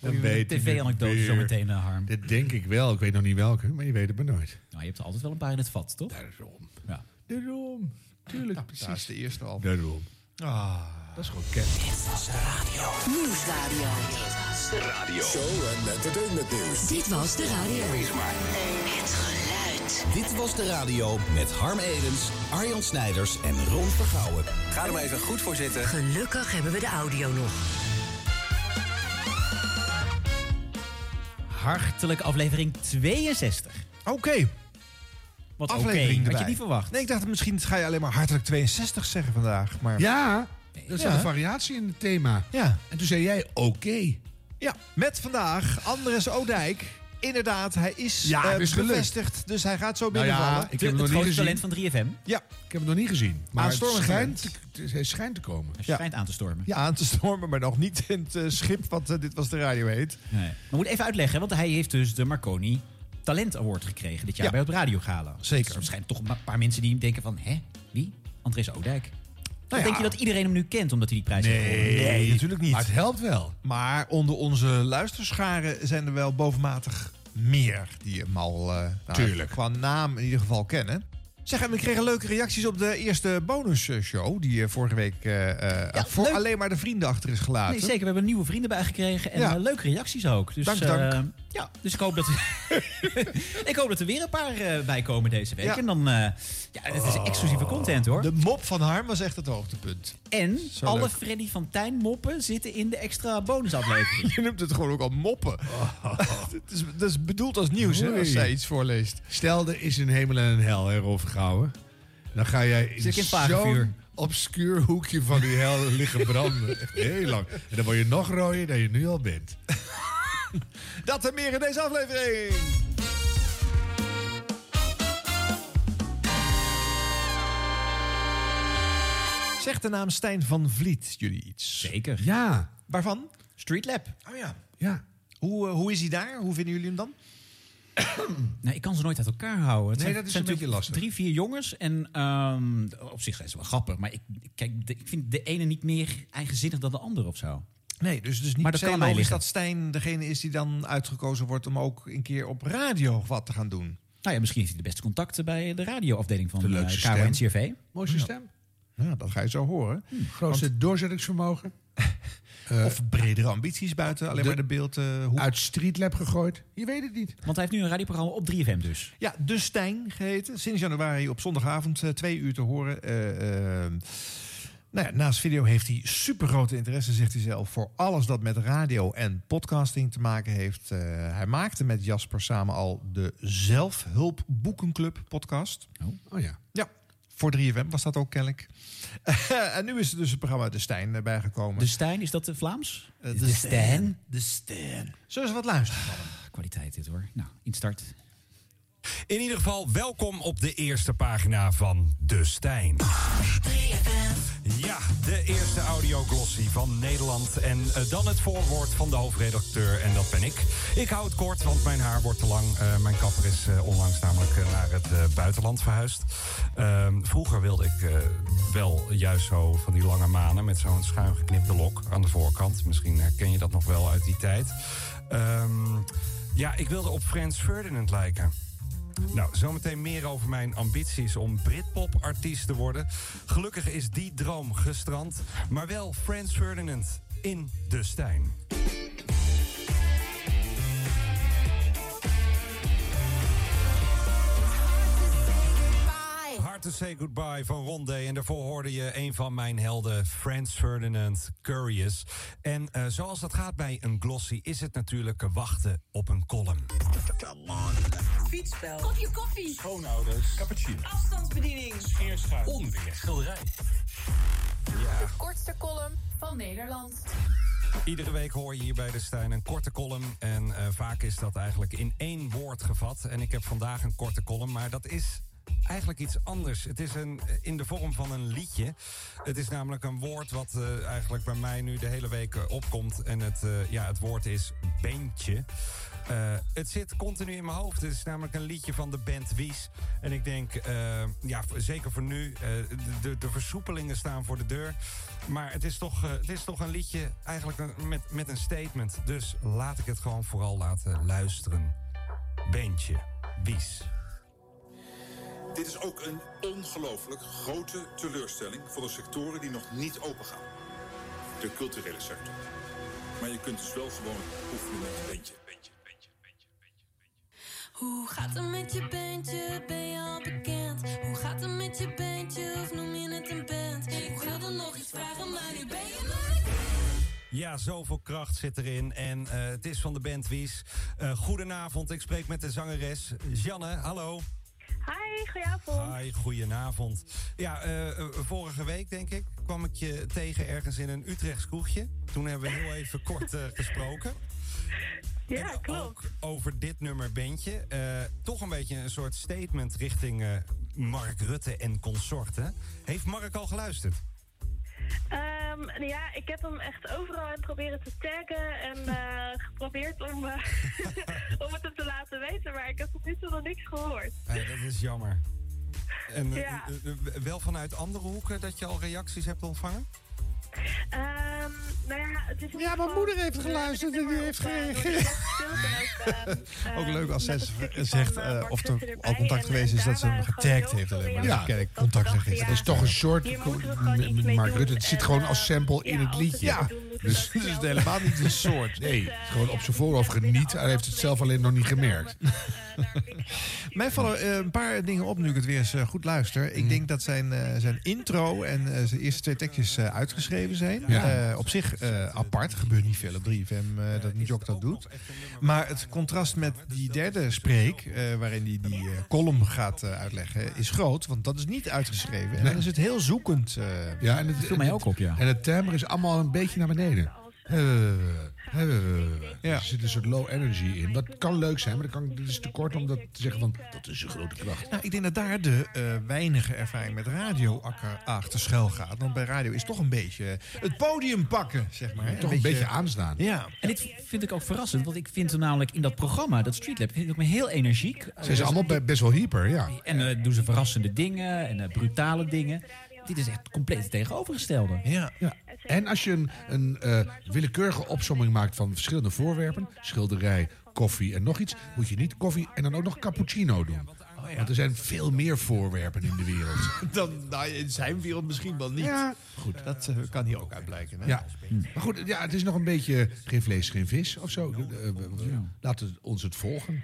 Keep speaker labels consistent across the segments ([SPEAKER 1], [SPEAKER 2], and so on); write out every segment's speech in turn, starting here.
[SPEAKER 1] Dan weet hij het
[SPEAKER 2] TV-anekdote
[SPEAKER 1] weer.
[SPEAKER 2] zometeen, eh, Harm.
[SPEAKER 1] Dit denk ik wel. Ik weet nog niet welke, maar je weet het maar nooit.
[SPEAKER 2] Nou, je hebt er altijd wel een paar in het vat, toch?
[SPEAKER 1] Daarom.
[SPEAKER 2] Ja.
[SPEAKER 1] Daarom. Tuurlijk.
[SPEAKER 3] Nou,
[SPEAKER 4] Precies. Dat is de eerste al.
[SPEAKER 1] Daarom.
[SPEAKER 4] Ah, dat is gewoon kennis.
[SPEAKER 5] Nieuwsradio.
[SPEAKER 2] Nou
[SPEAKER 6] Radio.
[SPEAKER 7] Show en entertainment nieuws.
[SPEAKER 5] Dit was de radio.
[SPEAKER 6] Wees maar.
[SPEAKER 5] Het geluid.
[SPEAKER 8] Dit was de radio met Harm Edens, Arjan Snijders en Ron Vergouwen. Ga er maar even goed voor zitten.
[SPEAKER 5] Gelukkig hebben we de audio nog.
[SPEAKER 2] Hartelijk aflevering 62.
[SPEAKER 4] Oké,
[SPEAKER 2] Wat oké,
[SPEAKER 4] aflevering
[SPEAKER 2] had je
[SPEAKER 4] erbij.
[SPEAKER 2] niet verwacht.
[SPEAKER 4] Nee, ik dacht misschien ga je alleen maar hartelijk 62 zeggen vandaag. Maar ja,
[SPEAKER 1] Ja, er zat
[SPEAKER 4] Ja.
[SPEAKER 1] een variatie in het thema.
[SPEAKER 4] ja,
[SPEAKER 1] En toen zei jij, oké.
[SPEAKER 4] met vandaag Andres Odijk. Inderdaad, hij is
[SPEAKER 1] Ja,
[SPEAKER 4] eh,
[SPEAKER 1] dus gelukt.
[SPEAKER 4] bevestigd, dus hij gaat zo
[SPEAKER 1] Nou ja,
[SPEAKER 4] binnenvallen.
[SPEAKER 1] ik heb
[SPEAKER 2] De-
[SPEAKER 1] hem
[SPEAKER 2] het
[SPEAKER 1] nog niet
[SPEAKER 2] grootste
[SPEAKER 1] gezien.
[SPEAKER 2] talent van 3FM.
[SPEAKER 4] ja.
[SPEAKER 1] Ik heb hem nog niet gezien. Maar het
[SPEAKER 4] Aanstormend
[SPEAKER 1] schijnt,
[SPEAKER 4] talent.
[SPEAKER 1] te- het- hij schijnt te komen.
[SPEAKER 2] Hij
[SPEAKER 4] Ja.
[SPEAKER 2] schijnt aan te stormen.
[SPEAKER 4] Ja, aan te stormen, maar nog niet in het eh, schip wat eh, Dit Was De Radio heet.
[SPEAKER 2] Nee. Maar moet even uitleggen, want hij heeft dus de Marconi Talent Award gekregen dit jaar
[SPEAKER 4] Ja.
[SPEAKER 2] bij het Radio Gala.
[SPEAKER 4] Zeker.
[SPEAKER 2] Dus er zijn toch een paar mensen die denken van, hè, wie? Andres Odijk. Dan
[SPEAKER 4] Nou ja.
[SPEAKER 2] Denk je dat iedereen hem nu kent omdat hij die prijs heeft gewonnen?
[SPEAKER 4] Nee, natuurlijk niet.
[SPEAKER 1] Maar het helpt wel.
[SPEAKER 4] Maar onder onze luisterscharen zijn er wel bovenmatig meer die hem al eh, nou,
[SPEAKER 1] Tuurlijk.
[SPEAKER 4] qua naam in ieder geval kennen. Zeg, en we kregen leuke reacties op de eerste bonusshow die eh, vorige week eh, eh, voor
[SPEAKER 2] leuk.
[SPEAKER 4] alleen maar de vrienden achter is gelaten.
[SPEAKER 2] Nee, zeker. We hebben nieuwe vrienden bijgekregen en
[SPEAKER 4] Ja.
[SPEAKER 2] eh, leuke reacties ook. Dus,
[SPEAKER 4] Dank,
[SPEAKER 2] eh,
[SPEAKER 4] dank.
[SPEAKER 2] ja, dus ik hoop dat, ik hoop dat er weer een paar eh, bij komen deze week.
[SPEAKER 4] Ja. Oh.
[SPEAKER 2] En dan, eh, ja, het is exclusieve content hoor.
[SPEAKER 4] De mop van Harm was echt het hoogtepunt.
[SPEAKER 2] En
[SPEAKER 4] Zo
[SPEAKER 2] alle
[SPEAKER 4] leuk.
[SPEAKER 2] Freddy van Tijn moppen zitten in de extra bonusaflevering.
[SPEAKER 4] Je noemt het gewoon ook al moppen. het is, dat is bedoeld als nieuws, hè, als
[SPEAKER 1] Oei.
[SPEAKER 4] zij iets voorleest.
[SPEAKER 1] Stel, er is een hemel en een hel, hè, Rolf Gouwen. Dan ga jij in,
[SPEAKER 2] Zit ik in vagevuur?
[SPEAKER 1] zo'n obscuur hoekje van die hel liggen branden. Echt heel lang. En dan word je nog rooier dan je nu al bent.
[SPEAKER 4] Dat en meer in deze aflevering. Zegt de naam Stijn van Vliet jullie iets?
[SPEAKER 2] Zeker.
[SPEAKER 1] Ja,
[SPEAKER 4] Waarvan?
[SPEAKER 2] Street Lab.
[SPEAKER 4] Oh ja.
[SPEAKER 1] ja.
[SPEAKER 4] Hoe, eh, hoe is hij daar? Hoe vinden jullie hem dan?
[SPEAKER 2] Nou, ik kan ze nooit uit elkaar houden. Het
[SPEAKER 1] Nee, dat is een beetje
[SPEAKER 2] natuurlijk
[SPEAKER 1] lastig.
[SPEAKER 2] Drie, vier jongens. En ehm, op zich zijn ze wel grappig. Maar ik, kijk, de- ik vind de ene niet meer eigenzinnig dan de ander of zo.
[SPEAKER 4] Nee, dus, dus niet
[SPEAKER 2] Maar
[SPEAKER 4] per
[SPEAKER 2] dat
[SPEAKER 4] se
[SPEAKER 2] kan mij
[SPEAKER 4] logisch
[SPEAKER 2] liggen.
[SPEAKER 4] dat Stijn degene is die dan uitgekozen wordt om ook een keer op radio wat te gaan doen.
[SPEAKER 2] Nou ja, misschien heeft hij de beste contacten bij de radioafdeling van eh,
[SPEAKER 1] De
[SPEAKER 2] de
[SPEAKER 1] leukste
[SPEAKER 2] en CRV.
[SPEAKER 1] Mooiste stem.
[SPEAKER 4] Ja, dat ga je zo horen.
[SPEAKER 2] Hm,
[SPEAKER 1] Grootste doorzettingsvermogen. Eh,
[SPEAKER 4] of bredere ambities buiten alleen
[SPEAKER 1] de-
[SPEAKER 4] maar de beeld. eh, hoe...
[SPEAKER 1] Uit Streetlab gegooid. Je weet het niet.
[SPEAKER 2] Want hij heeft nu een radioprogramma op 3FM dus.
[SPEAKER 4] Ja, De Stijn geheten. Sinds januari op zondagavond eh, twee uur te horen. Eh, eh, nou ja, naast video heeft hij supergrote interesse, zegt hij zelf, voor alles dat met radio en podcasting te maken heeft. Eh, hij maakte met Jasper samen al de Zelfhulp Boekenclub podcast.
[SPEAKER 1] Oh ja.
[SPEAKER 4] Ja, voor 3FM was dat ook kennelijk. en nu is er dus het programma De Stijn eh, bijgekomen.
[SPEAKER 2] De Stijn, is dat de Vlaams?
[SPEAKER 4] Eh, De
[SPEAKER 2] De Stijn.
[SPEAKER 4] Zullen ze wat luisteren? mannen?
[SPEAKER 2] Kwaliteit dit hoor. Nou, instart.
[SPEAKER 9] In ieder geval welkom op de eerste pagina van De Stijn. Ja, de eerste audioglossie van Nederland. En eh, dan het voorwoord van de hoofdredacteur, en dat ben ik. Ik hou het kort, want mijn haar wordt te lang. Eh, mijn kapper is eh, onlangs namelijk eh, naar het eh, buitenland verhuisd. Ehm, vroeger wilde ik eh, wel juist zo van die lange manen... met zo'n schuin geknipte lok aan de voorkant. Misschien herken je dat nog wel uit die tijd. Ehm, ja, ik wilde op Frans Ferdinand lijken. Nou, zometeen meer over mijn ambities om Britpop-artiest te worden. Gelukkig is die droom gestrand, maar wel Frans Ferdinand in de Stijn. Hard to say goodbye van Rondé. En daarvoor hoorde je een van mijn helden, Frans Ferdinand Curious. En eh, zoals dat gaat bij een glossy, is het natuurlijk wachten op een column.
[SPEAKER 10] Fietsspel. Kopje koffie.
[SPEAKER 9] Schoonouders. Cappuccino.
[SPEAKER 10] Afstandsbediening.
[SPEAKER 9] Scheerschuim. Onweer. Schilderij. Ja.
[SPEAKER 10] Kortste column van Nederland.
[SPEAKER 9] Iedere week hoor je hier bij de Stijn een korte column. En eh, vaak is dat eigenlijk in één woord gevat. En ik heb vandaag een korte column, maar dat is eigenlijk iets anders. Het is een, eh, in de vorm van een liedje. Het is namelijk een woord wat eh, eigenlijk bij mij nu de hele week eh, opkomt. En het, eh, ja, het woord is bandje. Eh, het zit continu in mijn hoofd. Het is namelijk een liedje van de band Wies. En ik denk, eh, ja, v- zeker voor nu, eh, de- de, de versoepelingen staan voor de deur. Maar het is toch, eh, het is toch een liedje eigenlijk een- met, met een statement. Dus laat ik het gewoon vooral laten luisteren. Bandje, Wies.
[SPEAKER 6] Dit is ook een ongelooflijk grote teleurstelling voor de sectoren die nog niet opengaan. De culturele sector. Maar je kunt dus wel gewoon oefenen met een beetje, beetje, beetje, beetje, beetje, beetje.
[SPEAKER 10] Hoe gaat het met je bandje? Ben je al bekend? Hoe gaat het met je bandje? Of noem je het een band? Ik wilde nog iets vragen, maar nu ben je maar.
[SPEAKER 9] Ja, zoveel kracht zit erin. En eh, het is van de band Wies. Eh, goedenavond, ik spreek met de zangeres Janne. Hallo.
[SPEAKER 11] Hi, goedenavond.
[SPEAKER 9] Hi, goedenavond. Ja, eh, eh, vorige week denk ik kwam ik je tegen ergens in een Utrechts kroegje. Toen hebben we heel even kort eh, gesproken.
[SPEAKER 11] Ja,
[SPEAKER 9] en
[SPEAKER 11] klopt.
[SPEAKER 9] ook over dit nummer bandje. eh, toch een beetje een soort statement richting eh, Mark Rutte en consorten. Heeft Mark al geluisterd?
[SPEAKER 11] Ehm, nou ja, ik heb hem echt overal in proberen te taggen en eh, geprobeerd om, eh, om het hem te laten weten, maar ik heb tot nu toe nog niks gehoord.
[SPEAKER 9] Eh, dat is jammer. En eh,
[SPEAKER 11] Ja.
[SPEAKER 9] eh, eh, wel vanuit andere hoeken dat je al reacties hebt ontvangen?
[SPEAKER 11] Ehm, nou ja, het is
[SPEAKER 4] Ja, mijn moeder heeft
[SPEAKER 11] eh,
[SPEAKER 4] geluisterd en die heeft gereageerd. Ook leuk als zij zegt eh, of er al contact geweest is dat ze hem getagd heeft. Alleen
[SPEAKER 11] eh,
[SPEAKER 4] maar.
[SPEAKER 1] Ja,
[SPEAKER 4] Ja, kijk, contact
[SPEAKER 11] dat
[SPEAKER 4] geregistreerd.
[SPEAKER 1] Het is toch een soort
[SPEAKER 11] Hier moeten we
[SPEAKER 1] co-
[SPEAKER 11] gewoon
[SPEAKER 1] met-
[SPEAKER 11] iets
[SPEAKER 1] met
[SPEAKER 11] mee
[SPEAKER 1] Mark
[SPEAKER 11] doen.
[SPEAKER 1] Rutte. Het zit
[SPEAKER 11] En,
[SPEAKER 1] gewoon
[SPEAKER 11] eh,
[SPEAKER 1] als sample in
[SPEAKER 11] ja,
[SPEAKER 1] het
[SPEAKER 11] als we
[SPEAKER 1] liedje.
[SPEAKER 11] het
[SPEAKER 1] Ja,
[SPEAKER 11] doen, Dus, eh, moeten we
[SPEAKER 1] dus
[SPEAKER 11] dat
[SPEAKER 1] het is
[SPEAKER 11] zelf
[SPEAKER 1] helemaal niet een soort. Nee, het is gewoon op zijn voorhoofd geniet. Hij heeft het zelf alleen nog niet gemerkt.
[SPEAKER 4] Mij vallen eh, een paar dingen op nu ik het weer eens eh, goed luister.
[SPEAKER 1] Mhm.
[SPEAKER 4] Ik denk dat zijn, eh, zijn intro en eh, zijn eerste twee tekstjes eh, uitgeschreven zijn.
[SPEAKER 1] Ja.
[SPEAKER 4] Eh, op zich eh, apart. Gebeurt niet veel op 3FM eh, dat Njok dat doet. Maar het contrast met die derde spreek, eh, waarin hij die eh, column gaat eh, uitleggen, is groot. Want dat is niet uitgeschreven. En dan is het heel zoekend. eh.
[SPEAKER 1] Ja, en het,
[SPEAKER 2] viel mij ook op, ja.
[SPEAKER 1] En het timbre is allemaal een beetje naar beneden. Ja. Er zit een soort low energy in. Dat kan leuk zijn, maar dat kan, dit is te kort om dat te zeggen van dat is een grote kracht.
[SPEAKER 4] Nou, ik denk dat daar de eh, weinige ervaring met radio akker- achter schuil gaat. Want bij radio is toch een beetje het podium pakken, zeg maar. hè.
[SPEAKER 1] Toch een beetje aanstaan.
[SPEAKER 4] Ja,
[SPEAKER 2] En dit vind ik ook verrassend, want ik vind hem namelijk in dat programma, dat Streetlab, vind ik me heel energiek.
[SPEAKER 1] Ze zijn allemaal be- best wel hyper, ja.
[SPEAKER 2] En eh, doen ze verrassende dingen en eh, brutale dingen. Dit is echt compleet het tegenovergestelde.
[SPEAKER 4] ja.
[SPEAKER 1] Ja. En als je een, een eh, willekeurige opsomming maakt van verschillende voorwerpen, schilderij, koffie en nog iets, moet je niet koffie en dan ook nog cappuccino doen. Want er zijn veel meer voorwerpen in de wereld.
[SPEAKER 4] Oh, Dan, nou, in zijn wereld misschien wel niet.
[SPEAKER 1] Ja, goed.
[SPEAKER 4] Dat eh, kan hier ook uit blijken. Hè?
[SPEAKER 1] Ja, maar goed, ja, het is nog een beetje geen vlees, geen vis of zo. Eh, eh, Laten we ons het volgen.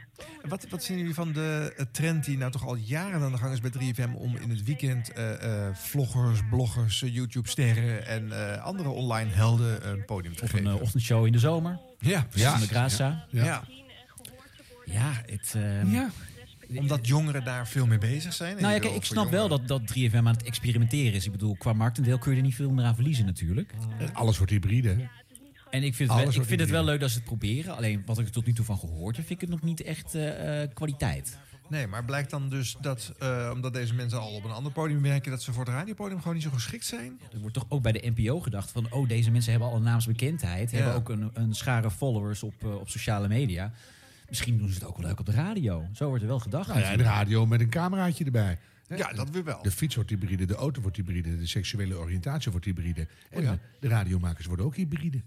[SPEAKER 4] Wat, wat zien jullie van de eh, trend die nou toch al jaren aan de gang is bij 3FM... om in het weekend eh, eh, vloggers, bloggers, eh, YouTube-sterren... en eh, andere online helden een podium te
[SPEAKER 2] Of een
[SPEAKER 4] geven?
[SPEAKER 2] eh, ochtendshow in de zomer,
[SPEAKER 4] ja,
[SPEAKER 2] ja.
[SPEAKER 1] Ja.
[SPEAKER 2] de Graza.
[SPEAKER 4] ja.
[SPEAKER 2] Ja, het... eh,
[SPEAKER 4] Omdat jongeren daar veel mee bezig zijn. En
[SPEAKER 2] Nou ja,
[SPEAKER 4] je
[SPEAKER 2] kijk,
[SPEAKER 4] wil
[SPEAKER 2] ik
[SPEAKER 4] voor
[SPEAKER 2] snap wel
[SPEAKER 4] jongeren-
[SPEAKER 2] dat, dat 3FM aan het experimenteren is. Ik bedoel, qua marktendeel kun je er niet veel meer aan verliezen natuurlijk.
[SPEAKER 1] En alles wordt hybride. hè?
[SPEAKER 2] En ik vind het, wel,
[SPEAKER 1] Alles
[SPEAKER 2] ik
[SPEAKER 1] wordt
[SPEAKER 2] vind het wel
[SPEAKER 1] hybride.
[SPEAKER 2] leuk dat ze het proberen. Alleen wat ik er tot nu toe van gehoord heb, vind ik het nog niet echt eh, eh, kwaliteit.
[SPEAKER 4] Nee, maar blijkt dan dus dat, eh, omdat deze mensen al op een ander podium werken... dat ze voor het radiopodium gewoon niet zo geschikt zijn?
[SPEAKER 2] Er wordt toch ook bij de NPO gedacht van... oh, deze mensen hebben al een naamsbekendheid.
[SPEAKER 4] Ja.
[SPEAKER 2] Hebben ook een, een schare followers op, eh, op sociale media. Misschien doen ze het ook wel leuk op de radio. Zo wordt er wel gedacht.
[SPEAKER 1] Nou ja, de radio met een cameraatje erbij. Hè?
[SPEAKER 4] Ja, dat weer wel.
[SPEAKER 1] De fiets wordt hybride, de auto wordt hybride, de seksuele oriëntatie wordt hybride. En
[SPEAKER 4] Oh ja.
[SPEAKER 1] eh, de radiomakers worden ook hybride.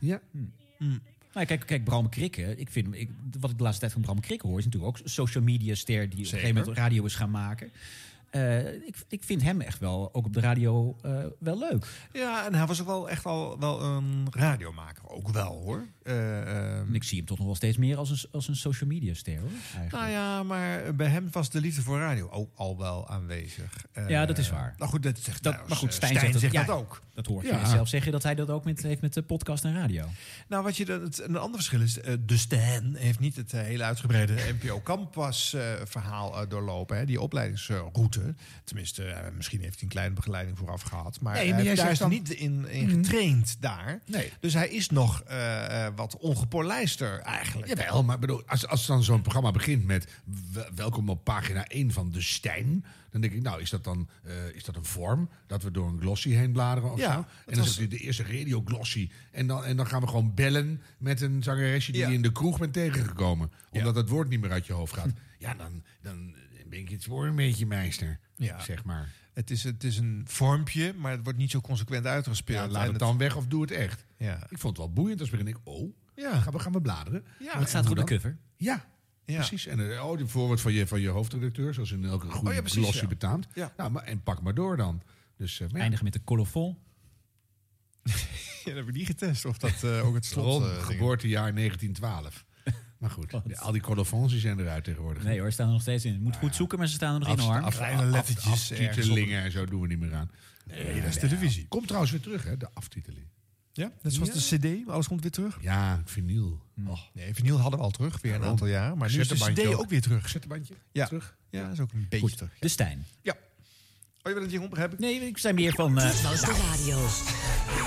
[SPEAKER 1] Ja.
[SPEAKER 2] Maar Nou, kijk, kijk, Bram Krikke. Ik vind, ik, wat ik de laatste tijd van Bram Krikke hoor... is natuurlijk ook een social media ster... die op een gegeven moment radio is gaan maken. Eh, ik, ik vind hem echt wel, ook op de radio, eh, wel leuk.
[SPEAKER 4] Ja, en hij was ook wel echt al wel een radiomaker. Ook wel, hoor. Eh, ehm,
[SPEAKER 2] En ik zie hem toch nog wel steeds meer als een, als een social media ster, hoor. Eigenlijk.
[SPEAKER 4] Nou ja, maar bij hem was de liefde voor radio ook al wel aanwezig. Eh,
[SPEAKER 2] Ja, dat is waar.
[SPEAKER 4] Nou goed, dat zegt
[SPEAKER 2] Dat-
[SPEAKER 4] trouwens,
[SPEAKER 2] maar goed,
[SPEAKER 4] eh,
[SPEAKER 2] Stijn zegt het- ja.
[SPEAKER 4] dat ook.
[SPEAKER 2] Dat hoor je
[SPEAKER 1] Ja.
[SPEAKER 2] zelf zeggen dat hij dat ook met, heeft met de podcast en radio.
[SPEAKER 4] Nou, wat je dan, het, een ander verschil is, eh, de Stan heeft niet het eh, hele uitgebreide NPO Campus eh, verhaal eh, doorlopen, hè, die opleidingsroute. hebben. Tenminste, eh, misschien heeft hij een kleine begeleiding vooraf gehad. Maar,
[SPEAKER 1] Nee,
[SPEAKER 4] hij
[SPEAKER 1] maar jij
[SPEAKER 4] heeft-
[SPEAKER 1] zegt
[SPEAKER 4] daar is
[SPEAKER 1] dan-
[SPEAKER 4] niet in, in
[SPEAKER 2] Mhm.
[SPEAKER 4] getraind daar.
[SPEAKER 1] Nee.
[SPEAKER 4] Dus hij is nog eh, eh, wat ongepolijster eigenlijk.
[SPEAKER 1] Jawel, maar bedoel, als, als dan zo'n programma begint met w- welkom op pagina 1 van De Stijn. Dan denk ik, nou, is dat dan eh, is dat een vorm dat we door een glossy heen bladeren of
[SPEAKER 4] Ja,
[SPEAKER 1] zo?
[SPEAKER 4] dat
[SPEAKER 1] En dan
[SPEAKER 4] was-
[SPEAKER 1] is het de eerste radio glossy. En dan, en dan gaan we gewoon bellen met een zangeresje die
[SPEAKER 4] Ja.
[SPEAKER 1] je in de kroeg bent tegengekomen. Omdat het woord niet meer uit je hoofd gaat. Ja, dan, dan ben ik iets voor een beetje meester,
[SPEAKER 4] Ja.
[SPEAKER 1] zeg maar.
[SPEAKER 4] Het is, het is een vormpje, maar het wordt niet zo consequent uitgespeeld.
[SPEAKER 1] Ja,
[SPEAKER 4] En
[SPEAKER 1] laat het
[SPEAKER 4] het-
[SPEAKER 1] dan weg of doe het echt.
[SPEAKER 4] Ja.
[SPEAKER 1] Ik vond het wel boeiend als begin ik, oh,
[SPEAKER 4] Ja.
[SPEAKER 1] gaan, we, gaan we bladeren.
[SPEAKER 4] Ja,
[SPEAKER 2] Maar het staat
[SPEAKER 1] en
[SPEAKER 2] goed op
[SPEAKER 1] hoe
[SPEAKER 2] de cover.
[SPEAKER 1] Ja,
[SPEAKER 4] Ja.
[SPEAKER 1] precies. En eh, oh, de voorwoord van je, van je hoofdredacteur, zoals in elke goede
[SPEAKER 4] Oh, ja, precies,
[SPEAKER 1] glossy
[SPEAKER 4] ja.
[SPEAKER 1] betaamt.
[SPEAKER 4] Ja.
[SPEAKER 1] Nou, maar, en pak maar door dan. Dus, eh, maar ja.
[SPEAKER 2] Eindigen met de colofon.
[SPEAKER 4] Ja, dat hebben we niet getest of dat eh, ook het slot...
[SPEAKER 1] Ron,
[SPEAKER 4] eh, ding-
[SPEAKER 1] geboortejaar 1912. maar goed, ja, al die colofons die zijn eruit tegenwoordig. Nou
[SPEAKER 2] Nee hoor, staan er nog steeds in. Moet goed zoeken, maar ze staan er nog in hoor.
[SPEAKER 4] af- Kleine lettertjes ergens op-
[SPEAKER 1] Aftitelingen en zo doen we niet meer aan.
[SPEAKER 4] Nee, dat is televisie.
[SPEAKER 1] Komt trouwens weer terug, hè, de aftiteling.
[SPEAKER 4] Ja, net zoals de cd, alles komt weer terug. Oh,
[SPEAKER 1] Ja, vinyl. Och,
[SPEAKER 4] Nee, vinyl hadden we al terug, weer een
[SPEAKER 1] Waarom?
[SPEAKER 4] aantal jaar. Maar nu is de
[SPEAKER 1] Cassettebandje
[SPEAKER 4] cd
[SPEAKER 1] ook.
[SPEAKER 4] ook weer terug.
[SPEAKER 1] cassettebandje
[SPEAKER 4] Ja.
[SPEAKER 1] terug.
[SPEAKER 4] Ja, dat is ook een beetje
[SPEAKER 2] Goed,
[SPEAKER 4] terug.
[SPEAKER 2] de Stijn.
[SPEAKER 4] Ja. Oh, je wil een jingle begrijp ik?
[SPEAKER 2] Nee, ik zei meer van... eh,
[SPEAKER 5] Dit was de radio.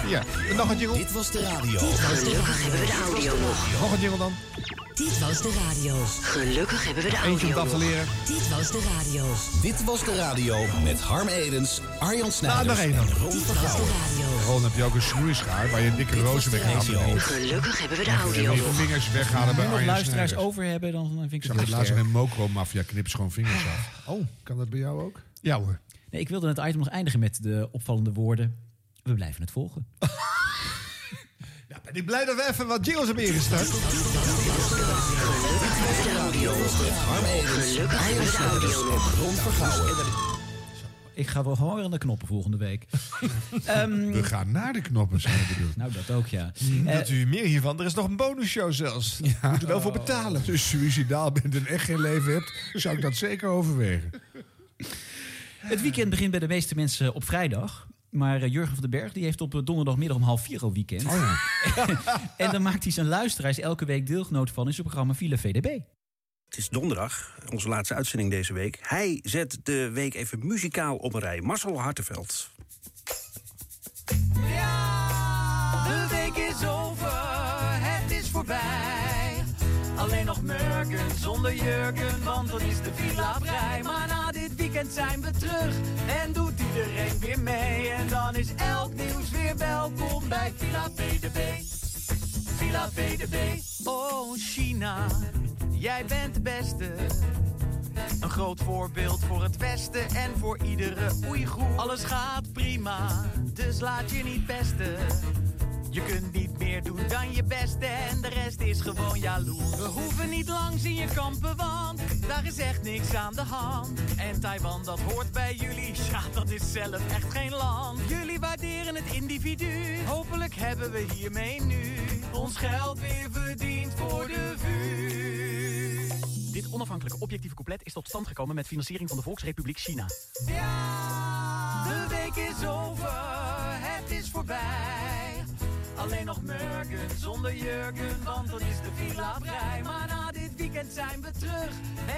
[SPEAKER 4] Ja, nog een jingle.
[SPEAKER 8] Dit was de radio.
[SPEAKER 5] Gelukkig hebben we de audio nog.
[SPEAKER 4] Nog een jingle dan.
[SPEAKER 5] Dit was de radio. Gelukkig hebben we de
[SPEAKER 4] Eentje om het
[SPEAKER 5] audio
[SPEAKER 4] af te
[SPEAKER 5] nog.
[SPEAKER 4] leren.
[SPEAKER 5] Dit was de radio.
[SPEAKER 8] Dit was de radio met Harm Edens, Arjan
[SPEAKER 4] Nou, nog
[SPEAKER 8] Snijders
[SPEAKER 4] één
[SPEAKER 8] en
[SPEAKER 4] dan.
[SPEAKER 8] Ron
[SPEAKER 5] Dit was de
[SPEAKER 8] Vergouwen.
[SPEAKER 5] radio.
[SPEAKER 1] Ron, heb je ook een snoeischaar waar je een dikke rozen mee gaat
[SPEAKER 8] radio.
[SPEAKER 1] afnemen?
[SPEAKER 5] Gelukkig hebben we de audio
[SPEAKER 1] En je
[SPEAKER 5] nog.
[SPEAKER 1] vingers weghalen bij
[SPEAKER 2] Als we
[SPEAKER 1] Arjen
[SPEAKER 2] luisteraars
[SPEAKER 1] Snijders.
[SPEAKER 2] over hebben, dan dan vind ik het
[SPEAKER 1] Ik zag
[SPEAKER 2] heel
[SPEAKER 1] het laatst
[SPEAKER 2] sterk.
[SPEAKER 1] een mokromafia knips gewoon vingers af. Oh, kan dat bij jou ook?
[SPEAKER 4] Ja hoor.
[SPEAKER 2] Nee, ik wilde het item nog eindigen met de opvallende woorden. We blijven het volgen.
[SPEAKER 4] Ja, ben ik blij dat we even wat jingles hebben ingestart.
[SPEAKER 8] Harm Edens, Arjan Snijders en Ron Vergouwen.
[SPEAKER 2] Ik ga wel gewoon weer aan de knoppen volgende week. Ehm,
[SPEAKER 1] We gaan naar de knoppen, zijn we bedoeld.
[SPEAKER 2] Nou, dat ook, ja.
[SPEAKER 4] Hm,
[SPEAKER 2] Eh,
[SPEAKER 4] Dat u meer hiervan. Er is nog een bonusshow zelfs. Daar moet u wel voor betalen.
[SPEAKER 1] Als je suicidaal bent en echt geen leven hebt, zou ik dat zeker overwegen.
[SPEAKER 2] Het weekend begint bij de meeste mensen op vrijdag. Maar eh, Jurgen van den Berg die heeft op eh, donderdagmiddag om half vier al weekend.
[SPEAKER 1] Oh
[SPEAKER 2] en dan maakt hij zijn luisteraars elke week deelgenoot van in zijn programma Villa VDB.
[SPEAKER 12] Het is donderdag, onze laatste uitzending deze week. Hij zet de week even muzikaal op een rij. Marcel Hartenveld.
[SPEAKER 13] De week is over, het is voorbij. Alleen nog murken zonder jurken, want dan is de villa vrij. Maar na dit weekend zijn we terug en doet iedereen weer mee. En dan is elk nieuws weer welkom bij Villa VDB. Villa VDB. Oh China, jij bent de beste. Een groot voorbeeld voor het Westen en voor iedere Oeigoer. Alles gaat prima, dus laat je niet pesten. Je kunt niet meer doen dan je best en de rest is gewoon jaloers. We hoeven niet langs in je kampen, want daar is echt niks aan de hand. En Taiwan, dat hoort bij jullie, ja, dat is zelf echt geen land. Jullie waarderen het individu, hopelijk hebben we hiermee nu ons geld weer verdiend voor de vuur.
[SPEAKER 14] Dit onafhankelijke objectieve couplet is tot stand gekomen met financiering van de Volksrepubliek China.
[SPEAKER 13] De week is over, het is voorbij. Alleen nog murken zonder jurken, want dan is de villa vrij. Maar na dit weekend zijn we terug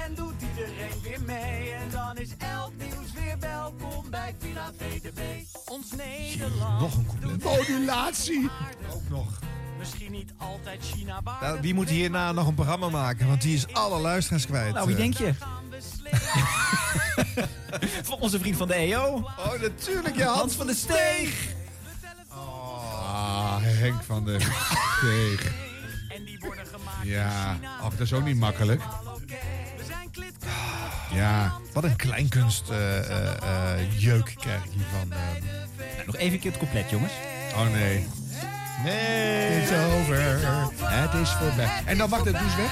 [SPEAKER 13] en doet iedereen weer mee. En dan is elk nieuws weer welkom bij Villa VDB. Ons Nederland.
[SPEAKER 4] Nog een compliment.
[SPEAKER 1] Modulatie!
[SPEAKER 13] aardig.
[SPEAKER 4] Ook nog.
[SPEAKER 13] Misschien niet altijd China waar.
[SPEAKER 4] Nou, wie moet hierna nog een programma maken? Want die is alle luisteraars kwijt.
[SPEAKER 2] Nou, wie
[SPEAKER 4] Eh,
[SPEAKER 2] denk je?
[SPEAKER 13] gaan we slepen?
[SPEAKER 2] Van onze vriend van de EO,
[SPEAKER 4] Oh, natuurlijk, ja.
[SPEAKER 2] Hans
[SPEAKER 4] Hans.
[SPEAKER 2] van der Steeg.
[SPEAKER 1] Ah, Henk van de Steeg.
[SPEAKER 13] En die worden gemaakt in
[SPEAKER 1] Ja,
[SPEAKER 13] China.
[SPEAKER 1] ach, dat is ook niet makkelijk.
[SPEAKER 13] Al oké. We zijn klitkundig.
[SPEAKER 1] Ja,
[SPEAKER 4] Wat een kleinkunst eh, eh, eh, jeuk krijg ik hiervan. eh.
[SPEAKER 2] Nou, nog even een keer het couplet, jongens.
[SPEAKER 1] oh nee.
[SPEAKER 4] Nee.
[SPEAKER 1] It's over. Het is voorbij. En dan mag dat dus weg.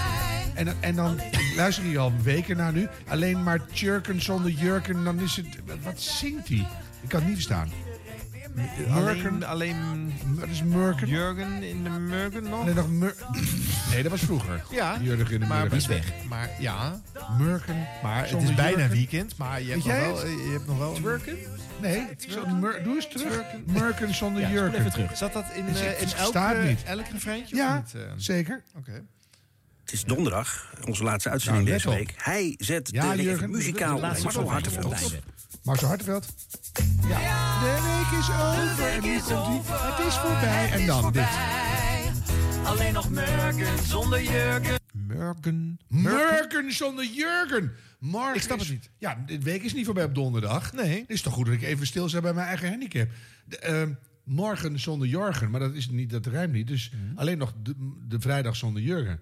[SPEAKER 1] En, dan- en dan luister je al weken naar nu. Alleen maar tjurken zonder jurken. Dan is het... Wat zingt hij? Ik kan het niet verstaan.
[SPEAKER 4] Alleen, alleen
[SPEAKER 1] Dat is murken.
[SPEAKER 4] Jurgen in de Murgen nog?
[SPEAKER 1] Nee, nog mur- nee, dat was vroeger.
[SPEAKER 4] Ja.
[SPEAKER 1] Jurgen in de
[SPEAKER 4] Maar
[SPEAKER 1] Murgen.
[SPEAKER 4] die is weg. Maar ja,
[SPEAKER 1] Murken.
[SPEAKER 4] maar het
[SPEAKER 1] Zonder
[SPEAKER 4] is bijna
[SPEAKER 1] jurken.
[SPEAKER 4] weekend. Maar je hebt, nog
[SPEAKER 1] Weet jij
[SPEAKER 4] wel, eh, je hebt nog wel... een-
[SPEAKER 1] Nee, zo- mur- doe eens terug. Murken zonder
[SPEAKER 2] Ja,
[SPEAKER 1] jurken.
[SPEAKER 2] spoel even terug.
[SPEAKER 4] Zat dat in,
[SPEAKER 1] Dus
[SPEAKER 4] eh,
[SPEAKER 1] ik
[SPEAKER 4] in elk,
[SPEAKER 1] versta het
[SPEAKER 4] eh,
[SPEAKER 1] niet.
[SPEAKER 4] elk refreintje? of
[SPEAKER 1] Ja,
[SPEAKER 4] niet, eh?
[SPEAKER 1] zeker.
[SPEAKER 4] Oké.
[SPEAKER 12] Het is donderdag, onze laatste uitzending
[SPEAKER 1] Nou, let
[SPEAKER 12] deze
[SPEAKER 1] op.
[SPEAKER 12] week. Hij zet
[SPEAKER 1] Ja,
[SPEAKER 12] de week
[SPEAKER 1] Jurgen,
[SPEAKER 12] even muzikaal op
[SPEAKER 1] dat
[SPEAKER 12] een
[SPEAKER 1] is
[SPEAKER 12] rij.
[SPEAKER 1] het
[SPEAKER 12] Marcel
[SPEAKER 2] couplet.
[SPEAKER 12] Hartenveld.
[SPEAKER 1] Marcel Hartenveld. Ja. De week is over. En nu komt ie. Het is voorbij. En dan dit.
[SPEAKER 13] Alleen nog Murken zonder jurken.
[SPEAKER 1] Murken. Murken zonder Jurgen. Mark ik snap het niet. Ja, de week is niet voorbij op donderdag. Nee. Het is toch goed dat ik even stil sta bij mijn eigen handicap. De, ehm, morgen zonder Jorgen. Maar dat, is niet, dat rijmt niet. Dus
[SPEAKER 4] Mhm.
[SPEAKER 1] alleen nog de, de vrijdag zonder Jurgen.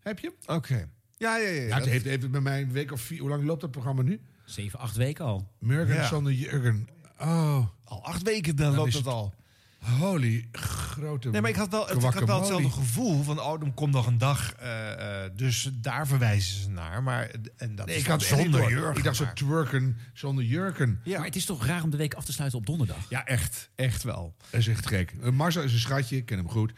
[SPEAKER 1] Heb je? Oké.
[SPEAKER 4] Ja, ja, ja.
[SPEAKER 1] Ja, het heeft even bij mij een week of vier. Hoe lang loopt dat programma nu?
[SPEAKER 2] Zeven, acht weken al.
[SPEAKER 1] Murgen
[SPEAKER 2] Ja.
[SPEAKER 1] zonder Jurgen. Oh. Al acht weken dan,
[SPEAKER 4] loopt
[SPEAKER 1] is
[SPEAKER 4] het
[SPEAKER 1] het al. Holy grote.
[SPEAKER 4] Nee, maar ik had wel, het, ik had wel
[SPEAKER 1] guacamole.
[SPEAKER 4] hetzelfde gevoel van, oh, dan komt nog een dag. eh, eh, dus daar verwijzen ze naar. Maar en dat
[SPEAKER 1] Nee,
[SPEAKER 4] is
[SPEAKER 1] ik had
[SPEAKER 4] dan
[SPEAKER 1] zonder
[SPEAKER 4] zonder
[SPEAKER 1] jurken.
[SPEAKER 4] jurk.
[SPEAKER 1] Ik dacht zo
[SPEAKER 4] gemaakt.
[SPEAKER 1] twerken zonder jurken.
[SPEAKER 2] Maar het is toch raar om de week af te sluiten op donderdag?
[SPEAKER 4] Ja, echt. Echt wel.
[SPEAKER 1] Dat is echt gek. Eh, Marcel is een schatje, ik ken hem goed.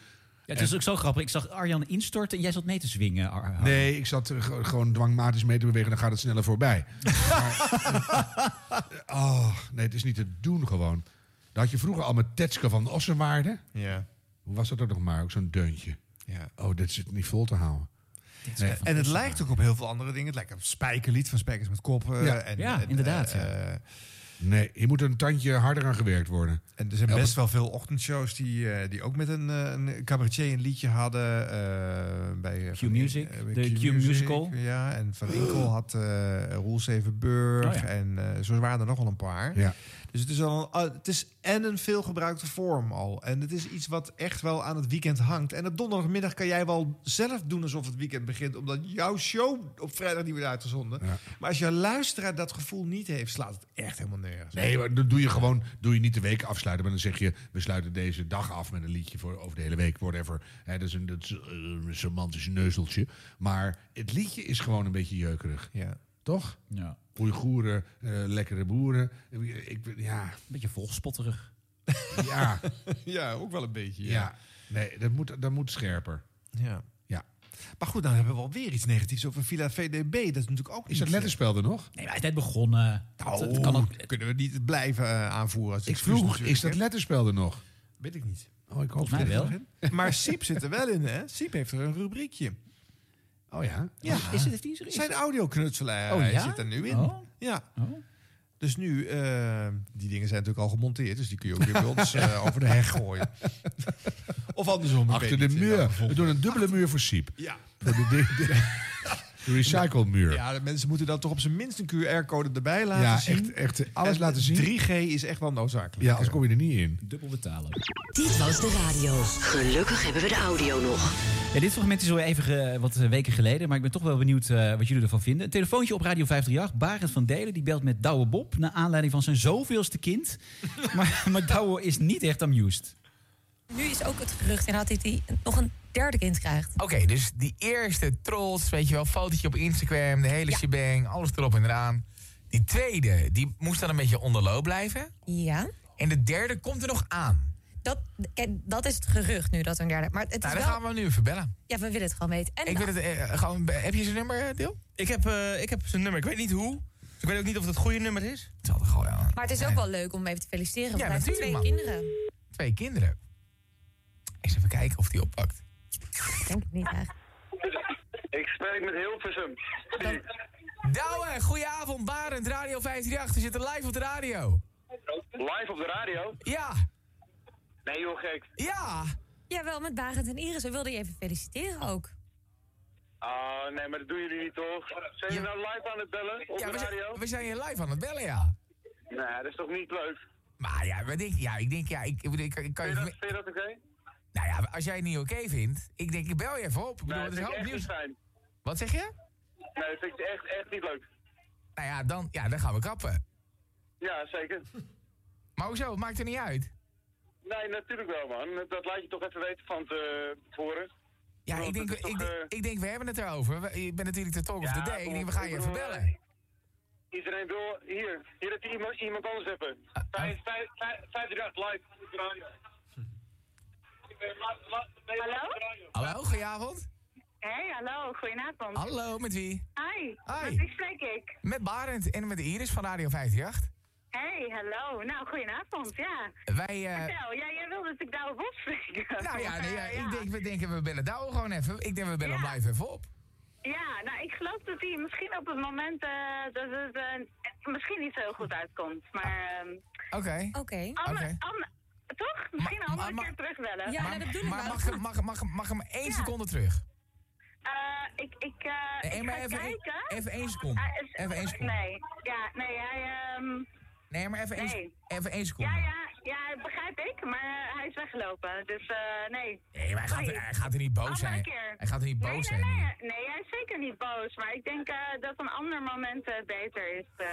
[SPEAKER 2] Ja, het is
[SPEAKER 1] En-
[SPEAKER 2] ook zo grappig. Ik zag Arjan instorten en jij zat mee te zwingen. Ar- Ar-
[SPEAKER 1] Nee, ik zat er ge- gewoon dwangmatisch mee te bewegen. Dan gaat het sneller voorbij. maar, eh, oh, nee, het is niet te doen gewoon. Dat had je vroeger al met Tetske van Ossenwaarde.
[SPEAKER 4] Ja.
[SPEAKER 1] Hoe was dat ook nog maar? Ook zo'n deuntje.
[SPEAKER 4] Ja.
[SPEAKER 1] Oh, dit zit niet vol te houden.
[SPEAKER 4] En- en het lijkt ook op heel veel andere dingen. Het lijkt op het spijkerlied van Spijkers met Koppen.
[SPEAKER 1] Ja.
[SPEAKER 4] en,
[SPEAKER 1] Ja,
[SPEAKER 4] en,
[SPEAKER 1] inderdaad,
[SPEAKER 4] eh, eh,
[SPEAKER 1] Nee, hier moet een tandje harder aan gewerkt worden.
[SPEAKER 4] En er zijn
[SPEAKER 1] Elke-
[SPEAKER 4] best wel veel ochtendshows die, eh, die ook met een, eh, een cabaretier een liedje hadden. eh, bij, Q
[SPEAKER 2] Music, de Q Musical.
[SPEAKER 4] Ja, en Van Inkel had eh Roel Sevenburg.
[SPEAKER 2] Oh ja.
[SPEAKER 4] En eh, zo waren er nog wel een paar.
[SPEAKER 1] Ja.
[SPEAKER 4] Dus het is, al een, ah, het is en een veelgebruikte vorm al. En het is iets wat echt wel aan het weekend hangt. En op donderdagmiddag kan jij wel zelf doen alsof het weekend begint. Omdat jouw show op vrijdag niet wordt uitgezonden. Maar als jouw luisteraar dat gevoel niet heeft, slaat het echt helemaal nergens.
[SPEAKER 1] Nee, maar dat doe je gewoon doe je niet de week afsluiten. Maar dan zeg je, we sluiten deze dag af met een liedje voor over de hele week, whatever. Hè, dat is een, dat is, eh, een semantisch neuzeltje. Maar het liedje is gewoon een beetje jeukerig.
[SPEAKER 4] Ja.
[SPEAKER 1] Toch?
[SPEAKER 2] Ja.
[SPEAKER 1] Oeigoeren, eh, lekkere boeren. Ik, ik- ja. Een
[SPEAKER 2] beetje volgspotterig.
[SPEAKER 1] Ja.
[SPEAKER 4] ja, ook wel een beetje.
[SPEAKER 1] ja. Nee, dat moet, dat moet scherper.
[SPEAKER 4] Ja.
[SPEAKER 1] Ja.
[SPEAKER 4] Maar goed, dan hebben we alweer iets negatiefs over Villa VDB. Dat is natuurlijk ook
[SPEAKER 1] Is dat letterspel er nog?
[SPEAKER 2] eh, Nee, maar het net begonnen.
[SPEAKER 4] Nou,
[SPEAKER 2] Het kan ook-
[SPEAKER 4] kunnen we niet blijven eh, aanvoeren. Als
[SPEAKER 1] Ik
[SPEAKER 4] excuus
[SPEAKER 1] vroeg,
[SPEAKER 4] natuurlijk,
[SPEAKER 1] is dat
[SPEAKER 4] hè?
[SPEAKER 1] letterspel er nog?
[SPEAKER 4] Weet ik niet.
[SPEAKER 1] Oh, ik hoop
[SPEAKER 4] Volgens mij
[SPEAKER 1] het.
[SPEAKER 4] wel. Maar Siep zit er wel in, hè? Siep heeft er een rubriekje.
[SPEAKER 1] Oh ja?
[SPEAKER 4] Ja.
[SPEAKER 2] Is het die
[SPEAKER 4] Zijn audioknutselaar
[SPEAKER 2] Oh,
[SPEAKER 4] hij
[SPEAKER 2] ja?
[SPEAKER 4] zit er nu in.
[SPEAKER 2] Oh.
[SPEAKER 4] Ja. Dus nu, eh, die dingen zijn natuurlijk al gemonteerd. Dus die kun je ook weer bij ons eh, over de heg gooien. of andersom. ik
[SPEAKER 1] Achter
[SPEAKER 4] weet
[SPEAKER 1] de
[SPEAKER 4] niet, in welk
[SPEAKER 1] muur.
[SPEAKER 4] geval.
[SPEAKER 1] We doen een dubbele muur voor Siep.
[SPEAKER 4] Ja.
[SPEAKER 1] Voor de, de, de recycle muur.
[SPEAKER 4] Ja, de mensen moeten dan toch op zijn minst een QR-code erbij laten
[SPEAKER 1] Ja,
[SPEAKER 4] zien.
[SPEAKER 1] echt, echt alles
[SPEAKER 4] En
[SPEAKER 1] laten zien.
[SPEAKER 4] 3G is echt wel noodzakelijk.
[SPEAKER 1] Ja, anders kom je er niet in.
[SPEAKER 2] Dubbel betalen.
[SPEAKER 5] Dit was de radio. Gelukkig hebben we de audio nog.
[SPEAKER 2] Ja, dit fragment is alweer even eh, wat eh, weken geleden, maar ik ben toch wel benieuwd eh, wat jullie ervan vinden. Een telefoontje op Radio 538. Barend van Delen die belt met Douwe Bob naar aanleiding van zijn zoveelste kind. maar, maar Douwe is niet echt amused.
[SPEAKER 15] Nu is ook het gerucht inderdaad dat hij nog een derde kind krijgt.
[SPEAKER 16] Oké, dus die eerste trots, weet je wel, fotootje op Instagram, de hele shebang, alles erop en eraan. Die tweede, die moest dan een beetje onderloop blijven.
[SPEAKER 15] Ja.
[SPEAKER 16] En de derde komt er nog aan.
[SPEAKER 15] Dat, kijk, dat is het gerucht nu, dat er een derde... Maar het is
[SPEAKER 16] nou, dan
[SPEAKER 15] wel...
[SPEAKER 16] gaan we hem nu even bellen.
[SPEAKER 15] Ja, we willen het gewoon weten. En nou,
[SPEAKER 16] Ik wil het, eh, gewoon, be- heb je zijn nummer, eh, Deel?
[SPEAKER 3] Ik heb, eh, ik heb zijn nummer. Ik weet niet hoe. Dus ik weet ook niet of het het goede nummer is.
[SPEAKER 16] Het zal er gewoon eh, aan.
[SPEAKER 15] Maar het is ook wel leuk om hem even te feliciteren, want
[SPEAKER 16] Ja,
[SPEAKER 15] hij heeft twee
[SPEAKER 16] natuurlijk,
[SPEAKER 15] kinderen.
[SPEAKER 16] Twee kinderen. Eens even kijken of die oppakt.
[SPEAKER 15] Ik denk het niet echt.
[SPEAKER 17] Ik spreek met Hilversum.
[SPEAKER 16] Douwe, goedenavond, Barend, Radio 538. We zitten live op de radio.
[SPEAKER 17] Live op de radio?
[SPEAKER 16] Ja.
[SPEAKER 17] Nee joh, gek.
[SPEAKER 16] Ja.
[SPEAKER 15] Jawel, met Barend en Iris. We wilden je even feliciteren ook.
[SPEAKER 17] Ah, nee, maar dat doen jullie niet toch? Zijn jullie nou live aan het bellen op
[SPEAKER 16] Ja,
[SPEAKER 17] de
[SPEAKER 16] we
[SPEAKER 17] radio?
[SPEAKER 16] zijn, we zijn hier live aan het bellen, ja.
[SPEAKER 17] Nee, dat is toch niet leuk?
[SPEAKER 16] Maar ja, wat ik, ja, ik denk, ja, ik, ik, bedoel, ik, ik kan je...
[SPEAKER 17] Vind je dat, vind je dat oké?
[SPEAKER 16] Nou ja, als jij het niet oké vindt, ik denk, ik bel je even op. Ik bedoel,
[SPEAKER 17] Nee,
[SPEAKER 16] het is
[SPEAKER 17] dat vind ik
[SPEAKER 16] hoop
[SPEAKER 17] echt
[SPEAKER 16] nieuws.
[SPEAKER 17] niet fijn.
[SPEAKER 16] Wat zeg je?
[SPEAKER 17] Nee, dat vind ik echt, echt niet leuk.
[SPEAKER 16] Nou ja dan, ja, dan gaan we kappen.
[SPEAKER 17] Ja, zeker.
[SPEAKER 16] Maar hoezo? Het maakt er niet uit.
[SPEAKER 17] Nee, natuurlijk wel man. Dat laat je toch even weten van tevoren.
[SPEAKER 16] Ja, ik denk, ik,
[SPEAKER 17] eh,
[SPEAKER 16] denk- ik denk, we hebben het erover. We- Je bent natuurlijk de talk of the
[SPEAKER 17] Ja,
[SPEAKER 16] day. Ik
[SPEAKER 17] kom
[SPEAKER 16] denk, we
[SPEAKER 17] op,
[SPEAKER 16] gaan
[SPEAKER 17] ik
[SPEAKER 16] je even
[SPEAKER 17] bedoel,
[SPEAKER 16] bellen.
[SPEAKER 17] Iedereen wil hier. Hier dat je iemand, iemand anders hebben.
[SPEAKER 16] Ah,
[SPEAKER 17] Vijf, vijf, vijf, vijf uur dag live op de radio. Hallo?
[SPEAKER 16] Hallo, goedenavond.
[SPEAKER 18] Hey, hallo, goedenavond.
[SPEAKER 16] Hallo, met wie?
[SPEAKER 18] Hi,
[SPEAKER 16] Hi.
[SPEAKER 18] met wie spreek ik?
[SPEAKER 16] Met Barend en met Iris van Radio 538.
[SPEAKER 18] Hey, hallo. Nou, goedenavond, ja.
[SPEAKER 16] Wij, eh,
[SPEAKER 18] Vertel, ja, jij wilde dat ik Douwe Bob spreek.
[SPEAKER 16] Nou ja, nee, ja,
[SPEAKER 18] Eh, ja.
[SPEAKER 16] ik denk, we denken, we bellen Douwe gewoon even. Ik denk, we bellen hem live even op.
[SPEAKER 18] Ja, nou, ik geloof dat hij misschien op het moment eh, dat het eh, misschien niet zo heel goed uitkomt. Maar. ehm,
[SPEAKER 16] Ah. Oké.
[SPEAKER 15] Oké.
[SPEAKER 18] ander- ander- Toch? Misschien een andere keer terugbellen.
[SPEAKER 16] Maar mag, hem- mag, mag, mag hem één seconde terug?
[SPEAKER 18] Eh, ik, ik, eh,
[SPEAKER 16] Nee,
[SPEAKER 18] ik
[SPEAKER 16] maar
[SPEAKER 18] ga
[SPEAKER 16] even één-
[SPEAKER 18] kijken.
[SPEAKER 16] even één seconde.
[SPEAKER 18] Hij is-
[SPEAKER 16] Even één seconde.
[SPEAKER 18] Nee, ja, nee, hij... ehm,
[SPEAKER 16] Nee, maar even één
[SPEAKER 18] nee.
[SPEAKER 16] se- even één seconde.
[SPEAKER 18] Ja, ja, ja, begrijp ik, maar eh, hij is weggelopen, dus eh, nee.
[SPEAKER 16] Nee, maar hij gaat,
[SPEAKER 18] Sorry.
[SPEAKER 16] hij gaat er niet boos
[SPEAKER 18] Andere
[SPEAKER 16] zijn.
[SPEAKER 18] keer.
[SPEAKER 16] Hij gaat er niet
[SPEAKER 18] Nee,
[SPEAKER 16] boos
[SPEAKER 18] nee,
[SPEAKER 16] zijn.
[SPEAKER 18] Nee, nee, hij is zeker niet boos, maar ik denk eh, dat een ander moment eh, beter is eh,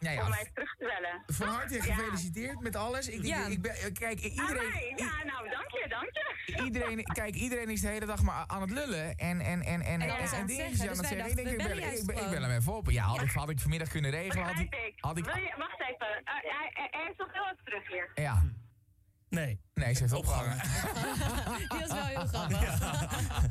[SPEAKER 16] Ja, ja,
[SPEAKER 18] om
[SPEAKER 16] v-
[SPEAKER 18] mij terug te bellen.
[SPEAKER 16] Van harte
[SPEAKER 18] Ja.
[SPEAKER 16] gefeliciteerd met alles. Ik,
[SPEAKER 18] Ja.
[SPEAKER 16] ik, ik ben, kijk,
[SPEAKER 18] Ah,
[SPEAKER 16] iedereen,
[SPEAKER 18] nee, ja, nou, dank je, dank je.
[SPEAKER 16] iedereen, kijk, iedereen is de hele dag maar aan het lullen. En, en, en, en,
[SPEAKER 18] En alles aan het
[SPEAKER 16] dingetjes aan
[SPEAKER 18] zeggen,
[SPEAKER 16] het
[SPEAKER 18] dus wij
[SPEAKER 16] zeggen. Ik denk,
[SPEAKER 18] dachten,
[SPEAKER 16] ik
[SPEAKER 18] we
[SPEAKER 16] bel,
[SPEAKER 18] bellen
[SPEAKER 16] ik,
[SPEAKER 18] juist
[SPEAKER 16] bel- ik bel
[SPEAKER 18] gewoon.
[SPEAKER 16] hem even op. Ja, had ik, had ik vanmiddag kunnen regelen. Had
[SPEAKER 18] Begrijp
[SPEAKER 16] ik,
[SPEAKER 18] ik.
[SPEAKER 16] had
[SPEAKER 18] Wil
[SPEAKER 16] ik,
[SPEAKER 18] je, wacht even, eh, hij, hij- hij is nog heel even terug hier.
[SPEAKER 16] ja. Nee. Nee, ze heeft opgehangen.
[SPEAKER 15] Die was wel heel grappig.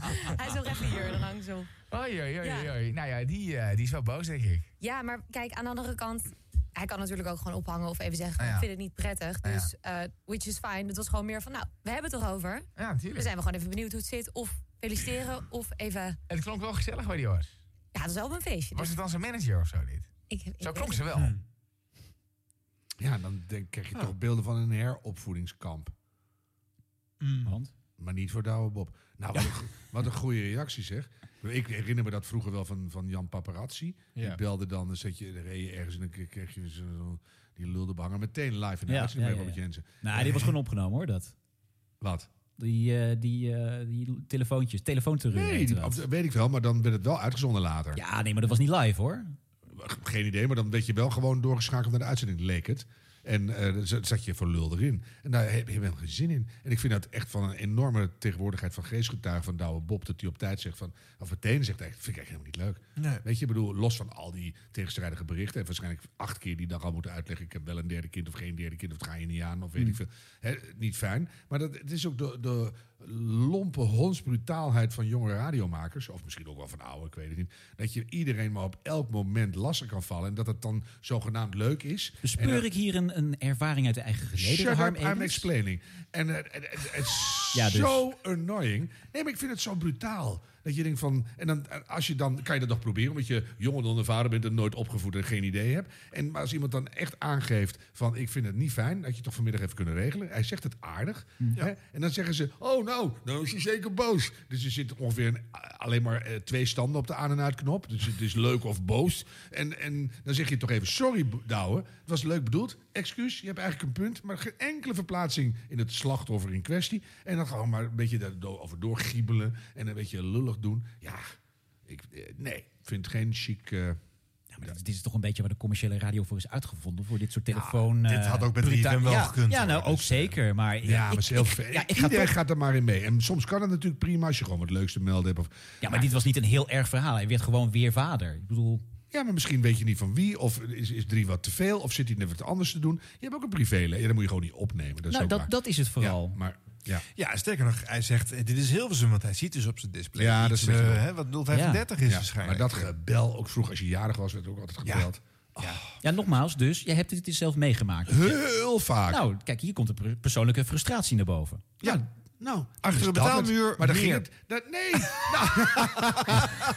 [SPEAKER 15] Hij is nog even hier, dan hangt ze op.
[SPEAKER 16] Oei, oei, oei,
[SPEAKER 15] Ja.
[SPEAKER 16] oei. Nou ja, die, eh, die is wel boos, denk ik.
[SPEAKER 15] Ja, maar kijk, aan de andere kant... Hij kan natuurlijk ook gewoon ophangen of even zeggen...
[SPEAKER 16] Ah, Ja. Ah,
[SPEAKER 15] ik vind het niet prettig,
[SPEAKER 16] Ja.
[SPEAKER 15] dus eh, which is fine. Het was gewoon meer van, nou, we hebben het erover.
[SPEAKER 16] Ja, natuurlijk.
[SPEAKER 15] Dan zijn we gewoon even benieuwd hoe het zit. Of feliciteren, of even...
[SPEAKER 16] Het klonk wel gezellig bij die hoor.
[SPEAKER 15] Ja, het was wel op een feestje. dus
[SPEAKER 16] Was het dan zijn manager of zo dit?
[SPEAKER 15] Ik, ik
[SPEAKER 16] Zo
[SPEAKER 15] weet
[SPEAKER 16] klonk
[SPEAKER 15] het
[SPEAKER 16] ze wel.
[SPEAKER 1] Ja, dan denk, krijg je toch beelden van een heropvoedingskamp. Mm.
[SPEAKER 2] Want?
[SPEAKER 1] Maar niet voor Douwe Bob. Nou, wat, een, go- wat een goede reactie zeg. Ik herinner me dat vroeger wel van, van Jan Paparazzi.
[SPEAKER 2] Ja.
[SPEAKER 1] Die belde dan, dan zet je, dan reed je ergens en dan k- kreeg je zo'n- die lulde behanger meteen live in de
[SPEAKER 2] Ja,
[SPEAKER 1] uitzending
[SPEAKER 2] ja,
[SPEAKER 1] bij
[SPEAKER 2] ja,
[SPEAKER 1] Robert Jensen.
[SPEAKER 2] Nou, dit was gewoon opgenomen hoor, dat.
[SPEAKER 1] Wat?
[SPEAKER 2] Die, eh, die, eh, die telefoontjes, telefoonterreur.
[SPEAKER 1] Nee,
[SPEAKER 2] heette
[SPEAKER 1] die-
[SPEAKER 2] dat.
[SPEAKER 1] of- weet ik wel, maar dan werd het wel uitgezonden later.
[SPEAKER 2] Ja, nee, maar dat was niet live hoor.
[SPEAKER 1] Geen idee, maar dan werd je wel gewoon doorgeschakeld naar de uitzending, leek het. En eh, dan zat- zat je voor lul erin. En daar heb je wel geen zin in. En ik vind dat echt van een enorme tegenwoordigheid van geestgetuigen van Douwe Bob... dat hij op tijd zegt van, of meteen zegt, dat vind ik echt helemaal niet leuk. Weet je, ik bedoel, los van al die tegenstrijdige berichten... en waarschijnlijk acht keer die dag al moeten uitleggen... ik heb wel een derde kind of geen derde kind... of het ga je niet aan, of weet
[SPEAKER 2] Hmm.
[SPEAKER 1] ik veel. Hè, niet fijn. Maar dat, het is ook de, de lompe hondsbrutaalheid van jonge radiomakers... of misschien ook wel van oude, ik weet het niet... dat je iedereen maar op elk moment lastig kan vallen... en dat het dan zogenaamd leuk is. En
[SPEAKER 2] Bespeur
[SPEAKER 1] dan-
[SPEAKER 2] ik hier een, een ervaring uit de eigen geleden?
[SPEAKER 1] Shut
[SPEAKER 2] Harm
[SPEAKER 1] up, I'm
[SPEAKER 2] Edens?
[SPEAKER 1] explaining. En eh, het- het- het is
[SPEAKER 2] Ja, dus.
[SPEAKER 1] zo annoying. Nee, maar ik vind het zo brutaal. Dat je denkt van... En dan, eh, als je dan kan je dat nog proberen... omdat je jonger dan vader bent en nooit opgevoed en geen idee hebt. En maar als iemand dan echt aangeeft van... ik vind het niet fijn, dat je het toch vanmiddag even kunnen regelen. Hij zegt het aardig.
[SPEAKER 2] Mm.
[SPEAKER 1] Hè? En dan zeggen ze... oh nou, nou is hij zeker boos. Dus er zit ongeveer een, alleen maar eh, twee standen op de aan- en uitknop. Dus het is leuk of boos. En, en dan zeg je toch even... sorry, B- Douwe, het was leuk bedoeld. Excuus, je hebt eigenlijk een punt... maar geen enkele verplaatsing in het slachtoffer in kwestie. En dan gewoon maar een beetje daarover doorgiebelen... en een beetje lullig doen. Ja, ik, eh, nee, vind geen chic... eh,
[SPEAKER 2] Ja, maar dit, dit is toch een beetje waar de commerciële radio voor is uitgevonden. Voor dit soort telefoon.
[SPEAKER 1] Nou, dit
[SPEAKER 2] eh,
[SPEAKER 1] had ook met
[SPEAKER 2] bruta-
[SPEAKER 1] 3FM wel
[SPEAKER 2] ja,
[SPEAKER 1] gekund, Dus, eh,
[SPEAKER 2] Ja, nou ook zeker. Maar ik-
[SPEAKER 1] Ja, maar
[SPEAKER 2] ik,
[SPEAKER 1] het is heel
[SPEAKER 2] ik-
[SPEAKER 1] ver.
[SPEAKER 2] ja, ik ga
[SPEAKER 1] Iedereen
[SPEAKER 2] toch-
[SPEAKER 1] gaat er maar in mee. En soms kan het natuurlijk prima als je gewoon wat leuks te melden hebt. Of,
[SPEAKER 2] ja, maar dit was niet een heel erg verhaal. Hij werd gewoon weer vader. Ik bedoel,
[SPEAKER 1] ja, maar misschien weet je niet van wie. Of is, is drie wat te veel. Of zit hij net wat anders te doen. Je hebt ook een privé. Ja, dan moet je gewoon niet opnemen. Dat is
[SPEAKER 2] nou,
[SPEAKER 1] ook
[SPEAKER 2] dat,
[SPEAKER 1] waar.
[SPEAKER 2] dat is het vooral.
[SPEAKER 1] maar ja.
[SPEAKER 4] Ja, sterker nog, hij zegt, eh, dit is Hilversum, want hij ziet dus op zijn display
[SPEAKER 1] Ja, dat
[SPEAKER 4] iets,
[SPEAKER 1] is een beetje
[SPEAKER 4] eh,
[SPEAKER 1] wel.
[SPEAKER 4] hè, wat 035 is
[SPEAKER 1] Ja,
[SPEAKER 4] waarschijnlijk.
[SPEAKER 1] Maar dat gebel, ook vroeg als je jarig was, werd ook altijd gebeld.
[SPEAKER 2] Ja, nogmaals, dus jij hebt dit dus zelf meegemaakt.
[SPEAKER 1] Heel vaak.
[SPEAKER 2] Nou, kijk, hier komt de per- persoonlijke frustratie naar boven.
[SPEAKER 1] Ja, nou,
[SPEAKER 4] achter
[SPEAKER 1] dus
[SPEAKER 4] een
[SPEAKER 1] dat het-
[SPEAKER 4] betaalmuur
[SPEAKER 1] Maar dan ging
[SPEAKER 4] meer.
[SPEAKER 1] het. dat- nee. Nou,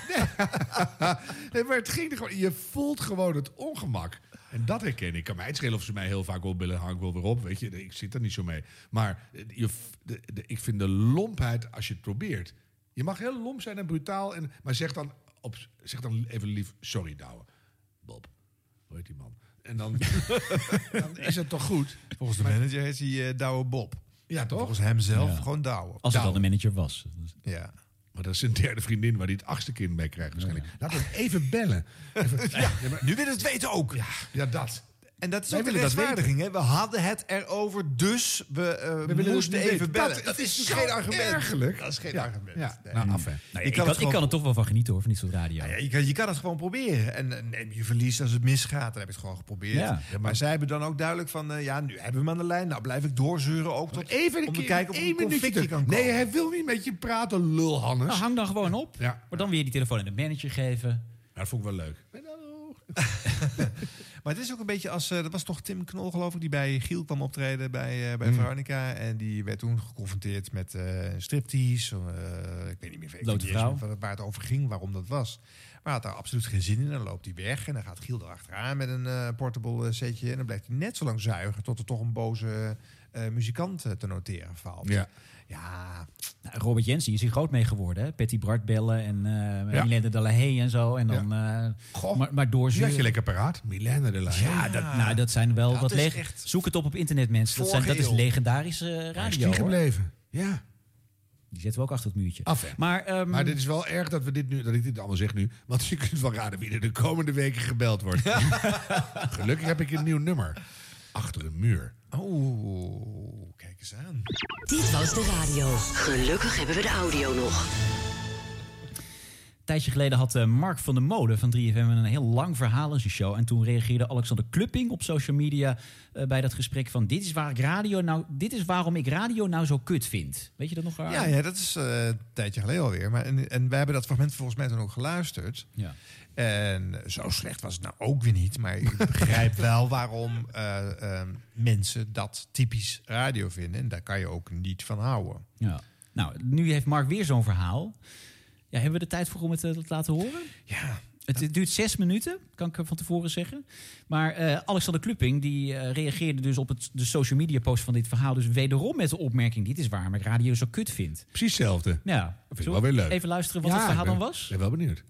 [SPEAKER 1] nee. nee, maar het ging er gewoon. Je voelt gewoon het ongemak. En dat herken ik. Kan mij het schelen of ze mij heel vaak opbellen. Hang ik wel weer op. Weet je, ik zit er niet zo mee. Maar eh, je, v- de, de- ik vind de lompheid als je het probeert. Je mag heel lomp zijn en brutaal. En, maar zeg dan, op, zeg dan even lief. Sorry, Douwe. Bob. Hoe heet die man? En dan, dan is het toch goed.
[SPEAKER 4] Volgens de manager is hij eh, Douwe Bob.
[SPEAKER 1] Ja, toch?
[SPEAKER 4] Volgens hem zelf
[SPEAKER 2] Ja.
[SPEAKER 4] gewoon Douwe.
[SPEAKER 2] Als het
[SPEAKER 1] Nou.
[SPEAKER 2] al de manager was.
[SPEAKER 4] Ja.
[SPEAKER 1] Maar dat is een derde vriendin waar die het achtste kind mee krijgt waarschijnlijk. Laten we hem even bellen. Even- ja, maar-
[SPEAKER 4] Nu willen we het weten ook.
[SPEAKER 1] Ja, ja, dat.
[SPEAKER 4] En dat is
[SPEAKER 1] Wij
[SPEAKER 4] ook de
[SPEAKER 1] willen dat
[SPEAKER 4] rechtvaardiging. hè? We hadden het erover, dus we, eh,
[SPEAKER 1] willen het
[SPEAKER 4] moesten
[SPEAKER 1] niet
[SPEAKER 4] even
[SPEAKER 1] weten.
[SPEAKER 4] bellen.
[SPEAKER 1] Dat- dat is zo ergerlijk.
[SPEAKER 4] Dat is geen
[SPEAKER 1] Ja,
[SPEAKER 4] argument.
[SPEAKER 1] ja.
[SPEAKER 4] Nee.
[SPEAKER 1] Nou, af hè.
[SPEAKER 2] Nou, ja,
[SPEAKER 4] Je
[SPEAKER 2] ik,
[SPEAKER 4] kan
[SPEAKER 2] kan
[SPEAKER 4] het
[SPEAKER 2] ik
[SPEAKER 4] gewoon-
[SPEAKER 2] kan er toch wel van genieten hoor, van dit soort
[SPEAKER 1] Nou
[SPEAKER 2] radio.
[SPEAKER 4] Ja, je, kan, Nou, je kan het gewoon proberen. En eh, neem je verlies als het misgaat. Dan heb je het gewoon geprobeerd.
[SPEAKER 2] Ja.
[SPEAKER 4] Ja, maar zij hebben dan ook duidelijk van... eh, ja, nu hebben we hem aan de lijn. Nou blijf ik doorzeuren ook. Tot,
[SPEAKER 1] Even een
[SPEAKER 4] om
[SPEAKER 1] keer,
[SPEAKER 4] te kijken of er
[SPEAKER 1] één
[SPEAKER 4] een conflictje
[SPEAKER 1] minuutje.
[SPEAKER 4] kan komen.
[SPEAKER 1] Nee, hij wil niet met je praten, lul Hannes.
[SPEAKER 2] Nou, hang dan gewoon op.
[SPEAKER 1] Ja.
[SPEAKER 2] Maar dan weer die telefoon aan de manager geven.
[SPEAKER 1] dat vond ik wel leuk.
[SPEAKER 4] Maar het is ook een beetje als... eh, dat was toch Tim Knol, geloof ik, die bij Giel kwam optreden bij,
[SPEAKER 2] Mm.
[SPEAKER 4] eh, bij Veronica. En die werd toen geconfronteerd met eh, een striptease. eh, ik weet niet meer even
[SPEAKER 2] Blote
[SPEAKER 4] ik weet niet
[SPEAKER 2] vrouw.
[SPEAKER 4] eens meer waar het over ging, waarom dat was. Maar hij had daar absoluut geen zin in. Dan loopt hij weg en dan gaat Giel erachteraan met een eh, portable eh, setje. En dan blijft hij net zo lang zuigen tot er toch een boze eh, muzikant eh, te noteren valt.
[SPEAKER 1] Ja.
[SPEAKER 4] ja.
[SPEAKER 2] Nou, Robert Jensen is hier groot mee geworden. Hè? Patty Bart bellen en eh
[SPEAKER 4] Ja.
[SPEAKER 2] Milena de La Haye en zo. En dan, eh, maar, maar door
[SPEAKER 1] Die had je lekker paraat. Milena de La Haye.
[SPEAKER 2] Ja, dat, nou, dat zijn wel
[SPEAKER 1] Dat
[SPEAKER 2] wat
[SPEAKER 1] is
[SPEAKER 2] leg-
[SPEAKER 1] echt-
[SPEAKER 2] Zoek het op op internet, mensen. Dat, zijn, dat is
[SPEAKER 1] Voorgeheel.
[SPEAKER 2] legendarische eh,
[SPEAKER 1] Waar is
[SPEAKER 2] radio.
[SPEAKER 1] die
[SPEAKER 2] hoor.
[SPEAKER 1] gebleven? Ja.
[SPEAKER 2] Die zetten we ook achter het muurtje.
[SPEAKER 1] Af, hè.
[SPEAKER 2] maar, ehm,
[SPEAKER 1] Maar dit is wel erg dat, we dit nu, dat ik dit allemaal zeg nu. Want je kunt wel raden wie er de komende weken gebeld wordt. Gelukkig heb ik een nieuw nummer. Achter een muur.
[SPEAKER 4] Oh, kijk eens aan.
[SPEAKER 5] Dit was de radio. Gelukkig hebben we de audio nog.
[SPEAKER 2] Een tijdje geleden had eh, Mark van der Molen van 3FM een heel lang verhaal in zijn show. En toen reageerde Alexander Klupping op social media eh, bij dat gesprek van... Dit is, waar ik radio nou, dit is waarom ik radio nou zo kut vind. Weet je dat nog? Arie?
[SPEAKER 4] Ja, ja, dat is eh, een tijdje geleden alweer. Maar, en, en wij hebben dat fragment volgens mij toen ook geluisterd.
[SPEAKER 2] Ja.
[SPEAKER 4] En zo slecht was het nou ook weer niet. Maar ik begrijp wel waarom eh, eh, mensen dat typisch radio vinden. En daar kan je ook niet van houden.
[SPEAKER 2] Ja. Nou, nu heeft Mark weer zo'n verhaal. Ja, hebben we de tijd voor om het eh, te laten horen?
[SPEAKER 4] Ja.
[SPEAKER 2] Het duurt zes minuten, kan ik van tevoren zeggen. Maar eh, Alexander Klupping die, eh, reageerde dus op het, de social media post van dit verhaal. Dus wederom met de opmerking: Dit is waarom ik radio zo kut vind.
[SPEAKER 1] Precies hetzelfde.
[SPEAKER 2] Ja,
[SPEAKER 1] Vind ik
[SPEAKER 2] Zullen
[SPEAKER 1] wel
[SPEAKER 2] we
[SPEAKER 1] weer leuk.
[SPEAKER 2] Even luisteren wat
[SPEAKER 1] Ja,
[SPEAKER 2] het verhaal
[SPEAKER 1] ik
[SPEAKER 2] dan
[SPEAKER 1] ben-
[SPEAKER 2] was.
[SPEAKER 1] ben wel benieuwd.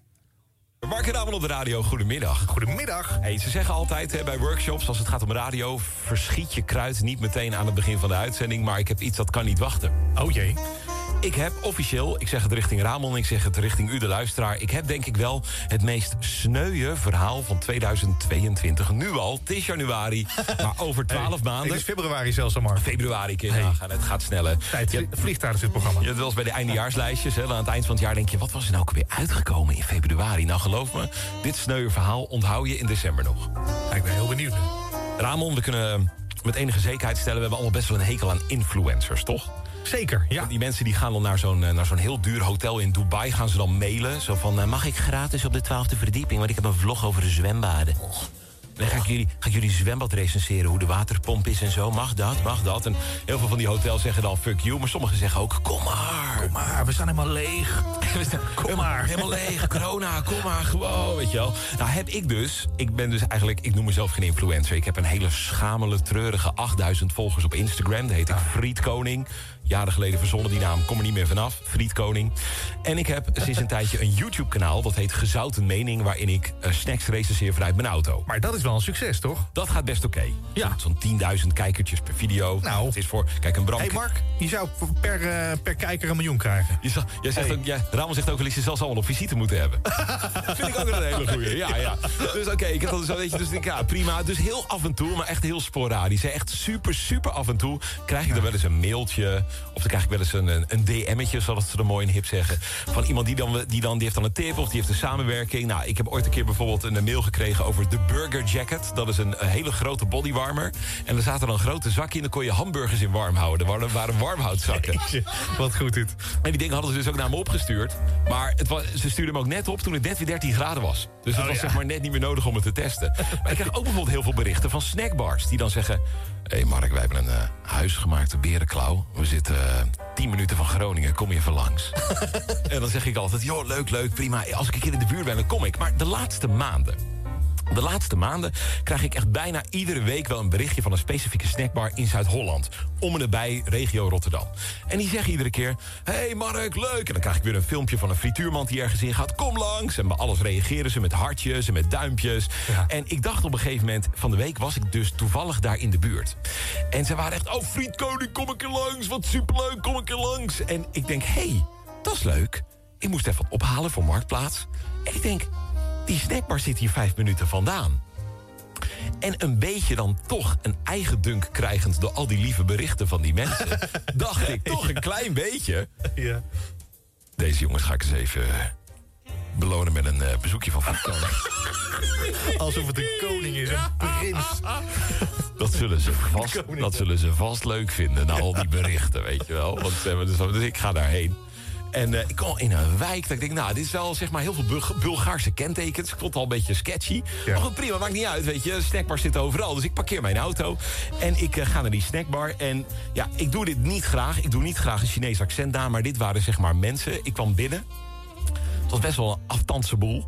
[SPEAKER 19] Mark en Amel op de radio, goedemiddag. Goedemiddag. Hey, ze zeggen altijd hè, bij workshops, als het gaat om radio... verschiet je kruid niet meteen aan het begin van de uitzending... maar ik heb iets dat kan niet wachten. Oh jee. Ik heb officieel, ik zeg het richting Ramon... ik zeg het richting u, de luisteraar... ik heb denk ik wel het meest sneuwe verhaal van 2022. Nu al, het is januari, maar over twaalf maanden...
[SPEAKER 3] Het is februari zelfs al, Mark.
[SPEAKER 19] Februari kun je nagaan, het gaat sneller.
[SPEAKER 3] Tijd vliegt daar dus het programma.
[SPEAKER 19] Ja, dat was bij de eindejaarslijstjes. Hè. Dan Aan het eind van het jaar denk je, wat was er nou ook weer uitgekomen in februari? Nou, geloof me, dit sneuwe verhaal onthoud je in december nog. ik ben heel benieuwd. Ramon, we kunnen eh, met enige zekerheid stellen... we hebben allemaal best wel een hekel aan influencers, toch? Zeker, ja. Die mensen die gaan dan naar zo'n, eh, naar zo'n heel duur hotel in Dubai... gaan ze dan mailen, zo van... eh, mag ik gratis op de twaalfde verdieping? Want ik heb een vlog over de zwembaden. Dan ga ik, jullie, ga ik jullie zwembad recenseren, hoe de waterpomp is en zo. Mag dat, mag dat. En heel veel van die hotels zeggen dan fuck you. Maar sommigen zeggen ook, kom maar. Kom maar, we staan helemaal leeg. kom maar. Helemaal leeg, corona, kom maar, gewoon, weet je wel. Nou heb ik dus, ik ben dus eigenlijk, ik noem mezelf geen influencer. Ik heb een hele schamele, treurige 8000 volgers op Instagram. Dat heet ik Fried Koning. Jaren geleden verzonnen die naam, kom er niet meer vanaf. Fried Koning. En ik heb sinds een tijdje een YouTube-kanaal, dat heet Gezouten Mening... waarin ik eh, snacks recenseer vanuit mijn auto. Maar dat is wel een succes, toch? Dat gaat best oké. Ja. Zo'n 10.000 kijkertjes per video. Nou. Het is voor, kijk, een Bram...
[SPEAKER 3] Hey Mark, je zou per, eh, per kijker een miljoen krijgen.
[SPEAKER 19] Je zal- jij zegt ook, jij, Ramon zegt ook wel eens, je zal ze allemaal op visite moeten hebben. Vind ik ook wel een hele goeie. Ja, ja. Dus oké, ik had al zo, weet je, dus ik denk, ja, prima. Dus heel af en toe, maar echt heel sporadisch. hè. Echt super, super af en toe krijg ik dan wel eens een mailtje. Of dan krijg ik wel eens een, een, een DM'tje, zoals ze er mooi in hip zeggen. Van iemand die dan, die dan, die heeft dan een tip of die heeft een samenwerking. Nou, ik heb ooit een keer bijvoorbeeld een mail gekregen over de Burger Jacket. Dat is een, een hele grote bodywarmer. En er zaten dan grote zakken in, dan kon je hamburgers in warm houden. Er waren, waren warmhoutzakken. Wat goed dit. En die dingen hadden ze dus ook naar me opgestuurd. Maar het was, ze stuurden hem ook net op toen het net weer 13 graden was. Dus het
[SPEAKER 3] Oh,
[SPEAKER 19] was
[SPEAKER 3] ja.
[SPEAKER 19] zeg maar net niet meer nodig om het te testen. Maar ik krijg ook bijvoorbeeld heel veel berichten van snackbars. Die dan zeggen... Hé hey Mark, wij hebben een eh, huisgemaakte berenklauw. We zitten eh, 10 minuten van Groningen. Kom je even langs? en dan zeg ik altijd... joh, leuk, leuk, prima. Als ik een keer in de buurt ben, dan kom ik. Maar de laatste maanden... De laatste maanden krijg ik echt bijna iedere week wel een berichtje van een specifieke snackbar in Zuid-Holland. Om en nabij regio Rotterdam. En die zeggen iedere keer: Hey Mark, leuk. En dan krijg ik weer een filmpje van een frituurmand die ergens in gaat. Kom langs. En bij alles reageren ze met hartjes en met duimpjes. En ik dacht op een gegeven moment: van de week was ik dus toevallig daar in de buurt. En ze waren echt: Oh, frietkoning, kom ik er langs. Wat superleuk, kom ik er langs. En ik denk: Hey, dat is leuk. Ik moest even wat ophalen voor Marktplaats. En ik denk. Die snackbar zit hier vijf minuten vandaan. En een beetje dan toch een eigen dunk krijgend... door al die lieve berichten van die mensen... dacht ik toch een klein beetje... Deze jongens ga ik eens even belonen met een eh, bezoekje van Voetkoning.
[SPEAKER 3] Alsof het een koning is, een prins.
[SPEAKER 19] Dat zullen, ze vast, dat zullen ze vast leuk vinden, na al die berichten, weet je wel. Want ze hebben dus, dus ik ga daarheen. En eh, ik kwam in een wijk dat ik denk, nou, dit is wel zeg maar heel veel Bulg- Bulgaarse kentekens. Ik vond het al een beetje sketchy. Maar goed, prima, maakt niet uit, weet je. Snackbars zitten overal, dus ik parkeer mijn auto. En ik eh, ga naar die snackbar. En ja, ik doe dit niet graag. Ik doe niet graag een Chinees accent daar, maar dit waren zeg maar mensen. Ik kwam binnen. Het was best wel een aftandse boel.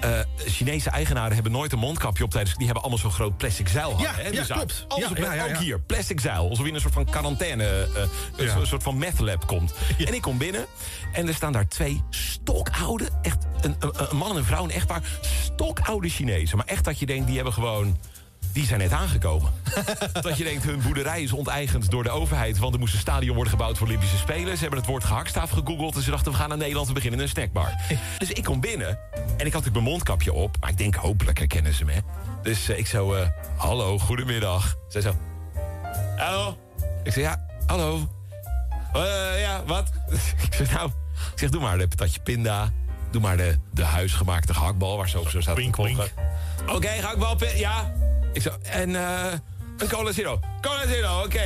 [SPEAKER 19] Eh, Chinese eigenaren hebben nooit een mondkapje op tijdens... Die hebben allemaal zo'n groot plastic zeil hangen.
[SPEAKER 9] Ja,
[SPEAKER 19] hè?
[SPEAKER 9] ja,
[SPEAKER 19] Dus
[SPEAKER 9] klopt.
[SPEAKER 19] alles
[SPEAKER 9] Ja,
[SPEAKER 19] op-
[SPEAKER 9] ja, ja,
[SPEAKER 19] ook
[SPEAKER 9] ja.
[SPEAKER 19] hier, plastic zeil. Alsof je in een soort van quarantaine... eh, een soort- soort van meth lab komt. En ik kom binnen en er staan daar twee stokoude... echt een, een, een man en een vrouw, een echtpaar... stokoude Chinezen. Maar echt dat je denkt, die hebben gewoon... Die zijn net aangekomen. dat je denkt, hun boerderij is onteigend door de overheid... want er moest een stadion worden gebouwd voor Olympische Spelen. Ze hebben het woord gehaktstaaf gegoogeld... en ze dachten, we gaan naar Nederland, we beginnen een snackbar. dus ik kom binnen en ik had natuurlijk mijn mondkapje op... maar ik denk, hopelijk herkennen ze me. hè. Dus eh, ik zo, eh, hallo, goedemiddag. Zij zo, hallo. Ik zeg, ja, hallo. Eh, ja, wat? ik zeg, nou... Ik zeg, doe maar de patatje pinda. Doe maar de, de huisgemaakte gehaktbal, waar ze ook zo staat te koken. Oké, gehaktbal, pin- ja. Ik zo, en eh een cola zero. Cola zero, oké.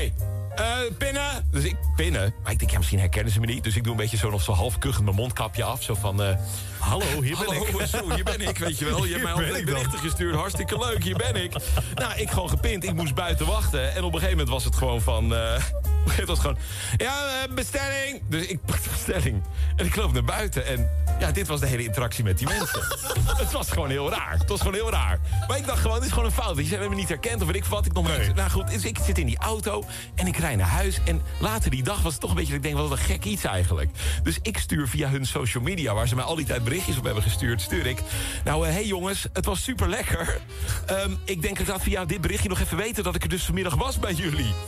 [SPEAKER 19] Eh, pinnen? Dus ik pinnen. Maar ik denk, ja, misschien herkennen ze me niet. Dus ik doe een beetje zo nog zo half kuchend mijn mondkapje af. Zo van, eh, hallo, hier ben ik. Zo, hier ben ik, weet je wel. Je hebt mij
[SPEAKER 9] Hier ben
[SPEAKER 19] altijd
[SPEAKER 9] ik dan.
[SPEAKER 19] berichten gestuurd. Hartstikke leuk, hier ben ik. Nou, ik gewoon gepint. Ik moest buiten wachten. En op een gegeven moment was het gewoon van... eh, op een gegeven moment was het gewoon... Ja, eh, bestelling! Dus ik pak de bestelling. En ik loop naar buiten. En ja, dit was de hele interactie met die mensen. het was gewoon heel raar. Het was gewoon heel raar. Maar ik dacht gewoon, dit is gewoon een fout. Die hebben me niet herkend of weet ik wat. Ik nog nooit- Nou goed, dus ik zit in die auto en ik rij naar huis. En later die dag was het toch een beetje dat ik denk, wat een gek iets eigenlijk. Dus ik stuur via hun social media, waar ze mij al die tijd berichtjes op hebben gestuurd, stuur ik. Nou, hé hey jongens, het was super lekker. ik denk, ik laat via dit berichtje nog even weten dat ik er dus vanmiddag was bij jullie.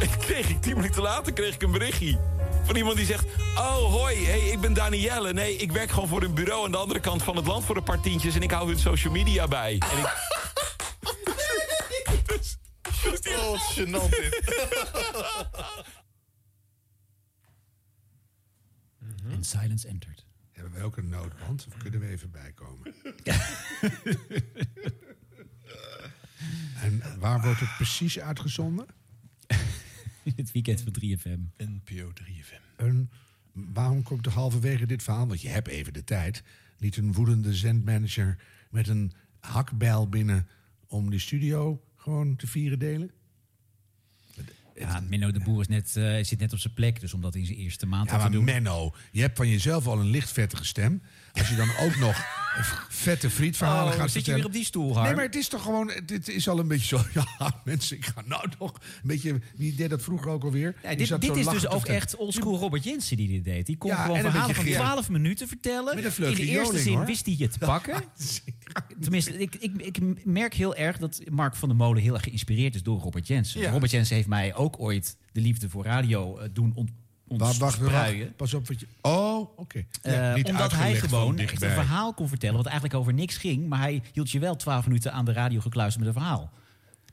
[SPEAKER 19] En kreeg ik tien minuten later kreeg ik een berichtje. Van iemand die zegt, oh hoi, hey, ik ben Danielle. Nee, ik werk gewoon voor een bureau aan de andere kant van het land voor een paar tientjes. En ik hou hun social media bij. En ik,
[SPEAKER 20] Oh, gênant dit.
[SPEAKER 2] And silence entered.
[SPEAKER 1] Hebben wij ook een noodband? Of kunnen we even bijkomen? en waar wordt het precies uitgezonden?
[SPEAKER 2] Het weekend van 3FM.
[SPEAKER 1] NPO 3FM. waarom komt er halverwege dit verhaal, want je hebt even de tijd... niet een woedende zendmanager met een hakbijl binnen... om die studio gewoon te vieren delen?
[SPEAKER 2] Ja, Menno de Boer is net, eh, zit net op zijn plek, dus om dat in zijn eerste maand
[SPEAKER 1] Ja,
[SPEAKER 2] al te
[SPEAKER 1] maar
[SPEAKER 2] doen.
[SPEAKER 1] Menno, je hebt van jezelf al een licht vettige stem. Als je dan ook nog vette frietverhalen
[SPEAKER 2] Oh,
[SPEAKER 1] gaat
[SPEAKER 2] zit je
[SPEAKER 1] vertellen-
[SPEAKER 2] weer op die stoel, Harm?
[SPEAKER 1] Nee, maar het is toch gewoon... Dit is al een beetje zo... Ja, mensen, ik ga nou toch... Een beetje, wie deed dat vroeger ook alweer?
[SPEAKER 2] Ja,
[SPEAKER 1] Die
[SPEAKER 2] dit
[SPEAKER 1] zat
[SPEAKER 2] dit
[SPEAKER 1] zo
[SPEAKER 2] is dus
[SPEAKER 1] lachend te
[SPEAKER 2] ook
[SPEAKER 1] vertellen.
[SPEAKER 2] echt oldschool Robert Jensen die dit deed. Die kon
[SPEAKER 1] Ja,
[SPEAKER 2] gewoon
[SPEAKER 1] en een
[SPEAKER 2] verhalen van
[SPEAKER 1] beetje Geert.
[SPEAKER 2] 12 minuten vertellen.
[SPEAKER 1] Met een
[SPEAKER 2] In
[SPEAKER 1] vleugje
[SPEAKER 2] de eerste
[SPEAKER 1] joling,
[SPEAKER 2] zin
[SPEAKER 1] hoor.
[SPEAKER 2] wist hij je te pakken. Tenminste, ik, ik, ik merk heel erg dat Mark van der Molen heel erg geïnspireerd is door Robert Jensen.
[SPEAKER 1] Ja.
[SPEAKER 2] Robert Jensen heeft mij ook ooit de liefde voor radio eh, doen ont,
[SPEAKER 1] Wacht, wacht,
[SPEAKER 2] ontspruien.
[SPEAKER 1] wacht. Pas op wat je... Oh, oké. Ja,
[SPEAKER 2] Eh,
[SPEAKER 1] niet
[SPEAKER 2] omdat hij
[SPEAKER 1] uitgelegd van
[SPEAKER 2] gewoon echt
[SPEAKER 1] dichtbij.
[SPEAKER 2] een verhaal kon vertellen... wat eigenlijk over niks ging... maar hij hield je wel twaalf minuten aan de radio gekluisterd met een verhaal.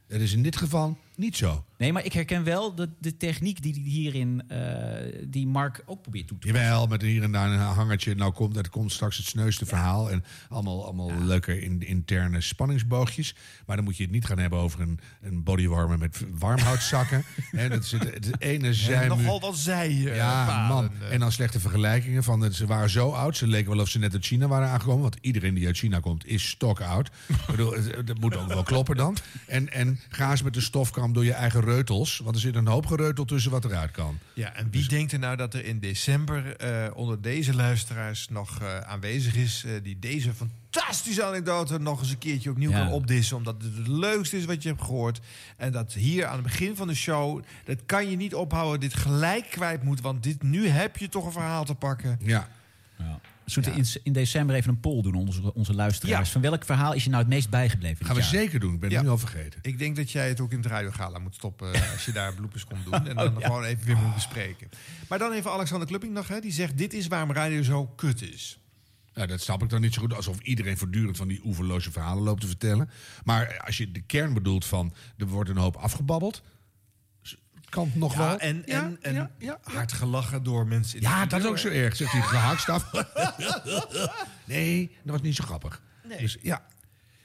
[SPEAKER 1] Dat is in dit geval niet zo.
[SPEAKER 2] Nee, maar ik herken wel de, de techniek die die hierin... eh, die Mark ook probeert toe te
[SPEAKER 1] Jawel, met hier en daar een hangertje. Nou komt, dat komt straks het sneuste verhaal. En allemaal, allemaal leuke in- interne spanningsboogjes. Maar dan moet je het niet gaan hebben over een, een bodywarmer met v- warmhoutzakken. en dat is het, het
[SPEAKER 2] Eh,
[SPEAKER 1] ene zijn.
[SPEAKER 4] nogal wat zij. eh,
[SPEAKER 1] ja,
[SPEAKER 4] paden.
[SPEAKER 1] man. En dan slechte vergelijkingen. Van, eh, ze waren zo oud, ze leken wel of ze net uit China waren aangekomen. Want iedereen die uit China komt is stokoud. Ik bedoel, het- het- dat moet ook wel kloppen dan. En, en ga eens met de stofkam door je eigen reutels. Want er zit een hoop gereutel tussen wat eruit kan.
[SPEAKER 4] Ja, en
[SPEAKER 1] Dus-
[SPEAKER 4] wie denkt er nou dat er in december eh, onder deze luisteraars nog eh, aanwezig is... eh, die deze fantastische anekdote nog eens een keertje opnieuw
[SPEAKER 2] Ja.
[SPEAKER 4] kan opdissen... omdat het het leukste is wat je hebt gehoord. En dat hier aan het begin van de show, dat kan je niet ophouden... dit gelijk kwijt moet, want dit, nu heb je toch een verhaal te pakken.
[SPEAKER 1] Ja.
[SPEAKER 2] Zullen we in, in december even een poll doen onder onze, onze luisteraars? Van welk verhaal is je nou het meest bijgebleven? dit
[SPEAKER 4] Gaan we
[SPEAKER 2] jaar?
[SPEAKER 1] Zeker doen, ik ben
[SPEAKER 4] Ja.
[SPEAKER 1] het nu al vergeten.
[SPEAKER 4] Ik denk dat jij het ook in het radiogala moet stoppen eh, als je daar bloepers komt doen. En dan
[SPEAKER 1] Oh, ja.
[SPEAKER 4] gewoon even weer moet bespreken. Maar dan even Alexander Klupping nog, hè, die zegt... dit is waarom radio zo kut is.
[SPEAKER 1] Nou, dat snap ik dan niet zo goed. Alsof iedereen voortdurend van die oeverloze verhalen loopt te vertellen. Maar eh, als je de kern bedoelt van er wordt een hoop afgebabbeld. s- Kan het nog
[SPEAKER 4] Ja,
[SPEAKER 1] wel.
[SPEAKER 4] en,
[SPEAKER 1] Ja,
[SPEAKER 4] en, en
[SPEAKER 1] ja,
[SPEAKER 4] hard gelachen door mensen. in de
[SPEAKER 1] Ja,
[SPEAKER 4] studio,
[SPEAKER 1] dat is ook zo
[SPEAKER 4] hè.
[SPEAKER 1] erg, zegt die gehaktstaf. nee, dat was niet zo grappig.
[SPEAKER 4] Nee.
[SPEAKER 1] Dus ja,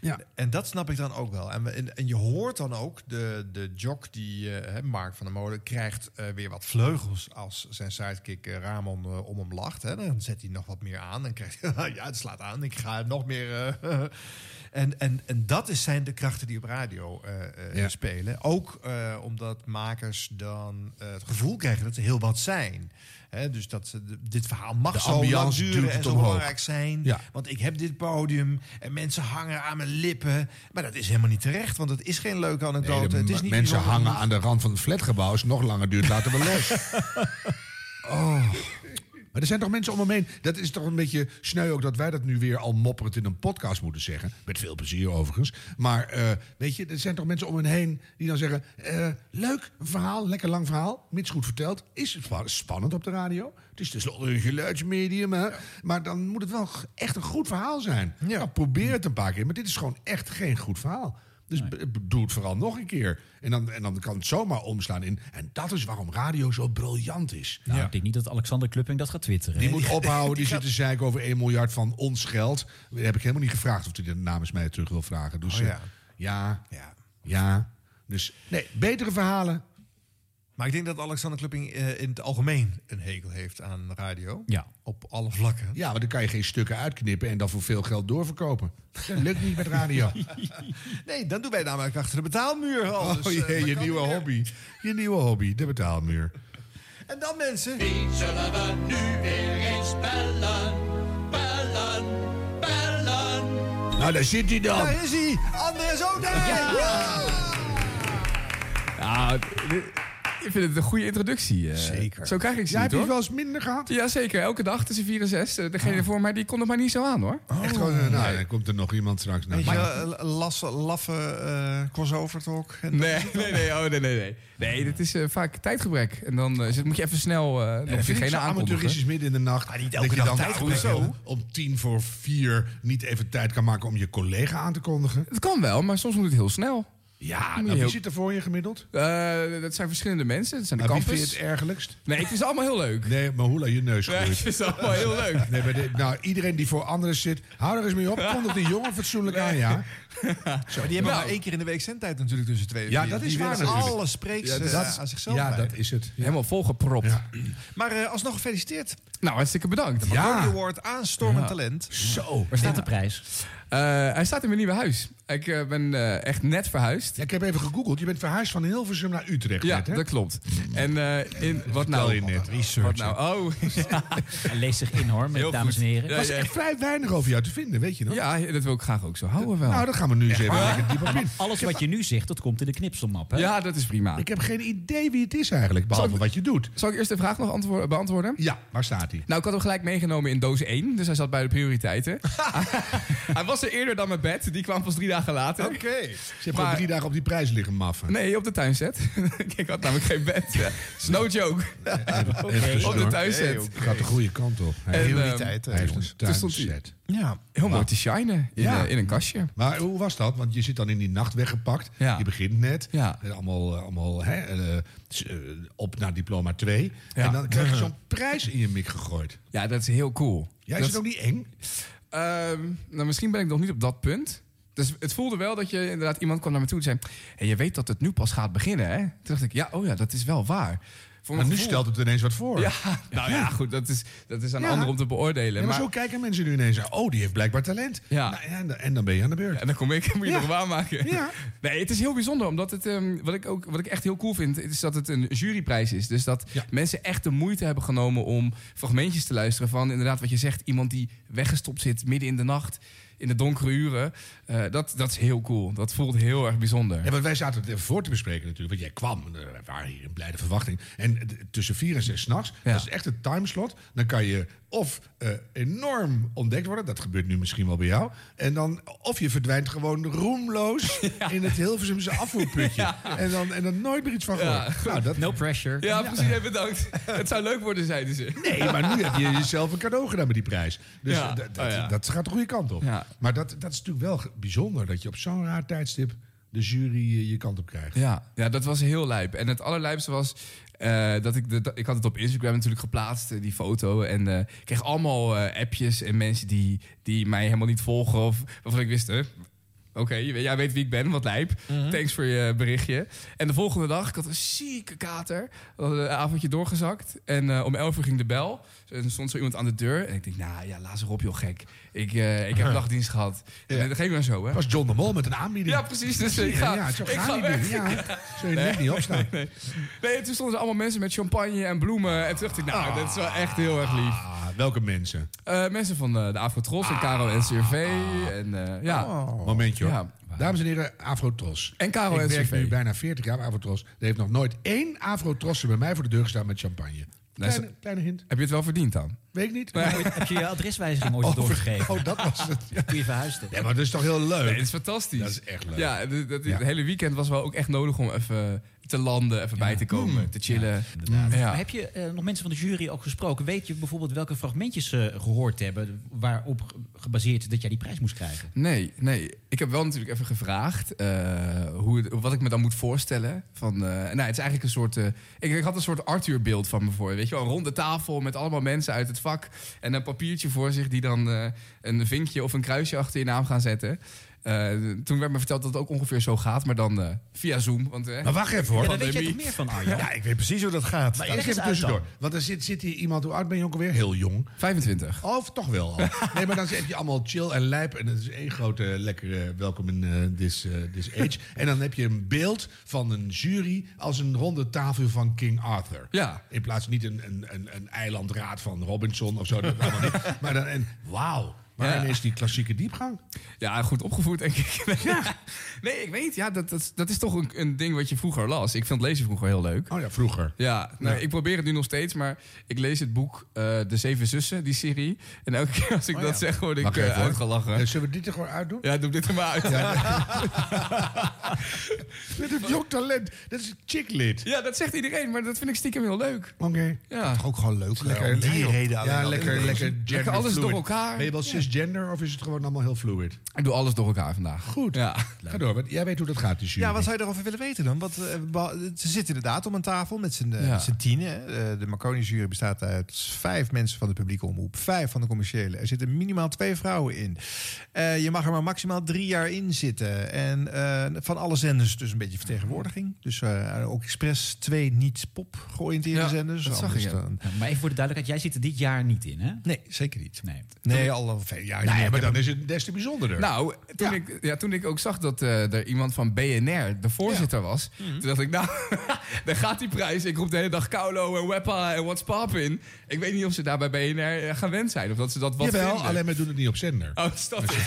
[SPEAKER 4] Ja. En dat snap ik dan ook wel. En, we- en, en je hoort dan ook, de, de jock die eh, hè, Mark van der Molen krijgt eh, weer wat vleugels als zijn sidekick eh, Ramon eh, om hem lacht. Hè. Dan zet hij nog wat meer aan en krijgt hij, ja, het slaat aan, ik ga nog meer... eh." en, en, en dat is zijn de krachten die op radio eh, eh,
[SPEAKER 1] Ja.
[SPEAKER 4] spelen. Ook eh, omdat makers dan eh, het gevoel krijgen dat ze heel wat zijn. Hè, dus dat ze de- dit verhaal mag
[SPEAKER 1] De
[SPEAKER 4] zo lang
[SPEAKER 1] ambiance duwt
[SPEAKER 4] duren en
[SPEAKER 1] het
[SPEAKER 4] zo
[SPEAKER 1] omhoog.
[SPEAKER 4] belangrijk zijn.
[SPEAKER 1] Ja.
[SPEAKER 4] Want ik heb dit podium en mensen hangen aan mijn lippen. Maar dat is helemaal niet terecht, want het is geen leuke anekdote.
[SPEAKER 1] Nee, de
[SPEAKER 4] het is
[SPEAKER 1] m-
[SPEAKER 4] niet
[SPEAKER 1] mensen
[SPEAKER 4] bijzonder.
[SPEAKER 1] hangen aan de rand van het flatgebouw. Als het nog langer duurt, laten we los. oh. Maar er zijn toch mensen om hem heen. Dat is toch een beetje sneu ook dat wij dat nu weer al mopperend in een podcast moeten zeggen. Met veel plezier overigens. Maar eh, weet je, er zijn toch mensen om hen heen die dan zeggen... eh, leuk een verhaal, lekker lang verhaal, mits goed verteld. Is het spa- spannend op de radio? Het is tenslotte een geluidsmedium, hè? Maar dan moet het wel g- echt een goed verhaal zijn. Nou, probeer het een paar keer, maar dit is gewoon echt geen goed verhaal. Dus b- b- doe het vooral nog een keer. En dan, en dan kan het zomaar omslaan in... En dat is waarom radio zo briljant is.
[SPEAKER 2] Nou, ik denk niet dat Alexander Klupping dat gaat twitteren.
[SPEAKER 1] Die
[SPEAKER 2] hè?
[SPEAKER 1] moet ophouden, die,
[SPEAKER 2] gaat-
[SPEAKER 1] zit te zeiken over 1 miljard van ons geld. Dat heb ik helemaal niet gevraagd of hij dat namens mij terug wil vragen. Dus
[SPEAKER 4] Oh,
[SPEAKER 1] eh,
[SPEAKER 4] ja.
[SPEAKER 1] ja. ja, ja, Dus nee, betere verhalen.
[SPEAKER 4] Maar ik denk dat Alexander Klupping eh, in het algemeen een hekel heeft aan radio.
[SPEAKER 1] Ja.
[SPEAKER 4] Op alle vlakken.
[SPEAKER 1] Ja, maar dan kan je geen stukken uitknippen en dan voor veel geld doorverkopen. Dat lukt niet met radio.
[SPEAKER 4] Nee, dan doen wij namelijk achter de betaalmuur. Al,
[SPEAKER 1] Oh
[SPEAKER 4] Dus, eh,
[SPEAKER 1] jee,
[SPEAKER 4] dat
[SPEAKER 1] je
[SPEAKER 4] kan
[SPEAKER 1] nieuwe
[SPEAKER 4] niet meer.
[SPEAKER 1] hobby. Je nieuwe hobby, de betaalmuur.
[SPEAKER 4] En dan mensen.
[SPEAKER 13] Wie zullen we nu weer eens bellen? Bellen, bellen.
[SPEAKER 1] Nou, daar zit hij dan.
[SPEAKER 13] Daar
[SPEAKER 4] is hij, André Zoden.
[SPEAKER 13] Ja.
[SPEAKER 3] Ja, Nou, ik vind het een goede introductie. Zeker.
[SPEAKER 1] Zo
[SPEAKER 3] krijg ik ze
[SPEAKER 1] Jij
[SPEAKER 3] niet,
[SPEAKER 1] hebt je
[SPEAKER 3] hoor.
[SPEAKER 1] wel eens minder gehad?
[SPEAKER 3] Ja, zeker. Elke dag tussen 4 en 6. Degene voor mij, die kon het maar niet zo aan, hoor.
[SPEAKER 1] Echt gewoon, eh, nou, dan komt er nog iemand straks naar.
[SPEAKER 4] Oh. Weet je, wel, eh, las, laffe eh crossover talk. En
[SPEAKER 3] Nee, nee, nee, oh, nee, nee, nee. Nee, dit is eh, vaak tijdgebrek. En dan eh, is het- moet je even snel eh nog diegene
[SPEAKER 1] amateuristisch
[SPEAKER 3] aankondigen.
[SPEAKER 1] midden in de nacht. Maar niet
[SPEAKER 3] elke dag
[SPEAKER 1] dan
[SPEAKER 3] tijd
[SPEAKER 1] nou,
[SPEAKER 3] zo.
[SPEAKER 1] hoezo om tien voor vier niet even tijd kan maken om je collega aan te kondigen.
[SPEAKER 3] Het kan wel, maar soms moet het heel snel.
[SPEAKER 1] Ja,
[SPEAKER 3] Moet
[SPEAKER 1] nou,
[SPEAKER 3] je
[SPEAKER 1] wie
[SPEAKER 3] heel-
[SPEAKER 1] zit er voor je gemiddeld?
[SPEAKER 3] Eh, dat zijn verschillende mensen. Dat zijn de
[SPEAKER 1] Maar wie
[SPEAKER 3] campus.
[SPEAKER 1] vind je het ergerlijkst?
[SPEAKER 3] Nee, het is allemaal heel leuk.
[SPEAKER 1] Nee, maar hoe laat je neus
[SPEAKER 3] Nee,
[SPEAKER 1] groeit.
[SPEAKER 3] het is allemaal heel leuk.
[SPEAKER 1] Nee, maar dit- nou, iedereen die voor anderen zit, hou er eens mee op. Kondig die jongen fatsoenlijk aan, ja. Zo,
[SPEAKER 4] Maar die hebben maar één keer in de week zendtijd natuurlijk tussen twee en
[SPEAKER 1] Ja,
[SPEAKER 4] vier.
[SPEAKER 1] dat is
[SPEAKER 4] Die
[SPEAKER 1] waar
[SPEAKER 4] willen
[SPEAKER 1] natuurlijk.
[SPEAKER 4] Alle spreeks
[SPEAKER 1] Ja,
[SPEAKER 4] eh,
[SPEAKER 1] dat is-
[SPEAKER 4] aan zichzelf
[SPEAKER 1] ja,
[SPEAKER 4] wijden.
[SPEAKER 1] dat is het.
[SPEAKER 3] Helemaal volgepropt.
[SPEAKER 4] Maar eh, alsnog gefeliciteerd.
[SPEAKER 3] Nou, hartstikke bedankt.
[SPEAKER 4] De Maccabi Award, aanstormend talent.
[SPEAKER 1] Zo.
[SPEAKER 2] Waar staat de prijs?
[SPEAKER 3] Eh, hij staat in mijn nieuwe huis. Ik eh, ben eh, echt net verhuisd.
[SPEAKER 1] Ja, ik heb even gegoogeld. Je bent verhuisd van Hilversum naar Utrecht.
[SPEAKER 3] Ja,
[SPEAKER 1] net, hè?
[SPEAKER 3] dat klopt. En eh, in, wat nou?
[SPEAKER 1] je net.
[SPEAKER 3] Wat nou? Oh,
[SPEAKER 2] Hij leest zich in hoor, met
[SPEAKER 3] Heel
[SPEAKER 2] dames
[SPEAKER 3] goed.
[SPEAKER 2] en heren.
[SPEAKER 1] Er was echt vrij weinig over jou te vinden, weet je nog?
[SPEAKER 3] ja, dat wil ik graag ook zo houden wel.
[SPEAKER 1] Nou, dan gaan we nu eens even
[SPEAKER 2] waar?
[SPEAKER 1] lekker diep op in.
[SPEAKER 2] Alles wat je nu zegt, dat komt in de knipselmap. Hè?
[SPEAKER 3] Ja, dat is prima.
[SPEAKER 1] Ik heb geen idee wie het is eigenlijk, behalve
[SPEAKER 3] Zal ik-
[SPEAKER 1] wat je doet.
[SPEAKER 3] Zal ik eerst de vraag nog antwoor- beantwoorden?
[SPEAKER 1] Ja, waar staat hij?
[SPEAKER 3] Nou, ik had hem gelijk meegenomen in doos 1, dus hij zat bij de prioriteiten. hij was er eerder dan mijn bed, die kwam pas drie dagen later.
[SPEAKER 4] Oké.
[SPEAKER 1] Ze hebben gewoon
[SPEAKER 3] Maar-
[SPEAKER 1] drie dagen op die prijs liggen maffen.
[SPEAKER 3] Nee, op de tuinset. ik had namelijk geen bed. It's no joke.
[SPEAKER 1] Even
[SPEAKER 3] Op Oh, de
[SPEAKER 1] tussendoor.
[SPEAKER 3] tuinset.
[SPEAKER 1] Nee, oké. Gaat de goede kant op. Hij,
[SPEAKER 3] En,
[SPEAKER 1] heeft-
[SPEAKER 4] prioriteiten.
[SPEAKER 1] hij heeft een
[SPEAKER 3] toen stond hij-
[SPEAKER 1] tuinset.
[SPEAKER 4] Ja.
[SPEAKER 3] Heel mooi te shinen in,
[SPEAKER 1] Ja.
[SPEAKER 3] eh, in een kastje.
[SPEAKER 1] Maar hoe was dat? Want je zit dan in die nacht weggepakt.
[SPEAKER 3] Ja.
[SPEAKER 1] Je begint net.
[SPEAKER 3] Ja.
[SPEAKER 1] En allemaal eh, allemaal hè, eh, s- eh, op naar diploma 2.
[SPEAKER 3] Ja.
[SPEAKER 1] En dan krijg je zo'n prijs in je mik gegooid.
[SPEAKER 3] Ja, dat is heel cool.
[SPEAKER 1] Jij
[SPEAKER 3] dat,
[SPEAKER 1] zit ook niet eng.
[SPEAKER 3] Ehm, nou, misschien ben ik nog niet op dat punt. Dus het voelde wel dat je inderdaad iemand kwam naar me toe en zei... Hey, je weet dat het nu pas gaat beginnen, hè? Toen dacht ik, ja, oh ja, dat is wel waar. Voor
[SPEAKER 1] Maar
[SPEAKER 3] mijn
[SPEAKER 1] nu
[SPEAKER 3] gevoel-
[SPEAKER 1] stelt het ineens wat voor.
[SPEAKER 3] Ja, nou ja, goed, dat is, dat is aan
[SPEAKER 1] Ja.
[SPEAKER 3] anderen om te beoordelen.
[SPEAKER 1] Ja, maar, zo kijken mensen nu ineens. Oh, die heeft blijkbaar talent.
[SPEAKER 3] Ja.
[SPEAKER 1] Nou, en, en dan ben je aan de beurt.
[SPEAKER 3] En dan kom ik en moet je
[SPEAKER 1] Ja.
[SPEAKER 3] nog waarmaken.
[SPEAKER 1] Ja.
[SPEAKER 3] Nee, het is heel bijzonder, omdat het, ehm, wat, ik ook, wat ik echt heel cool vind, is dat het een juryprijs is. Dus dat
[SPEAKER 1] Ja.
[SPEAKER 3] mensen echt de moeite hebben genomen om fragmentjes te luisteren van inderdaad wat je zegt, iemand die weggestopt zit midden in de nacht, in de donkere uren. Eh, dat, dat is heel cool. Dat voelt heel erg bijzonder.
[SPEAKER 1] Ja, want wij zaten het even voor te bespreken natuurlijk. Want jij kwam, eh, we waren hier in blijde verwachting. En eh, tussen vier en zes s'nachts,
[SPEAKER 3] Ja.
[SPEAKER 1] dat is echt het timeslot. Dan kan je of eh, enorm ontdekt worden, dat gebeurt nu misschien wel bij jou. En dan, of je verdwijnt gewoon roemloos in het Hilversumse afvoerputje. En, dan, en dan nooit meer iets van
[SPEAKER 3] Ja.
[SPEAKER 1] gehoord. Nou, dat,
[SPEAKER 2] No pressure.
[SPEAKER 3] Ja, precies. Ja, bedankt. het zou leuk worden, zeiden ze.
[SPEAKER 1] Nee, maar nu heb je jezelf een cadeau gedaan met die prijs. Dus
[SPEAKER 3] Ja.
[SPEAKER 1] dat, dat,
[SPEAKER 3] Oh, ja.
[SPEAKER 1] dat gaat de goede kant op.
[SPEAKER 3] Ja.
[SPEAKER 1] Maar dat, dat is natuurlijk wel ge- bijzonder dat je op zo'n raar tijdstip de jury eh, je kant op krijgt.
[SPEAKER 3] Ja, ja, dat was heel lijp. En het allerlijpste was eh, dat ik... De, dat- ik had het op Instagram natuurlijk geplaatst, eh, die foto. En eh, ik kreeg allemaal eh, appjes en mensen die, die mij helemaal niet volgen. Of waarvan ik wist, hè, Oké, je weet- jij weet wie ik ben, wat lijp.
[SPEAKER 1] Mhm.
[SPEAKER 3] Thanks voor je berichtje. En de volgende dag, ik had een zieke kater. We hadden een avondje doorgezakt. En eh, om 11 uur ging de bel. En stond zo iemand aan de deur. En ik denk, nou ja, laat ze op, joh, gek. Ik, eh, ik heb dagdienst gehad. En dat geef ik dan zo, hè.
[SPEAKER 1] was John de Mol met een aanbieding.
[SPEAKER 3] Ja, precies. Dus ik ga,
[SPEAKER 1] ja, zo
[SPEAKER 3] ik
[SPEAKER 1] gaan
[SPEAKER 3] ga
[SPEAKER 1] die
[SPEAKER 3] weg.
[SPEAKER 1] dingen. Ja, zo je
[SPEAKER 3] Nee.
[SPEAKER 1] nek niet opstaan.
[SPEAKER 3] Nee, nee, toen stonden er allemaal mensen met champagne en bloemen. En toen dacht ik, nou, dat is wel echt heel erg lief.
[SPEAKER 1] Ah, welke mensen? Ah.
[SPEAKER 3] Eh, mensen van eh, de Afrotros en Caro en CRV. En, eh, ja.
[SPEAKER 1] Momentje hoor.
[SPEAKER 3] Ja.
[SPEAKER 1] Oh. Dames en heren, Afrotros.
[SPEAKER 3] En Karel
[SPEAKER 1] Ik werk
[SPEAKER 3] NCV.
[SPEAKER 1] nu bijna 40 jaar bij Afrotros. Er heeft nog nooit één Afrotrosser bij mij voor de deur gestaan met champagne. Kleine,
[SPEAKER 3] ze-
[SPEAKER 1] kleine hint.
[SPEAKER 3] Heb je het wel verdiend dan?
[SPEAKER 1] Weet ik niet.
[SPEAKER 2] Maar ooit- heb je je adreswijziging ooit doorgegeven?
[SPEAKER 1] Oh, dat was het. Ja.
[SPEAKER 2] Toen je verhuisde.
[SPEAKER 1] Ja, maar dat is toch heel leuk?
[SPEAKER 3] Nee, dat is fantastisch.
[SPEAKER 1] Dat is echt leuk.
[SPEAKER 3] Ja, en dat, dat-
[SPEAKER 1] Ja.
[SPEAKER 3] het hele weekend was wel ook echt nodig om even te landen, even bij te komen,
[SPEAKER 1] Mm.
[SPEAKER 3] te chillen. Ja,
[SPEAKER 2] Maar heb je eh, nog mensen van de jury ook gesproken? Weet je bijvoorbeeld welke fragmentjes ze gehoord hebben... waarop ge- gebaseerd dat jij die prijs moest krijgen?
[SPEAKER 3] Nee, nee. Ik heb wel natuurlijk even gevraagd eh, hoe het- wat ik me dan moet voorstellen. Van, eh, nou, het is eigenlijk een soort. eh, ik, ik had een soort Arthur-beeld van me voor. Weet je wel, een ronde tafel met allemaal mensen uit het vak. En een papiertje voor zich die dan eh, een vinkje of een kruisje achter je naam gaan zetten. Eh, toen werd me verteld dat het ook ongeveer zo gaat, maar dan eh, via Zoom. Want, eh,
[SPEAKER 1] Maar wacht even hoor.
[SPEAKER 3] Ja,
[SPEAKER 1] want-
[SPEAKER 3] dan weet jij
[SPEAKER 1] Pandemie.
[SPEAKER 3] toch meer van, Arjan?
[SPEAKER 4] Ja, ik weet precies hoe dat gaat.
[SPEAKER 1] Maar
[SPEAKER 4] Dat-
[SPEAKER 1] eerst even tussendoor. Want er zit, zit hier iemand, hoe oud ben je ook alweer? Heel jong.
[SPEAKER 3] 25.
[SPEAKER 1] Of toch wel al. Nee, maar dan heb je allemaal chill en lijp. En dat is één grote lekkere welkom in eh, this, eh, this age. En dan heb je een beeld van een jury als een ronde tafel van King Arthur.
[SPEAKER 3] Ja.
[SPEAKER 1] In plaats niet een, een, een, een eilandraad van Robinson of zo. Dat allemaal niet. Maar dan, en wauw. Maar
[SPEAKER 3] Ja.
[SPEAKER 1] ineens die klassieke diepgang.
[SPEAKER 3] Ja, goed opgevoed, denk ik. Nee, ik weet niet. Ja, dat, dat, dat is toch een, een ding wat je vroeger las. Ik vond lezen vroeger heel leuk.
[SPEAKER 1] Oh ja, vroeger.
[SPEAKER 3] Ja, nou, ik probeer het nu nog steeds, maar ik lees het boek eh, De Zeven Zussen, die serie. En elke keer als ik
[SPEAKER 1] Oh
[SPEAKER 3] dat
[SPEAKER 1] ja.
[SPEAKER 3] zeg, word ik
[SPEAKER 1] Wacht even,
[SPEAKER 3] eh,
[SPEAKER 1] hoor.
[SPEAKER 3] uitgelachen.
[SPEAKER 1] Eh, Zullen we dit er gewoon uitdoen?
[SPEAKER 3] Ja, doe dit er maar uit. Ja,
[SPEAKER 1] Dit is jong talent. Dat is chicklid.
[SPEAKER 3] dat zegt iedereen, maar dat vind ik stiekem heel leuk.
[SPEAKER 1] Oké.
[SPEAKER 3] Ja.
[SPEAKER 4] Toch ook gewoon leuk.
[SPEAKER 1] Lekker,
[SPEAKER 4] om die
[SPEAKER 1] ja, joh.
[SPEAKER 4] reden alleen
[SPEAKER 1] Ja,
[SPEAKER 4] al.
[SPEAKER 1] lekker, lekker, gender
[SPEAKER 3] Lekker alles
[SPEAKER 1] fluid.
[SPEAKER 3] door elkaar.
[SPEAKER 1] Ben je wel
[SPEAKER 3] Ja.
[SPEAKER 1] cisgender of is het gewoon allemaal heel fluid?
[SPEAKER 3] Ik doe alles door elkaar vandaag.
[SPEAKER 1] Goed.
[SPEAKER 3] Ja.
[SPEAKER 1] Ga door, want jij weet hoe dat gaat, die jury.
[SPEAKER 4] Ja, wat zou je daarover willen weten dan? Want, eh, beha- ze zitten inderdaad om een tafel met z'n
[SPEAKER 3] Ja.
[SPEAKER 4] ja. tienen. Eh, de Marconi-jury bestaat uit vijf mensen van de publieke omroep, vijf van de commerciële. Er zitten minimaal twee vrouwen in. Eh, je mag er maar maximaal drie jaar in zitten. En eh, van alle zenders dus een beetje vertegenwoordiging. Dus eh, ook expres twee niet-pop georiënteerde
[SPEAKER 2] Ja,
[SPEAKER 4] zenders.
[SPEAKER 2] dat zag
[SPEAKER 4] Anders
[SPEAKER 1] dus
[SPEAKER 2] ik, ja.
[SPEAKER 4] dan-
[SPEAKER 2] Ja, Maar even voor de duidelijkheid, jij zit er dit jaar niet in, hè?
[SPEAKER 4] Nee, zeker niet.
[SPEAKER 2] Nee.
[SPEAKER 4] Nee, al al veel jaar.
[SPEAKER 1] Nee,
[SPEAKER 4] Ik
[SPEAKER 1] maar
[SPEAKER 4] heb
[SPEAKER 1] dan is het des te bijzonderder.
[SPEAKER 3] Nou, toen, Ik, ja, toen ik ook zag dat eh, er iemand van BNR de voorzitter was,
[SPEAKER 1] Mhm.
[SPEAKER 3] toen dacht ik, nou, daar gaat die prijs. Ik roep de hele dag Kaulo en Weppa en What's Pop in. Ik weet niet of ze daar bij BNR eh, gewend zijn of dat ze dat wat
[SPEAKER 1] Jawel,
[SPEAKER 3] vinden.
[SPEAKER 1] alleen we doen het niet op zender.
[SPEAKER 3] Oh, is dat
[SPEAKER 1] Dus
[SPEAKER 3] het?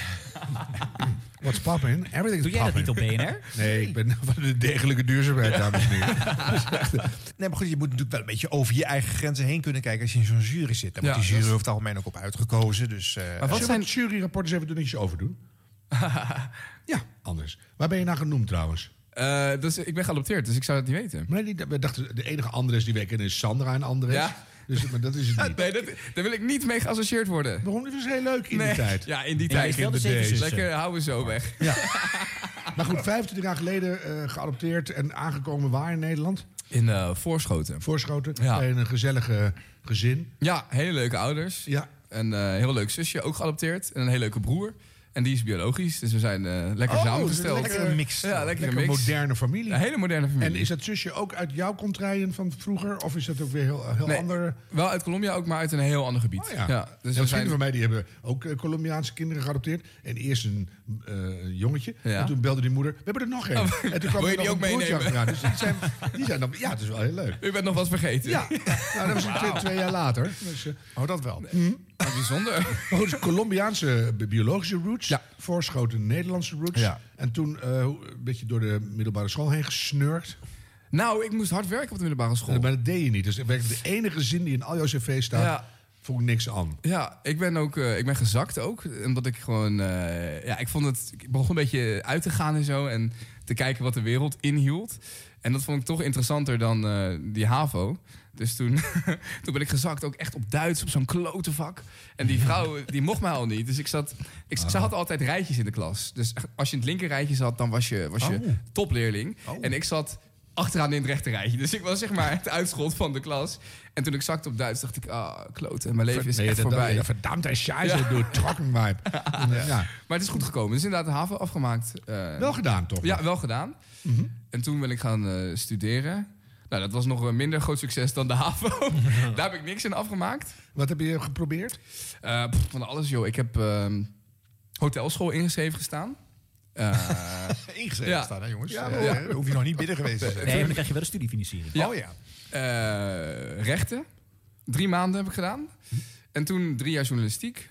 [SPEAKER 1] What's poppin'? Everything's
[SPEAKER 2] Doe jij dat
[SPEAKER 1] poppin'.
[SPEAKER 2] niet op BNR?
[SPEAKER 1] Nee, ik ben van de degelijke duurzaamheid, dames en heren.
[SPEAKER 4] Nee, maar goed, je moet natuurlijk wel een beetje over je eigen grenzen heen kunnen kijken als je in zo'n jury zit. Daar
[SPEAKER 3] Ja,
[SPEAKER 4] wordt die jury
[SPEAKER 3] dat-
[SPEAKER 4] over het algemeen ook op uitgekozen. Dus, eh,
[SPEAKER 3] Maar wat
[SPEAKER 1] Zullen we
[SPEAKER 3] zijn...
[SPEAKER 1] het juryrapport eens even doen, niks over doen? ja, anders. Waar ben je nou genoemd trouwens?
[SPEAKER 3] eh, dus ik ben geadopteerd, dus ik zou dat niet weten.
[SPEAKER 1] Maar niet- we dachten, de enige Andres die wij kennen is Sandra en Andres.
[SPEAKER 3] Ja.
[SPEAKER 1] Dus, maar dat is het niet.
[SPEAKER 3] Nee, dat, daar wil ik niet mee geassocieerd worden.
[SPEAKER 1] Waarom? Dit was heel leuk in die tijd.
[SPEAKER 3] Ja, in die
[SPEAKER 2] Ja,
[SPEAKER 3] tijd.
[SPEAKER 2] is wel de
[SPEAKER 3] in
[SPEAKER 2] zeven
[SPEAKER 3] days.
[SPEAKER 2] zussen.
[SPEAKER 3] Lekker houden we zo weg.
[SPEAKER 1] Maar goed, 25 jaar geleden eh, geadopteerd en aangekomen waar in Nederland?
[SPEAKER 3] In eh, Voorschoten.
[SPEAKER 1] Voorschoten.
[SPEAKER 3] Ja.
[SPEAKER 1] Bij een gezellige gezin.
[SPEAKER 3] Ja, hele leuke ouders.
[SPEAKER 1] Ja.
[SPEAKER 3] Een eh, heel leuk zusje, ook geadopteerd. En een hele leuke broer. En die is biologisch, dus we zijn eh, lekker
[SPEAKER 1] Oh,
[SPEAKER 3] samengesteld.
[SPEAKER 1] lekker een mix.
[SPEAKER 3] Ja, lekker,
[SPEAKER 1] Lekker
[SPEAKER 3] een mix.
[SPEAKER 1] moderne familie.
[SPEAKER 3] Een hele moderne familie.
[SPEAKER 1] En is dat zusje ook uit jouw contraien van vroeger? Of is dat ook weer heel, heel
[SPEAKER 3] Nee,
[SPEAKER 1] andere...
[SPEAKER 3] Wel uit Colombia ook, maar uit een heel ander gebied.
[SPEAKER 1] Oh
[SPEAKER 3] dus
[SPEAKER 1] ja. ja,
[SPEAKER 3] we
[SPEAKER 1] want
[SPEAKER 3] zijn...
[SPEAKER 1] vrienden van mij die hebben ook eh, Colombiaanse kinderen geadopteerd. En eerst een eh, jongetje.
[SPEAKER 3] Ja.
[SPEAKER 1] En toen belde die moeder, we hebben er nog één.
[SPEAKER 3] Oh,
[SPEAKER 1] en toen
[SPEAKER 3] wil
[SPEAKER 1] er
[SPEAKER 3] je die
[SPEAKER 1] nog
[SPEAKER 3] ook
[SPEAKER 1] een broertje
[SPEAKER 3] meenemen?
[SPEAKER 1] achteraan. Dus die zijn, die zijn dan, ja, het is wel heel leuk.
[SPEAKER 3] U bent nog wat vergeten.
[SPEAKER 1] Ja, nou, dat was twee, twee jaar later. Dus, eh,
[SPEAKER 4] oh, dat wel.
[SPEAKER 3] Hm? Wat bijzonder.
[SPEAKER 1] Maar goed, Oh, dus Colombiaanse bi- biologische roots. Voorschoten Nederlandse roots.
[SPEAKER 3] Ja.
[SPEAKER 1] En toen eh, een beetje door de middelbare school heen gesnurkt.
[SPEAKER 3] Nou, ik moest hard werken op de middelbare school.
[SPEAKER 1] Maar dat deed je niet. Dus dat werd de enige zin die in al jouw cv staat,
[SPEAKER 3] Ja.
[SPEAKER 1] vond ik niks aan.
[SPEAKER 3] Ja, ik ben ook eh, ik ben gezakt ook. Omdat ik gewoon. eh, ja, ik vond het. Ik begon een beetje uit te gaan en zo. En te kijken wat de wereld inhield. En dat vond ik toch interessanter dan eh, die HAVO. Dus toen, toen ben ik gezakt ook echt op Duits, op zo'n klote vak. En die vrouw, die mocht mij al niet. Dus ik zat... Ik,
[SPEAKER 1] Ah.
[SPEAKER 3] Ze had altijd
[SPEAKER 1] Oh.
[SPEAKER 3] rijtjes in de klas. Dus als je in het linker rijtje zat, dan was je, was je topleerling. En ik zat achteraan in het rechte rijtje. Dus ik was zeg maar het uitschot van de klas. En toen ik zakte op Duits, dacht ik, ah, kloten, mijn leven is
[SPEAKER 1] Nee,
[SPEAKER 3] echt
[SPEAKER 1] dat-
[SPEAKER 3] voorbij. Ah.
[SPEAKER 1] dat- verdammt en scheiße door trokken mij. Ja.
[SPEAKER 3] Maar het is goed gekomen. Dus inderdaad de haven afgemaakt. eh,
[SPEAKER 1] Wel gedaan, toch? Mhm.
[SPEAKER 3] Ja, wel gedaan. En toen ben ik gaan eh, studeren. Nou, dat was nog een minder groot succes dan de HAVO. Daar heb ik niks in afgemaakt. Eh,
[SPEAKER 1] Wat heb je geprobeerd?
[SPEAKER 3] van alles, joh. Ik heb ehm, hotelschool ingeschreven gestaan. Eh,
[SPEAKER 4] Ingeschreven
[SPEAKER 3] ja.
[SPEAKER 4] staan, hè, jongens?
[SPEAKER 3] Ja,
[SPEAKER 4] Ja,
[SPEAKER 3] maar-
[SPEAKER 4] eh, hoef je nog niet binnen geweest te zijn.
[SPEAKER 2] Nee, maar dan krijg je wel een studiefinanciering.
[SPEAKER 3] Oh Ja. Eh, rechten. Drie maanden heb ik gedaan. En toen drie jaar journalistiek.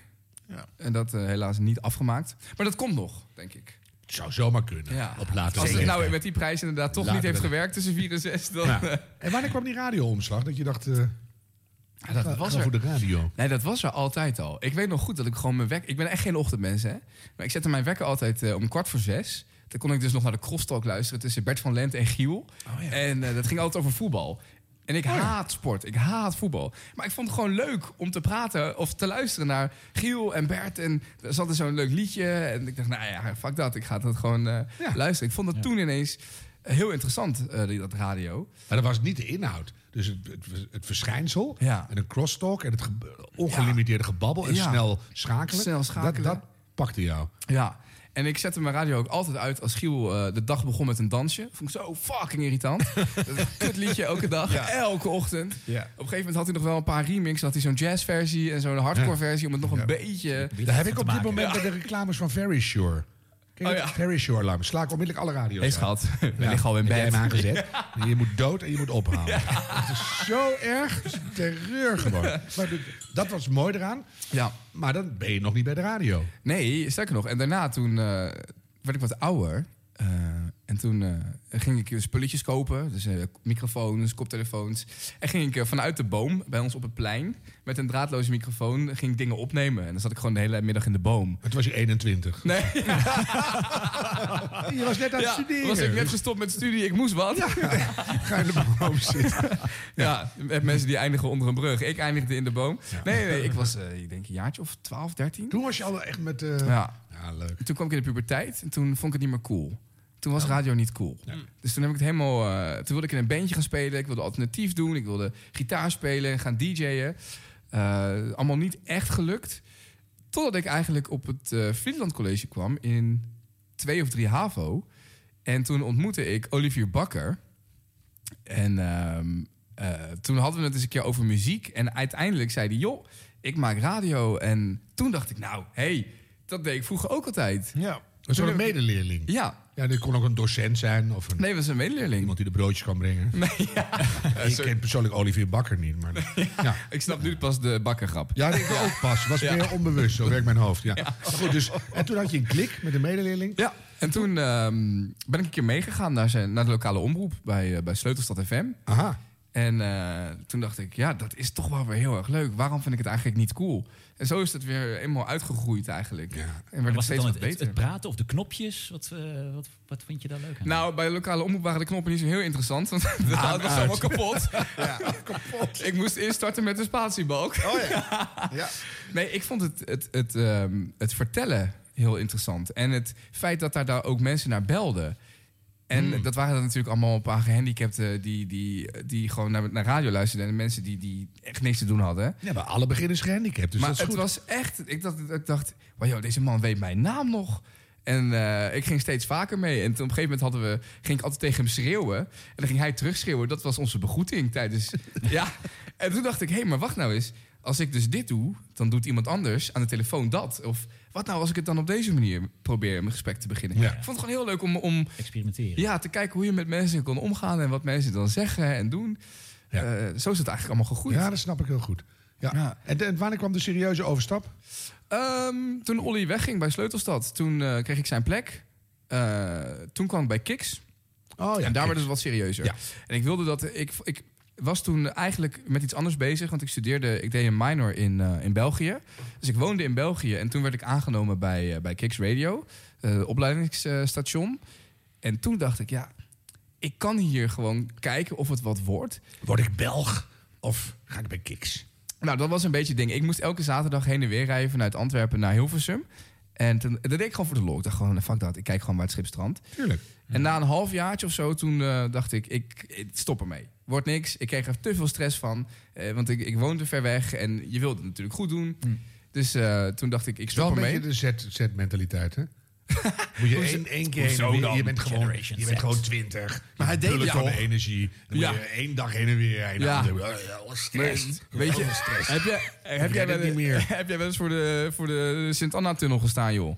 [SPEAKER 3] En dat eh, helaas niet afgemaakt. Maar dat komt nog, denk ik.
[SPEAKER 1] Het zou zomaar kunnen.
[SPEAKER 3] Ja.
[SPEAKER 1] Op later
[SPEAKER 3] Als het
[SPEAKER 1] leeftijd.
[SPEAKER 3] nou met die prijs inderdaad toch
[SPEAKER 1] Later
[SPEAKER 3] niet heeft
[SPEAKER 1] dan.
[SPEAKER 3] gewerkt tussen 4 en 6, dan...
[SPEAKER 1] Ja.
[SPEAKER 3] eh,
[SPEAKER 1] En wanneer kwam die radioomslag? Dat je dacht, eh,
[SPEAKER 3] dat
[SPEAKER 1] ga-
[SPEAKER 3] was
[SPEAKER 1] ga
[SPEAKER 3] er.
[SPEAKER 1] voor de radio.
[SPEAKER 3] Nee, dat was er altijd al. Ik weet nog goed dat ik gewoon mijn wekker... Ik ben echt geen ochtendmens, hè. Maar ik zette mijn wekker altijd eh, om kwart voor zes. Dan kon ik dus nog naar de crosstalk luisteren tussen Bert van Lent en Giel.
[SPEAKER 1] Oh,
[SPEAKER 3] En eh, dat ging altijd over voetbal. En ik haat sport. Ik haat voetbal. Maar ik vond het gewoon leuk om te praten of te luisteren naar Giel en Bert. En er zat er zo'n leuk liedje. En ik dacht, nou ja, fuck dat. Ik ga dat gewoon eh, luisteren. Ik vond dat toen ineens heel interessant, eh, die- dat radio.
[SPEAKER 1] Maar dat was niet de inhoud. Dus het, het, het verschijnsel en een crosstalk en het ge- ongelimiteerde gebabbel en
[SPEAKER 3] Ja.
[SPEAKER 1] snel schakelen.
[SPEAKER 3] Snel schakelen.
[SPEAKER 1] Dat, dat pakte jou.
[SPEAKER 3] Ja, en ik zette mijn radio ook altijd uit als Giel eh, de dag begon met een dansje. Vond ik zo fucking irritant. Kut liedje elke dag,
[SPEAKER 4] Ja.
[SPEAKER 3] elke ochtend.
[SPEAKER 4] Ja.
[SPEAKER 3] Op een gegeven moment had hij nog wel een paar remixen. Had hij zo'n jazzversie en zo'n hardcore versie om het nog een beetje...
[SPEAKER 1] Daar heb ik op dit moment bij de reclames van Very Sure. Ken je
[SPEAKER 3] Oh
[SPEAKER 1] dat?
[SPEAKER 3] ja.
[SPEAKER 1] Very Sure alarm. Sla ik onmiddellijk alle radio's
[SPEAKER 3] Nee,
[SPEAKER 1] uit.
[SPEAKER 3] schat. We
[SPEAKER 1] Ja,
[SPEAKER 3] liggen al in
[SPEAKER 1] heb jij
[SPEAKER 3] bed.
[SPEAKER 1] hem aangezet. Je moet dood en je moet ophalen. Het is zo erg. Het is een terreur gewoon. Maar dat- dat was mooi eraan.
[SPEAKER 3] Ja.
[SPEAKER 1] Maar dan ben je nog niet bij de radio.
[SPEAKER 3] Nee, sterker nog. En daarna toen eh, werd ik wat ouder. Eh, en toen eh, ging ik spulletjes kopen. Dus eh, microfoons, koptelefoons. En ging ik eh, vanuit de boom bij ons op het plein... met een draadloze microfoon ging ik dingen opnemen. En dan zat ik gewoon de hele middag in de boom.
[SPEAKER 1] Het was je 21.
[SPEAKER 3] Nee.
[SPEAKER 1] Je was net aan het
[SPEAKER 3] Ja,
[SPEAKER 1] studeren.
[SPEAKER 3] was ik net gestopt met studie. Ik moest wat.
[SPEAKER 1] Ga in de boom zitten.
[SPEAKER 3] Ja, met mensen die eindigen onder een brug. Ik eindigde in de boom. Nee, nee, ik was eh, ik denk een jaartje of 12, 13.
[SPEAKER 1] Toen was je al echt met... eh,
[SPEAKER 3] Ja.
[SPEAKER 1] ja, leuk.
[SPEAKER 3] Toen kwam ik in de puberteit en toen vond ik het niet meer cool. Toen was radio niet cool. Dus toen heb ik het helemaal. eh, toen wilde ik in een bandje gaan spelen. Ik wilde alternatief doen. Ik wilde gitaar spelen, gaan DJ'en. Eh, allemaal niet echt gelukt. Totdat ik eigenlijk op het eh Friedland College kwam in twee of drie HAVO. En toen ontmoette ik Olivier Bakker. En ehm, eh, toen hadden we het eens een keer over muziek. En uiteindelijk zei hij, joh, ik maak radio. En toen dacht ik, nou, hé, hey, dat deed ik vroeger ook altijd.
[SPEAKER 4] Ja,
[SPEAKER 1] Dat was
[SPEAKER 3] Toen
[SPEAKER 1] een
[SPEAKER 3] heb ik-
[SPEAKER 1] medeleerling.
[SPEAKER 3] Ja.
[SPEAKER 1] Ja, dit kon ook een docent zijn of een...
[SPEAKER 3] Nee, was een medeleerling.
[SPEAKER 1] Iemand die de broodjes kan brengen. Eh, ik ken persoonlijk Olivier Bakker niet, maar...
[SPEAKER 3] Ik snap nu pas de bakkergrap.
[SPEAKER 1] Ja, dat ik ook pas. Was
[SPEAKER 3] Ja.
[SPEAKER 1] meer onbewust, zo werkt mijn hoofd. Ja. Maar Goed, dus, en toen had je een klik met een medeleerling.
[SPEAKER 3] Ja, en toen ehm, ben ik een keer meegegaan naar, zijn, naar de lokale omroep bij, eh, bij Sleutelstad FM.
[SPEAKER 1] Aha.
[SPEAKER 3] En eh, toen dacht ik, ja, dat is toch wel weer heel erg leuk. Waarom vind ik het eigenlijk niet cool? En zo is het weer eenmaal uitgegroeid eigenlijk. En werd het
[SPEAKER 2] was het
[SPEAKER 3] steeds
[SPEAKER 2] dan
[SPEAKER 3] wat
[SPEAKER 2] het, het,
[SPEAKER 3] beter.
[SPEAKER 2] het praten of de knopjes? Wat, eh, wat, wat vond je daar leuk aan?
[SPEAKER 3] Nou, bij de lokale omroep waren de knoppen niet zo heel interessant. Want de
[SPEAKER 2] Aan,
[SPEAKER 3] hout was
[SPEAKER 2] uit.
[SPEAKER 3] allemaal kapot. Ik moest eerst starten met de spatiebalk.
[SPEAKER 4] Oh ja. ja.
[SPEAKER 3] Nee, ik vond het, het, het, ehm, het vertellen heel interessant. En het feit dat daar, daar ook mensen naar belden. En
[SPEAKER 1] Hmm.
[SPEAKER 3] dat waren dan natuurlijk allemaal een paar gehandicapten... die, die, die gewoon naar, naar radio luisterden. En mensen die, die echt niks te doen hadden.
[SPEAKER 1] Ja, maar alle beginners gehandicapt, dus
[SPEAKER 3] maar
[SPEAKER 1] dat is
[SPEAKER 3] het
[SPEAKER 1] goed.
[SPEAKER 3] was echt... Ik dacht, ik dacht wow, joh, deze man weet mijn naam nog. En eh, ik ging steeds vaker mee. En toen op een gegeven moment hadden we, ging ik altijd tegen hem schreeuwen. En dan ging hij terugschreeuwen. Dat was onze begroeting tijdens... ja. En toen dacht ik, hé, hey, maar wacht nou eens. Als ik dus dit doe, dan doet iemand anders aan de telefoon dat. Of wat nou als ik het dan op deze manier probeer mijn gesprek te beginnen.
[SPEAKER 2] Ja.
[SPEAKER 3] Ik vond het gewoon heel leuk om, om
[SPEAKER 2] Experimenteren.
[SPEAKER 3] ja, te kijken hoe je met mensen kon omgaan. En wat mensen dan zeggen en doen. Eh, zo is het eigenlijk allemaal gegroeid.
[SPEAKER 1] Ja, dat snap ik heel goed. Ja. En, en wanneer kwam de serieuze overstap?
[SPEAKER 3] Ehm, toen Olly wegging bij Sleutelstad, toen eh, kreeg ik zijn plek. Eh, toen kwam ik bij Kiks.
[SPEAKER 1] Oh, ja,
[SPEAKER 3] en daar werd
[SPEAKER 1] Kiks.
[SPEAKER 3] het wat serieuzer.
[SPEAKER 1] Ja.
[SPEAKER 3] En ik wilde dat. Ik, ik was toen eigenlijk met iets anders bezig. Want ik studeerde. Ik deed een minor in, eh, in België. Dus ik woonde in België. En toen werd ik aangenomen bij, eh, bij Kiks Radio, eh opleidingsstation. En toen dacht ik, ja, ik kan hier gewoon kijken of het wat wordt.
[SPEAKER 1] Word ik Belg of ga ik bij Kiks?
[SPEAKER 3] Nou, dat was een beetje het ding. Ik moest elke zaterdag heen en weer rijden vanuit Antwerpen naar Hilversum. En toen, dat deed ik gewoon voor de lol. Ik dacht gewoon, fuck dat, ik kijk gewoon waar het schip strandt.
[SPEAKER 1] Tuurlijk.
[SPEAKER 3] En na een half jaartje of zo, toen eh, dacht ik, ik, ik stop ermee. Wordt niks. Ik kreeg er te veel stress van. eh, want ik, ik woonde ver weg en je wilde het natuurlijk goed doen.
[SPEAKER 1] Hmm.
[SPEAKER 3] Dus eh, toen dacht ik, ik
[SPEAKER 1] is wel
[SPEAKER 3] stop
[SPEAKER 1] een
[SPEAKER 3] ermee.
[SPEAKER 1] beetje de zet- Z-mentaliteit, hè? Moet je
[SPEAKER 3] Hoezo-
[SPEAKER 1] één, één keer
[SPEAKER 3] hoezo
[SPEAKER 1] heen en weer-
[SPEAKER 3] dan?
[SPEAKER 1] Je bent gewoon,
[SPEAKER 3] Generation
[SPEAKER 1] je bent
[SPEAKER 3] Z.
[SPEAKER 1] gewoon twintig. Je
[SPEAKER 3] Maar hij
[SPEAKER 1] bent
[SPEAKER 3] deed
[SPEAKER 1] bullet
[SPEAKER 3] het
[SPEAKER 1] van
[SPEAKER 3] toch?
[SPEAKER 1] de energie. Dan
[SPEAKER 3] Ja.
[SPEAKER 1] moet je één dag heen en weer. En
[SPEAKER 3] Ja.
[SPEAKER 1] ja. dan denk je, oh, stress.
[SPEAKER 3] Nee, weet je,
[SPEAKER 1] Heel veel stress.
[SPEAKER 3] heb, jij, heb,
[SPEAKER 1] Ik
[SPEAKER 3] jij
[SPEAKER 1] red
[SPEAKER 3] wel,
[SPEAKER 1] het niet meer.
[SPEAKER 3] heb jij wel eens voor de, voor de Sint-Anna-tunnel gestaan, joh?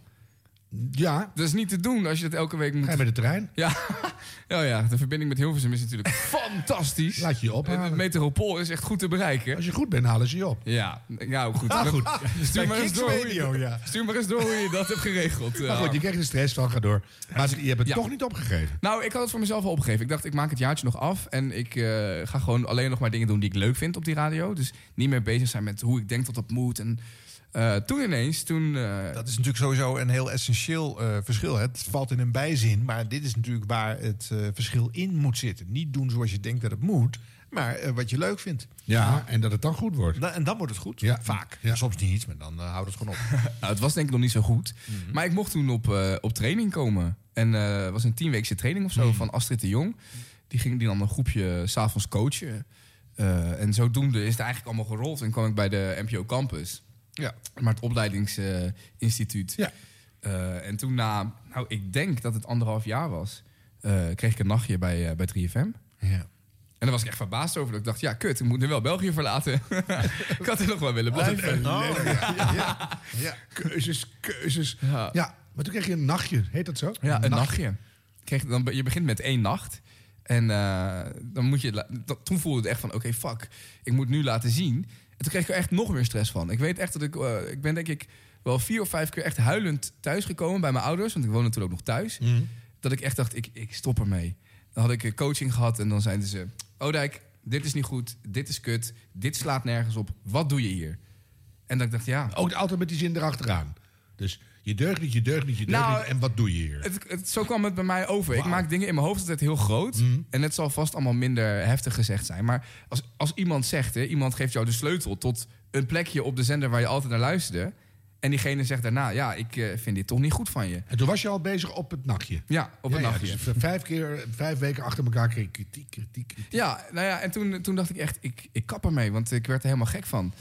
[SPEAKER 1] Ja.
[SPEAKER 3] Dat is niet te doen als je dat elke week moet...
[SPEAKER 1] Ga je met de trein?
[SPEAKER 3] Ja. ja, ja, de verbinding met Hilversum is natuurlijk fantastisch.
[SPEAKER 1] Laat je je ophalen.
[SPEAKER 3] Het metropool is echt goed te bereiken.
[SPEAKER 1] Als je goed bent, halen ze je op.
[SPEAKER 3] Ja, nou goed.
[SPEAKER 1] Ah, goed.
[SPEAKER 3] Stuur,
[SPEAKER 1] Bij
[SPEAKER 3] maar eens
[SPEAKER 1] Kicks
[SPEAKER 3] door hoe
[SPEAKER 1] Radio,
[SPEAKER 3] je,
[SPEAKER 1] ja.
[SPEAKER 3] stuur maar eens door hoe je dat hebt geregeld. eh.
[SPEAKER 1] Maar
[SPEAKER 3] Ja.
[SPEAKER 1] goed, je krijgt de stress van, ga door. Maar je hebt het
[SPEAKER 3] Ja.
[SPEAKER 1] toch niet opgegeven.
[SPEAKER 3] Nou, ik had het voor mezelf al opgegeven. Ik dacht, ik maak het jaartje nog af. En ik eh, ga gewoon alleen nog maar dingen doen die ik leuk vind op die radio. Dus niet meer bezig zijn met hoe ik denk dat dat moet. En eh, toen ineens, toen... eh,
[SPEAKER 4] Dat is natuurlijk sowieso een heel essentieel eh, verschil. hè. Het valt in een bijzin, maar dit is natuurlijk waar het eh, verschil in moet zitten. Niet doen zoals je denkt dat het moet, maar eh, wat je leuk vindt.
[SPEAKER 1] Ja, en dat het dan goed wordt.
[SPEAKER 4] Da- en dan wordt het goed.
[SPEAKER 1] Ja.
[SPEAKER 4] Vaak.
[SPEAKER 1] Ja.
[SPEAKER 4] Soms niet, maar dan eh, houdt het gewoon op. Mhm.
[SPEAKER 3] Nou, het was denk ik nog niet zo goed. Maar ik mocht toen op, eh, op training komen. En eh, het was een tienweekse training of zo
[SPEAKER 4] Mhm.
[SPEAKER 3] van Astrid de Jong. Die ging die dan een groepje s'avonds coachen. Eh, en zodoende is het eigenlijk allemaal gerold. En kwam ik bij de NPO Campus.
[SPEAKER 4] Ja.
[SPEAKER 3] Maar het opleidingsinstituut.
[SPEAKER 1] ja.
[SPEAKER 3] Eh, en toen na, nou ik denk dat het anderhalf jaar was... eh, kreeg ik een nachtje bij, eh, bij 3FM.
[SPEAKER 4] Ja.
[SPEAKER 3] En daar was ik echt verbaasd over. Dat ik dacht, ja kut, ik moet nu wel België verlaten. ik had er nog wel willen blijven.
[SPEAKER 1] Keuzes, keuzes.
[SPEAKER 3] Ja.
[SPEAKER 1] Ja, maar toen kreeg je een nachtje. Heet dat zo?
[SPEAKER 3] Ja, een nachtje. Je Kreeg, dan, be- je begint met één nacht. En eh, dan moet je, la- dat- toen voelde het echt van, oké, fuck. Ik moet nu laten zien. En toen kreeg ik er echt nog meer stress van. Ik weet echt dat ik... eh, ik ben denk ik wel vier of vijf keer echt huilend thuisgekomen bij mijn ouders. Want ik woon natuurlijk ook nog thuis. Dat ik echt dacht, ik, ik stop ermee. Dan had ik eh, coaching gehad en dan zeiden ze... Odijk, dit is niet goed. Dit is kut. Dit slaat nergens op. Wat doe je hier? En dat ik dacht, ja...
[SPEAKER 1] Ook altijd met die zin erachteraan. Dus je deugt niet, je deugt niet, je deugt
[SPEAKER 3] Nou,
[SPEAKER 1] niet. En wat doe je hier?
[SPEAKER 3] Het, het- zo kwam het bij mij over. Ik
[SPEAKER 1] Wauw. Mhm.
[SPEAKER 3] maak dingen in mijn hoofd altijd heel groot. En het zal vast allemaal minder heftig gezegd zijn. Maar als, als iemand zegt, hè, iemand geeft jou de sleutel tot een plekje op de zender waar je altijd naar luisterde. En diegene zegt daarna, ja, ik eh, vind dit toch niet goed van je.
[SPEAKER 1] En toen was je al bezig op het nachtje.
[SPEAKER 3] Ja, op
[SPEAKER 1] Ja,
[SPEAKER 3] een
[SPEAKER 1] ja,
[SPEAKER 3] nachtje.
[SPEAKER 1] dus v- vijf, keer, vijf weken achter elkaar kreeg ik kritiek, kritiek, kritiek.
[SPEAKER 3] Ja, nou ja, en toen, toen dacht ik echt, ik, ik kap ermee, want ik werd er helemaal gek van.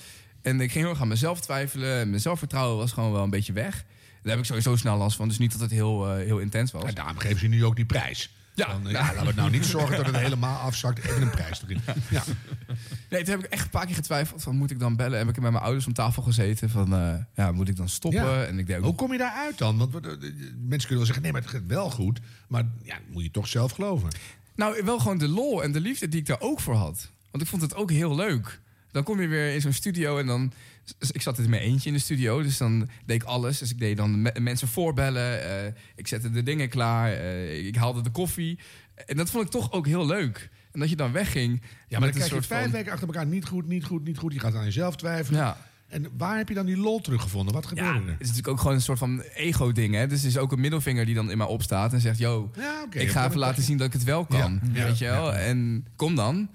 [SPEAKER 3] En ik ging heel erg aan mezelf twijfelen. En mijn zelfvertrouwen was gewoon wel een beetje weg. Daar heb ik sowieso snel last van, dus niet dat het heel, eh, heel intens was.
[SPEAKER 1] En Nou, daarom geven ze nu ook die prijs.
[SPEAKER 3] Ja.
[SPEAKER 1] Dan, eh, ja, laten we het nou niet zorgen dat het helemaal afzakt. Even een prijs erin. Ja.
[SPEAKER 3] Nee, toen heb ik echt een paar keer getwijfeld van moet ik dan bellen. Heb ik met mijn ouders om tafel gezeten van eh, ja, moet ik dan stoppen?
[SPEAKER 1] Ja.
[SPEAKER 3] En ik deed ook
[SPEAKER 1] Hoe
[SPEAKER 3] nog-
[SPEAKER 1] kom je daaruit dan? Want we- de- de- de- mensen kunnen wel zeggen, nee, maar het gaat wel goed. Maar ja, dat moet je toch zelf geloven.
[SPEAKER 3] nou wel gewoon de lol en de liefde die ik daar ook voor had. Want ik vond het ook heel leuk. Dan kom je weer in zo'n studio en dan s- ik zat in mijn eentje in de studio, dus dan deed ik alles. Dus ik deed dan me- mensen voorbellen, eh, ik zette de dingen klaar, eh, ik haalde de koffie. En dat vond ik toch ook heel leuk. En dat je dan wegging.
[SPEAKER 1] Ja, maar dan krijg je vijf weken achter elkaar niet goed, niet goed, niet goed. Je gaat aan jezelf twijfelen.
[SPEAKER 3] Ja.
[SPEAKER 1] En waar heb je dan die lol teruggevonden? Wat
[SPEAKER 3] Ja,
[SPEAKER 1] gebeurde
[SPEAKER 3] het is
[SPEAKER 1] er?
[SPEAKER 3] natuurlijk ook gewoon een soort van ego-ding. Hè? Dus er is ook een middelvinger die dan in mij opstaat en zegt: Yo,
[SPEAKER 1] Ja, oké,
[SPEAKER 3] ik
[SPEAKER 1] dat kan
[SPEAKER 3] ga
[SPEAKER 1] ik
[SPEAKER 3] even laten zien dat ik het wel kan.
[SPEAKER 1] Ja, ja,
[SPEAKER 3] weet je wel? En kom dan.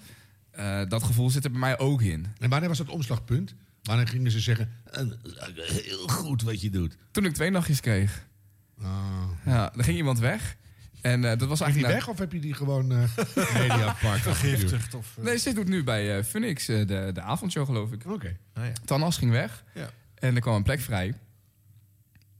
[SPEAKER 3] Eh, dat gevoel zit er bij mij ook in.
[SPEAKER 1] En wanneer was dat omslagpunt? Wanneer gingen ze zeggen, eh, heel goed wat je doet.
[SPEAKER 3] Toen ik twee nachtjes kreeg,
[SPEAKER 1] Ah.
[SPEAKER 3] ja, dan ging iemand weg. En eh, dat was
[SPEAKER 1] Ging die
[SPEAKER 3] eigenlijk.
[SPEAKER 1] weg of heb je die gewoon eh mediapark
[SPEAKER 4] Vergiftigd of... eh,
[SPEAKER 3] Nee, ze doet nu bij eh Phoenix eh, de, de avondshow, geloof ik.
[SPEAKER 1] Oké. Ah,
[SPEAKER 4] nou ja.
[SPEAKER 3] Tanas ging weg
[SPEAKER 4] Ja.
[SPEAKER 3] en er kwam een plek vrij.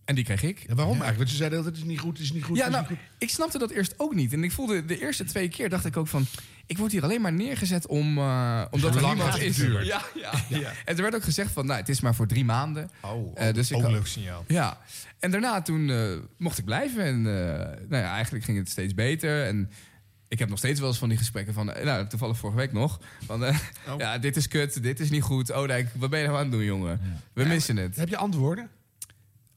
[SPEAKER 3] En die kreeg ik.
[SPEAKER 1] Ja, waarom eigenlijk? Want ze zeiden altijd, het is niet goed, het is niet goed.
[SPEAKER 3] Ja,
[SPEAKER 1] het is
[SPEAKER 3] nou,
[SPEAKER 1] niet goed.
[SPEAKER 3] ik snapte dat eerst ook niet. En ik voelde de eerste twee keer dacht ik ook van... ik word hier alleen maar neergezet om, eh, omdat
[SPEAKER 1] Hoe
[SPEAKER 3] er
[SPEAKER 1] lang
[SPEAKER 3] niemand
[SPEAKER 1] het
[SPEAKER 3] is.
[SPEAKER 1] duurt.
[SPEAKER 3] Ja, ja, En er werd ook gezegd van, nou, het is maar voor drie maanden.
[SPEAKER 4] Oh,
[SPEAKER 3] Eh, dus ik
[SPEAKER 4] ook
[SPEAKER 3] had-
[SPEAKER 4] een leuk signaal.
[SPEAKER 3] Ja. En daarna toen eh, mocht ik blijven. En eh, nou ja, eigenlijk ging het steeds beter. En ik heb nog steeds wel eens van die gesprekken van... eh, nou, toevallig vorige week nog. Van, eh,
[SPEAKER 4] Oh.
[SPEAKER 3] ja, dit is kut, dit is niet goed. Odijk, wat ben je nou aan het doen, jongen? We missen het.
[SPEAKER 1] Heb je antwoorden?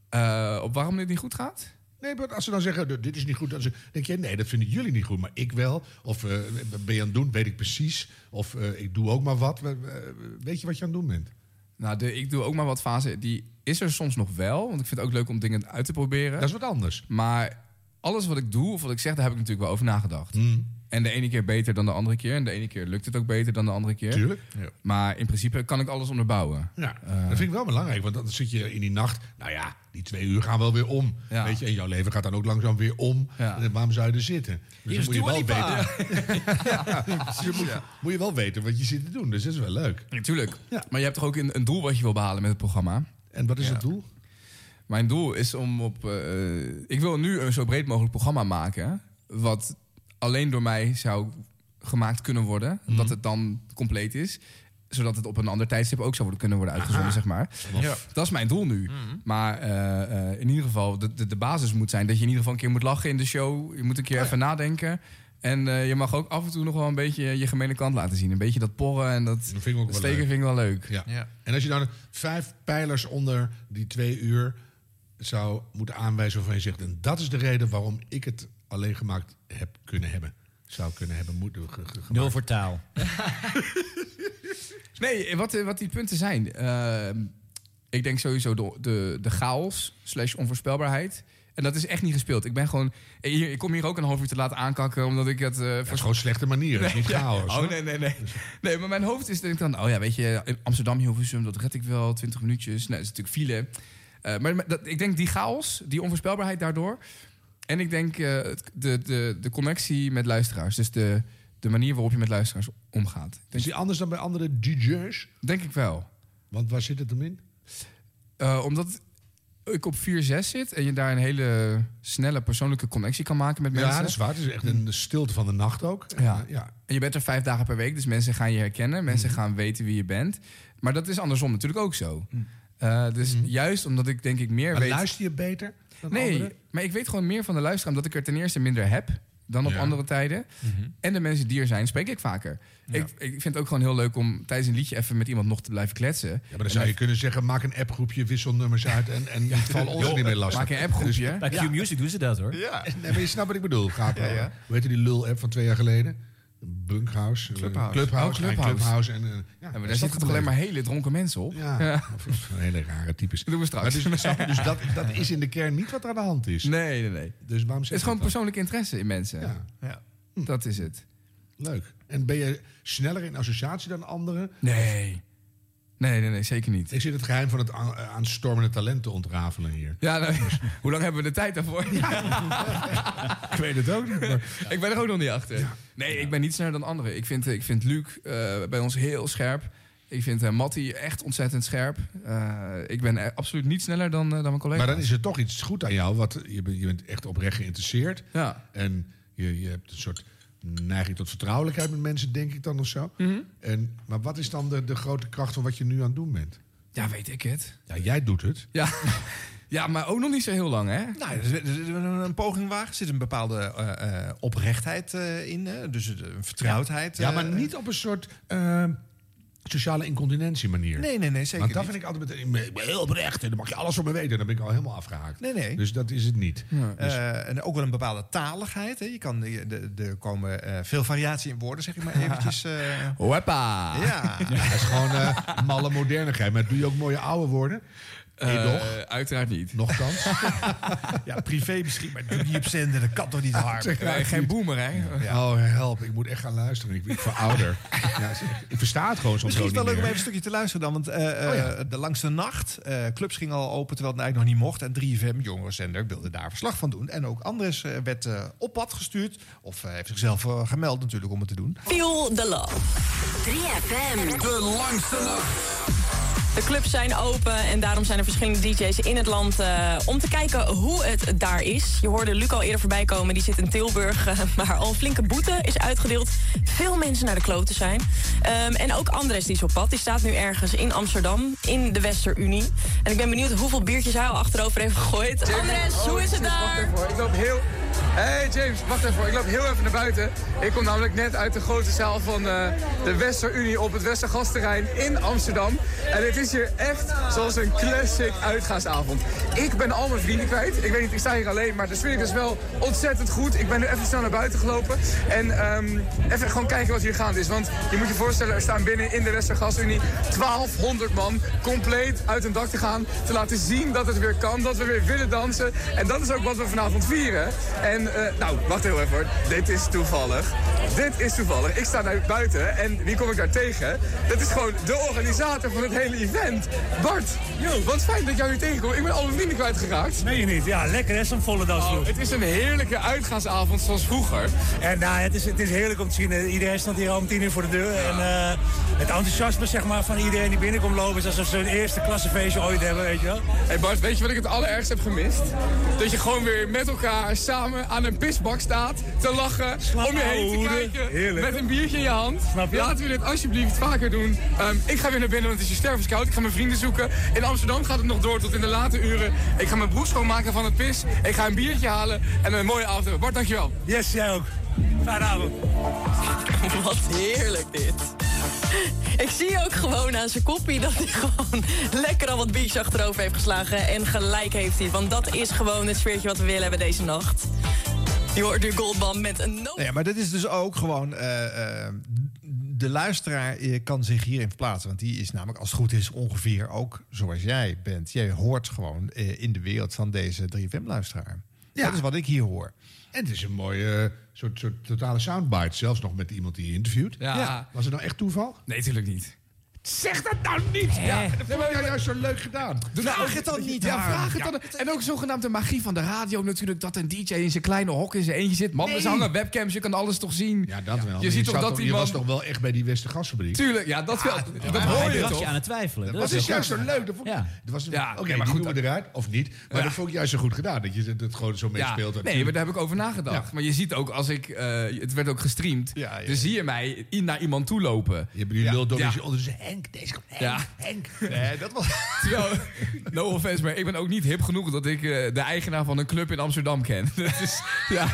[SPEAKER 3] Eh, op waarom dit niet goed gaat?
[SPEAKER 1] Nee, maar als ze dan zeggen, dit is niet goed, dan ze- denk je, nee, dat vinden jullie niet goed, maar ik wel. Of eh, wat ben je aan het doen, weet ik precies. Of eh, ik doe ook maar wat. We- we- Eh, Weet je wat je aan het doen bent?
[SPEAKER 3] Nou, de, ik doe ook maar wat fase. Die is er soms nog wel. Want ik vind het ook leuk om dingen uit te proberen.
[SPEAKER 1] Dat is wat anders. hmm.
[SPEAKER 3] Maar alles wat ik doe of wat ik zeg, daar heb ik natuurlijk wel over nagedacht. En de ene keer beter dan de andere keer. En de ene keer lukt het ook beter dan de andere keer.
[SPEAKER 1] Tuurlijk.
[SPEAKER 3] Maar in principe kan ik alles onderbouwen.
[SPEAKER 1] Ja,
[SPEAKER 3] Eh,
[SPEAKER 1] dat vind ik wel belangrijk, want dan zit je in die nacht. Nou ja, die twee uur gaan wel weer om. Weet je, en jouw leven gaat dan ook langzaam weer om. En waarom zou je er zitten? Dus
[SPEAKER 3] Hier
[SPEAKER 1] dan moet
[SPEAKER 3] is
[SPEAKER 1] je wel
[SPEAKER 3] Dua Lipa.
[SPEAKER 1] weten. Dus je moet, moet je wel weten wat je zit te doen. Dus dat is wel leuk.
[SPEAKER 3] Natuurlijk. Maar je hebt toch ook een, een doel wat je wil behalen met het programma?
[SPEAKER 1] En wat is het doel?
[SPEAKER 3] Mijn doel is om op. eh, ik wil nu een zo breed mogelijk programma maken. Wat alleen door mij zou gemaakt kunnen worden.
[SPEAKER 1] Mhm.
[SPEAKER 3] Dat het dan compleet is. Zodat het op een ander tijdstip ook zou worden, kunnen worden uitgezonden, zeg maar.
[SPEAKER 1] Ja. Mhm.
[SPEAKER 3] Dat is mijn doel nu. Maar eh, eh, in ieder geval, de, de, de basis moet zijn dat je in ieder geval een keer moet lachen in de show. Je moet een keer
[SPEAKER 1] Oh
[SPEAKER 3] even nadenken. En eh, je mag ook af en toe nog wel een beetje je gemene kant laten zien. Een beetje dat porren en dat,
[SPEAKER 1] Dat vind ik ook wel
[SPEAKER 3] steken
[SPEAKER 1] leuk.
[SPEAKER 3] vind ik wel leuk.
[SPEAKER 1] Ja. En als je dan vijf pijlers onder die twee uur zou moeten aanwijzen waarvan je zegt... en dat is de reden waarom ik het alleen gemaakt heb kunnen hebben. Zou kunnen hebben moeten. ge- ge- gemaakt.
[SPEAKER 2] Nul voor taal.
[SPEAKER 3] Nee, wat, eh, wat die punten zijn. Eh, ik denk sowieso de, de, de chaos slash onvoorspelbaarheid. En dat is echt niet gespeeld. Ik ben gewoon... eh, Hier, ik kom hier ook een half uur te laat aankakken, omdat ik dat... eh
[SPEAKER 1] Dat is gewoon een slechte manier. Dat is niet chaos.
[SPEAKER 3] Oh,
[SPEAKER 1] hoor.
[SPEAKER 3] nee, nee, nee. Nee, maar mijn hoofd is denk ik dan... Oh ja, weet je, in Amsterdam, Hilversum, dat red ik wel. 20 minuutjes. Nou, dat is natuurlijk file. Eh, maar maar dat, ik denk die chaos, die onvoorspelbaarheid daardoor. En ik denk eh, het- de, de, de connectie met luisteraars. Dus de, de manier waarop je met luisteraars omgaat. Ik denk-
[SPEAKER 1] Is die anders dan bij andere DJ's?
[SPEAKER 3] Denk ik wel.
[SPEAKER 1] Want waar zit het hem in?
[SPEAKER 3] Eh, omdat ik op 4-6 zit en je daar een hele snelle persoonlijke connectie kan maken met mensen.
[SPEAKER 1] Ja, dat is waar. Het is echt een stilte van de nacht ook.
[SPEAKER 3] Ja.
[SPEAKER 1] Eh, ja.
[SPEAKER 3] En je bent er vijf dagen per week, dus mensen gaan je herkennen.
[SPEAKER 1] Mm.
[SPEAKER 3] Mensen gaan weten wie je bent. Maar dat is andersom natuurlijk ook zo. Eh, dus juist omdat ik denk ik meer
[SPEAKER 1] Mm. Maar
[SPEAKER 3] weet...
[SPEAKER 1] luister je beter dan
[SPEAKER 3] nee,
[SPEAKER 1] anderen?
[SPEAKER 3] maar ik weet gewoon meer van de luisteraar... omdat ik er ten eerste minder heb dan op
[SPEAKER 1] Ja. Mhm.
[SPEAKER 3] andere tijden. En de mensen die er zijn, spreek ik vaker. Ik, ik vind het ook gewoon heel leuk om tijdens een liedje... even met iemand nog te blijven kletsen.
[SPEAKER 1] Ja, maar dan zou je kunnen zeggen, maak een appgroepje, wissel nummers uit en, en val ons er
[SPEAKER 3] Joh,
[SPEAKER 1] niet mee lastig. Dus
[SPEAKER 3] maak een appgroepje. Bij Q
[SPEAKER 2] Music doen ze dat hoor.
[SPEAKER 1] Ja. Nee, maar je snapt wat ik bedoel. Gaap,
[SPEAKER 3] Ja, ja.
[SPEAKER 1] Hoe heette die lul-app van twee jaar geleden? Bunkhouse. eh,
[SPEAKER 3] Clubhouse.
[SPEAKER 1] Clubhouse.
[SPEAKER 3] Oh,
[SPEAKER 1] ja,
[SPEAKER 3] Clubhouse.
[SPEAKER 1] Clubhouse en, eh, ja,
[SPEAKER 3] Ja, maar
[SPEAKER 1] is
[SPEAKER 3] daar
[SPEAKER 1] dat
[SPEAKER 3] zitten toch alleen
[SPEAKER 1] gebleven?
[SPEAKER 3] maar hele dronken mensen op?
[SPEAKER 1] Ja. Hele rare types.
[SPEAKER 3] Dat doen we
[SPEAKER 1] Maar
[SPEAKER 3] straks.
[SPEAKER 1] dus, snap je, dus dat, dat is in de kern niet wat er aan de hand is.
[SPEAKER 3] Nee, nee, nee.
[SPEAKER 1] Dus
[SPEAKER 3] Het
[SPEAKER 1] waarom
[SPEAKER 3] is
[SPEAKER 1] zeg
[SPEAKER 3] gewoon
[SPEAKER 1] je dat
[SPEAKER 3] persoonlijk interesse in mensen.
[SPEAKER 1] Ja.
[SPEAKER 3] Dat is het.
[SPEAKER 1] dan? Leuk. En ben je sneller in associatie dan anderen?
[SPEAKER 3] Nee. Nee, nee, nee, zeker niet.
[SPEAKER 1] Ik zit het geheim van het aan- aanstormende talent te ontrafelen hier.
[SPEAKER 3] Ja, nou, hoe lang hebben we de tijd daarvoor?
[SPEAKER 1] Ik weet het ook niet. Maar...
[SPEAKER 3] ik ben er ook nog niet achter. Nee, ik ben niet sneller dan anderen. Ik vind, eh, ik vind Luc eh, bij ons heel scherp. Ik vind eh Matty echt ontzettend scherp. Eh, ik ben eh, absoluut niet sneller dan, eh, dan mijn collega's.
[SPEAKER 1] Maar dan is er toch iets goed aan jou. Wat, je, bent, je bent echt oprecht geïnteresseerd.
[SPEAKER 3] Ja.
[SPEAKER 1] En je, je hebt een soort neiging tot vertrouwelijkheid met mensen, denk ik dan of zo.
[SPEAKER 3] Mhm.
[SPEAKER 1] en, maar wat is dan de, de grote kracht van wat je nu aan het doen bent?
[SPEAKER 3] Ja, weet ik het.
[SPEAKER 1] Ja, jij doet het.
[SPEAKER 3] Ja. ja, maar ook nog niet zo heel lang, hè?
[SPEAKER 4] Nou, dus we- dus we doen een poging wagen. Er zit een bepaalde eh, eh, oprechtheid eh, in. eh, Dus een vertrouwdheid.
[SPEAKER 1] Ja,
[SPEAKER 4] eh,
[SPEAKER 1] maar niet op een soort eh, sociale incontinentie manier.
[SPEAKER 4] Nee, nee, nee, zeker
[SPEAKER 1] Want dat
[SPEAKER 4] niet.
[SPEAKER 1] vind ik altijd... meteen- Ik ben heel oprecht en dan mag je alles van me weten. Dan ben ik al helemaal afgehaakt.
[SPEAKER 4] Nee, nee.
[SPEAKER 1] Dus dat is het niet. Dus-
[SPEAKER 4] Eh, en ook wel een bepaalde taligheid. Hè. Je kan, je- de- er komen eh, veel variatie in woorden, zeg ik maar eventjes.
[SPEAKER 1] Oh,
[SPEAKER 4] eh.
[SPEAKER 3] Weppa!
[SPEAKER 4] Ja.
[SPEAKER 1] Dat is gewoon eh, malle modernigheid. Maar doe je ook mooie oude woorden?
[SPEAKER 3] Eh,
[SPEAKER 1] Nee, toch?
[SPEAKER 3] uiteraard niet.
[SPEAKER 1] Nogthans.
[SPEAKER 4] ja, privé misschien, maar doe die op zender. Dat kan toch niet hard?
[SPEAKER 3] Nee, geen boomer, hè?
[SPEAKER 1] Oh, help. Ik moet echt gaan luisteren. Ik ben verouder. ja, ik versta het gewoon soms
[SPEAKER 4] Misschien is
[SPEAKER 1] gewoon
[SPEAKER 4] het wel
[SPEAKER 1] niet
[SPEAKER 4] leuk om
[SPEAKER 1] meer. Oh
[SPEAKER 4] even een stukje te luisteren dan. Want eh, eh,
[SPEAKER 1] ja.
[SPEAKER 4] de langste nacht, eh, clubs gingen al open terwijl het eigenlijk nog niet mocht. En 3FM, jongerenzender, wilde daar verslag van doen. En ook Andres eh, werd eh, op pad gestuurd. Of eh, heeft zichzelf eh, gemeld natuurlijk om het te doen.
[SPEAKER 5] Fuel the love. 3FM. De langste nacht. De clubs zijn open en daarom zijn er verschillende DJ's in het land eh, om te kijken hoe het daar is. Je hoorde Luc al eerder voorbij komen, die zit in Tilburg, eh, maar al een flinke boete is uitgedeeld. Veel mensen naar de kloten zijn. Ehm, en ook Andres die is op pad, die staat nu ergens in Amsterdam, in de Westerunie. En ik ben benieuwd hoeveel biertjes hij al achterover heeft gegooid. Andres, hoe is het daar?
[SPEAKER 3] Ik loop heel... Hey James, wacht even. Ik loop heel even naar buiten. Ik kom namelijk net uit de grote zaal van eh, de Westerunie op het Westergasterrein in Amsterdam. En het is hier echt zoals een classic uitgaansavond. Ik ben al mijn vrienden kwijt. Ik weet niet, ik sta hier alleen, maar de sfeer is wel ontzettend goed. Ik ben nu even snel naar buiten gelopen. En ehm, even gewoon kijken wat hier gaande is. Want je moet je voorstellen, er staan binnen in de Westergastunie 1200 man compleet uit hun dak te gaan. Te laten zien dat het weer kan, dat we weer willen dansen. En dat is ook wat we vanavond vieren. En
[SPEAKER 21] En, eh, nou, wacht heel even hoor. Dit is toevallig. Dit is toevallig. Ik sta nu buiten en wie kom ik daar tegen? Dat is gewoon de organisator van het hele event. Bart, Yo. wat fijn dat ik jou hier tegenkom. Ik ben al mijn vrienden kwijtgeraakt.
[SPEAKER 22] Nee, je niet. Ja, lekker hè, zo'n volle dans.
[SPEAKER 21] Oh, het is een heerlijke uitgaansavond zoals vroeger.
[SPEAKER 22] En nou, het is, het is heerlijk om te zien. Eh, Iedereen stond hier al om tien uur voor de deur. En eh, het enthousiasme zeg maar, van iedereen die binnenkomt lopen... is alsof ze hun eerste klassefeestje ooit hebben, weet je wel.
[SPEAKER 21] Hey Bart, weet je wat ik het allerergst heb gemist? Dat je gewoon weer met elkaar samen aan een pisbak staat, te lachen, om je heen te
[SPEAKER 22] ouwe hoeden.
[SPEAKER 21] kijken,
[SPEAKER 22] Oh, Heerlijk.
[SPEAKER 21] met een biertje in je hand. Laten we dit alsjeblieft vaker doen. Ehm, ik ga weer naar binnen, want het is je stervenskoud. Ik ga mijn vrienden zoeken. In Amsterdam gaat het nog door tot in de late uren. Ik ga mijn broek schoonmaken van het pis. Ik ga een biertje halen en een mooie avond hebben. Bart, dankjewel.
[SPEAKER 22] Yes, jij ook. Fijne avond.
[SPEAKER 5] Wat heerlijk dit. Ik zie ook gewoon aan zijn koppie dat hij gewoon lekker al wat biertjes achterover heeft geslagen. En gelijk heeft hij, want dat is gewoon het sfeertje wat we willen hebben deze nacht. Je hoort nu Goldman met een no...
[SPEAKER 4] Nou ja, maar dat is dus ook gewoon. eh, eh, de luisteraar eh, kan zich hierin verplaatsen. Want die is namelijk, als het goed is, ongeveer ook zoals jij bent. Jij hoort gewoon eh, in de wereld van deze 3FM-luisteraar. Dat is wat ik hier hoor.
[SPEAKER 1] En het is een mooie eh, soort, soort totale soundbite. Zelfs nog met iemand die je interviewt.
[SPEAKER 3] Ja.
[SPEAKER 1] Was het nou echt toeval?
[SPEAKER 3] Nee, tuurlijk niet.
[SPEAKER 1] Zeg dat nou niet! Ja, dat vond ik nou juist zo leuk gedaan.
[SPEAKER 3] Nou, Ja, vraag het dan. En ook zogenaamd de magie van de radio natuurlijk. Dat een DJ in zijn kleine hok in zijn eentje zit. Man,
[SPEAKER 1] Nee.
[SPEAKER 3] er hangen webcams, je kan alles toch zien.
[SPEAKER 1] Ja, dat wel.
[SPEAKER 3] Je
[SPEAKER 1] Maar
[SPEAKER 3] ziet toch
[SPEAKER 1] zat
[SPEAKER 3] dat die
[SPEAKER 1] Je
[SPEAKER 3] man-
[SPEAKER 1] was toch wel echt bij die Westergasfabriek?
[SPEAKER 3] Tuurlijk, ja, dat wel. dat
[SPEAKER 1] maar
[SPEAKER 3] hoor
[SPEAKER 1] hij
[SPEAKER 3] je
[SPEAKER 1] bracht
[SPEAKER 3] toch?
[SPEAKER 1] je aan het twijfelen. Dat
[SPEAKER 3] Dat
[SPEAKER 1] is
[SPEAKER 3] is
[SPEAKER 1] juist
[SPEAKER 3] juist
[SPEAKER 1] zo leuk. Dat vond ik- dat was ja, Oké, maar goed, we eruit, of niet. Maar dat vond ik juist zo goed gedaan, dat je het gewoon zo mee
[SPEAKER 3] Ja,
[SPEAKER 1] speelt.
[SPEAKER 3] nee, maar daar heb ik over nagedacht. Maar je ziet ook, als ik, eh, het werd ook gestreamd, dus zie je mij i- naar iemand toe lopen.
[SPEAKER 1] Je oh, hebt die
[SPEAKER 3] ja.
[SPEAKER 1] lul door
[SPEAKER 3] ja.
[SPEAKER 1] die- onder zijn Henk, deze komt Henk,
[SPEAKER 3] Ja.
[SPEAKER 1] Henk.
[SPEAKER 3] Nee,
[SPEAKER 1] dat was...
[SPEAKER 3] Terwijl, no offense, maar ik ben ook niet hip genoeg dat ik eh, de eigenaar van een club in Amsterdam ken. Dat is, ja,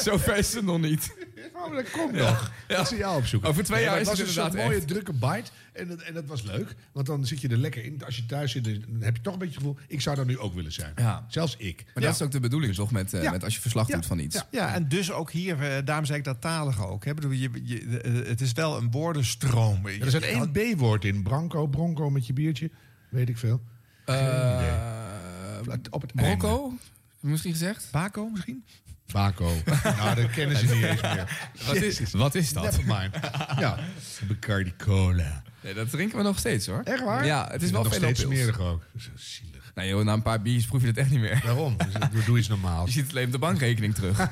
[SPEAKER 3] zover is het nog niet.
[SPEAKER 1] Oh, maar dat komt
[SPEAKER 3] Ja.
[SPEAKER 1] nog.
[SPEAKER 3] Ja.
[SPEAKER 1] Ik zie jou opzoeken.
[SPEAKER 3] Over twee
[SPEAKER 1] Nee,
[SPEAKER 3] jaar
[SPEAKER 1] maar
[SPEAKER 3] is
[SPEAKER 1] het
[SPEAKER 3] het
[SPEAKER 1] was een soort
[SPEAKER 3] inderdaad
[SPEAKER 1] mooie
[SPEAKER 3] echt.
[SPEAKER 1] drukke bite. En dat, en dat was leuk. Want dan zit je er lekker in. Als je thuis zit, dan heb je toch een beetje het gevoel... ik zou daar nu ook willen zijn.
[SPEAKER 3] Ja.
[SPEAKER 1] Zelfs ik.
[SPEAKER 3] Maar dat is ook de bedoeling, toch? Met, eh,
[SPEAKER 1] Ja.
[SPEAKER 3] met als je verslag
[SPEAKER 1] Ja.
[SPEAKER 3] doet van iets.
[SPEAKER 4] Ja, ja, en dus ook hier, eh, daarom zei ik dat talige ook. Hè. Ik Bedoel, je, je, eh, het is wel een woordenstroom.
[SPEAKER 1] Er zit één B-woord in. Branco, bronco met je biertje. Weet ik veel.
[SPEAKER 3] Eh,
[SPEAKER 1] Geen idee. Vlak Op het einde.
[SPEAKER 3] Brocco, misschien gezegd?
[SPEAKER 4] Baco misschien?
[SPEAKER 1] Baco. nou, dat kennen ze niet eens meer.
[SPEAKER 3] Wat is, wat is dat?
[SPEAKER 1] Never mind. Ja. Bacardi Cola.
[SPEAKER 3] Nee, dat drinken we nog steeds hoor.
[SPEAKER 1] Echt waar?
[SPEAKER 3] Ja, het is
[SPEAKER 1] Ik
[SPEAKER 3] wel
[SPEAKER 1] vind
[SPEAKER 3] veel
[SPEAKER 1] het nog steeds smerig ook. Zo zielig.
[SPEAKER 3] Nou joh, na een paar biertjes proef je dat echt niet meer.
[SPEAKER 1] Daarom. Dus doe iets normaals.
[SPEAKER 3] Je ziet het alleen op de bankrekening terug.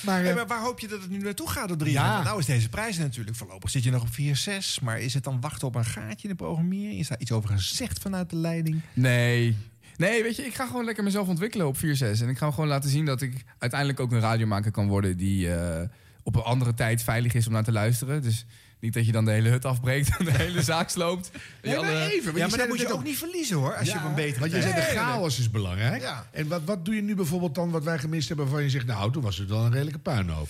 [SPEAKER 4] Maar, maar waar hoop je dat het nu naartoe gaat door drie
[SPEAKER 3] Ja.
[SPEAKER 4] jaar? Want Nou is deze prijs natuurlijk. Voorlopig zit je nog op 4-6. Maar is het dan wachten op een gaatje in de programmering? Is daar iets over gezegd vanuit de leiding?
[SPEAKER 3] Nee. Nee, weet je, ik ga gewoon lekker mezelf ontwikkelen op 4-6. En ik ga gewoon laten zien dat ik uiteindelijk ook een radiomaker kan worden die eh, op een andere tijd veilig is om naar te luisteren. Dus niet dat je dan de hele hut afbreekt en de hele zaak sloopt.
[SPEAKER 1] Nee, maar even, want
[SPEAKER 4] ja,
[SPEAKER 1] je
[SPEAKER 4] maar
[SPEAKER 1] zei
[SPEAKER 4] dan moet
[SPEAKER 1] net
[SPEAKER 4] je ook
[SPEAKER 1] ook-
[SPEAKER 4] niet verliezen hoor. Als je op een betere
[SPEAKER 1] Want je
[SPEAKER 4] tijd-
[SPEAKER 1] zegt de chaos is belangrijk.
[SPEAKER 4] Ja.
[SPEAKER 1] En wat, wat doe je nu bijvoorbeeld dan wat wij gemist hebben... waarvan je zegt, nou, toen was het wel een redelijke puinhoop.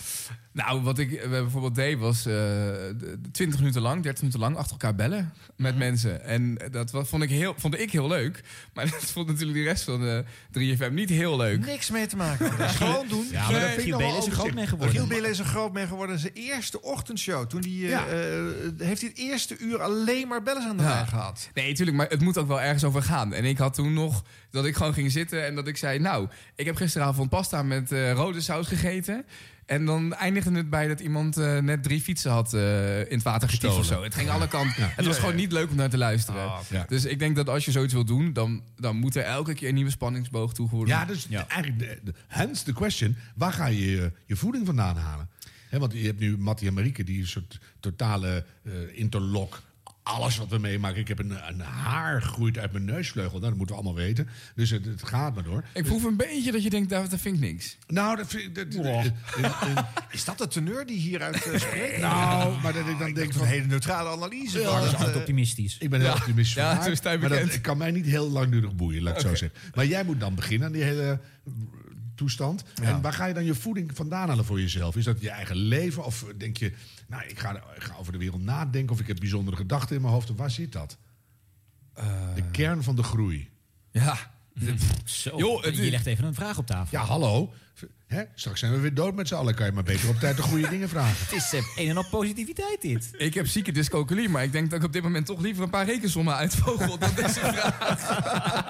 [SPEAKER 3] Nou, wat ik eh, bijvoorbeeld deed was eh, de- de 20 minuten lang, 30 minuten lang achter elkaar bellen met mensen. En dat wa- vond ik, heel, vond ik heel leuk. Maar dat vond natuurlijk de rest van de 3FM niet heel leuk.
[SPEAKER 4] Niks mee te maken. Dat is gewoon doen.
[SPEAKER 3] Ja, maar dat vind ik nog wel overzicht.
[SPEAKER 4] Giel Belen is een groot mee geworden. Zijn eerste ochtendshow. Toen die, eh,
[SPEAKER 3] Ja.
[SPEAKER 4] eh, heeft hij het eerste uur alleen maar bellen aan de lijn gehad.
[SPEAKER 3] Nee, tuurlijk, maar het moet ook wel ergens over gaan. En ik had toen nog dat ik gewoon ging zitten en dat ik zei... nou, ik heb gisteravond pasta met eh, rode saus gegeten. En dan eindigde het bij dat iemand eh, net drie fietsen had eh, in het water getiefd of
[SPEAKER 19] Gestolen.
[SPEAKER 3] zo. Het ging alle kanten.
[SPEAKER 19] Ja.
[SPEAKER 3] Het was
[SPEAKER 19] Ja,
[SPEAKER 3] gewoon niet leuk om naar te luisteren.
[SPEAKER 1] Ah,
[SPEAKER 19] ja.
[SPEAKER 3] Dus ik denk dat als je zoiets wil doen... dan, dan moet er elke keer een nieuwe spanningsboog toegevoegd
[SPEAKER 1] Ja, dus eigenlijk, de, de- hence the question, waar ga je eh, je voeding vandaan halen? Hè, want je hebt nu Mattie en Marieke, die een soort totale eh interlok. Alles wat we meemaken. Ik heb een, een haar groeit uit mijn neusvleugel. Nou, dat moeten we allemaal weten. Dus het, het gaat maar door.
[SPEAKER 3] Ik proef een beetje dat je denkt, daar, daar vind ik niks.
[SPEAKER 1] Nou, dat eh, vind ik...
[SPEAKER 4] Is dat de teneur die hieruit eh, spreekt?
[SPEAKER 1] Nou, maar dat ik dan denk
[SPEAKER 4] Een hele neutrale analyse.
[SPEAKER 1] Ja,
[SPEAKER 4] van
[SPEAKER 1] dat is
[SPEAKER 4] het,
[SPEAKER 1] altijd
[SPEAKER 4] eh,
[SPEAKER 2] optimistisch.
[SPEAKER 1] Ik ben heel
[SPEAKER 4] Ja.
[SPEAKER 1] optimistisch van
[SPEAKER 4] Ja,
[SPEAKER 1] haar,
[SPEAKER 4] zo is Stijn
[SPEAKER 1] maar dat
[SPEAKER 4] bekend.
[SPEAKER 1] kan mij niet heel langdurig boeien, laat ik
[SPEAKER 4] Oké.
[SPEAKER 1] zo zeggen. Maar jij moet dan beginnen aan die hele eh, toestand. En waar ga je dan je voeding vandaan halen voor jezelf? Is dat je eigen leven? Of denk je, nou, ik ga, ik ga over de wereld nadenken... of ik heb bijzondere gedachten in mijn hoofd? Of waar zit dat?
[SPEAKER 4] Eh.
[SPEAKER 1] de kern van de groei.
[SPEAKER 3] Ja.
[SPEAKER 2] Zo, je legt even een vraag op tafel.
[SPEAKER 1] Ja, hallo. Hè? Straks zijn we weer dood met z'n allen. Kan je maar beter op tijd de goede dingen vragen.
[SPEAKER 2] Het is eh, een en al positiviteit dit.
[SPEAKER 3] Ik heb zieke dyscalculie, maar ik denk dat ik op dit moment toch liever een paar rekensommen uitvogel dan deze vraag.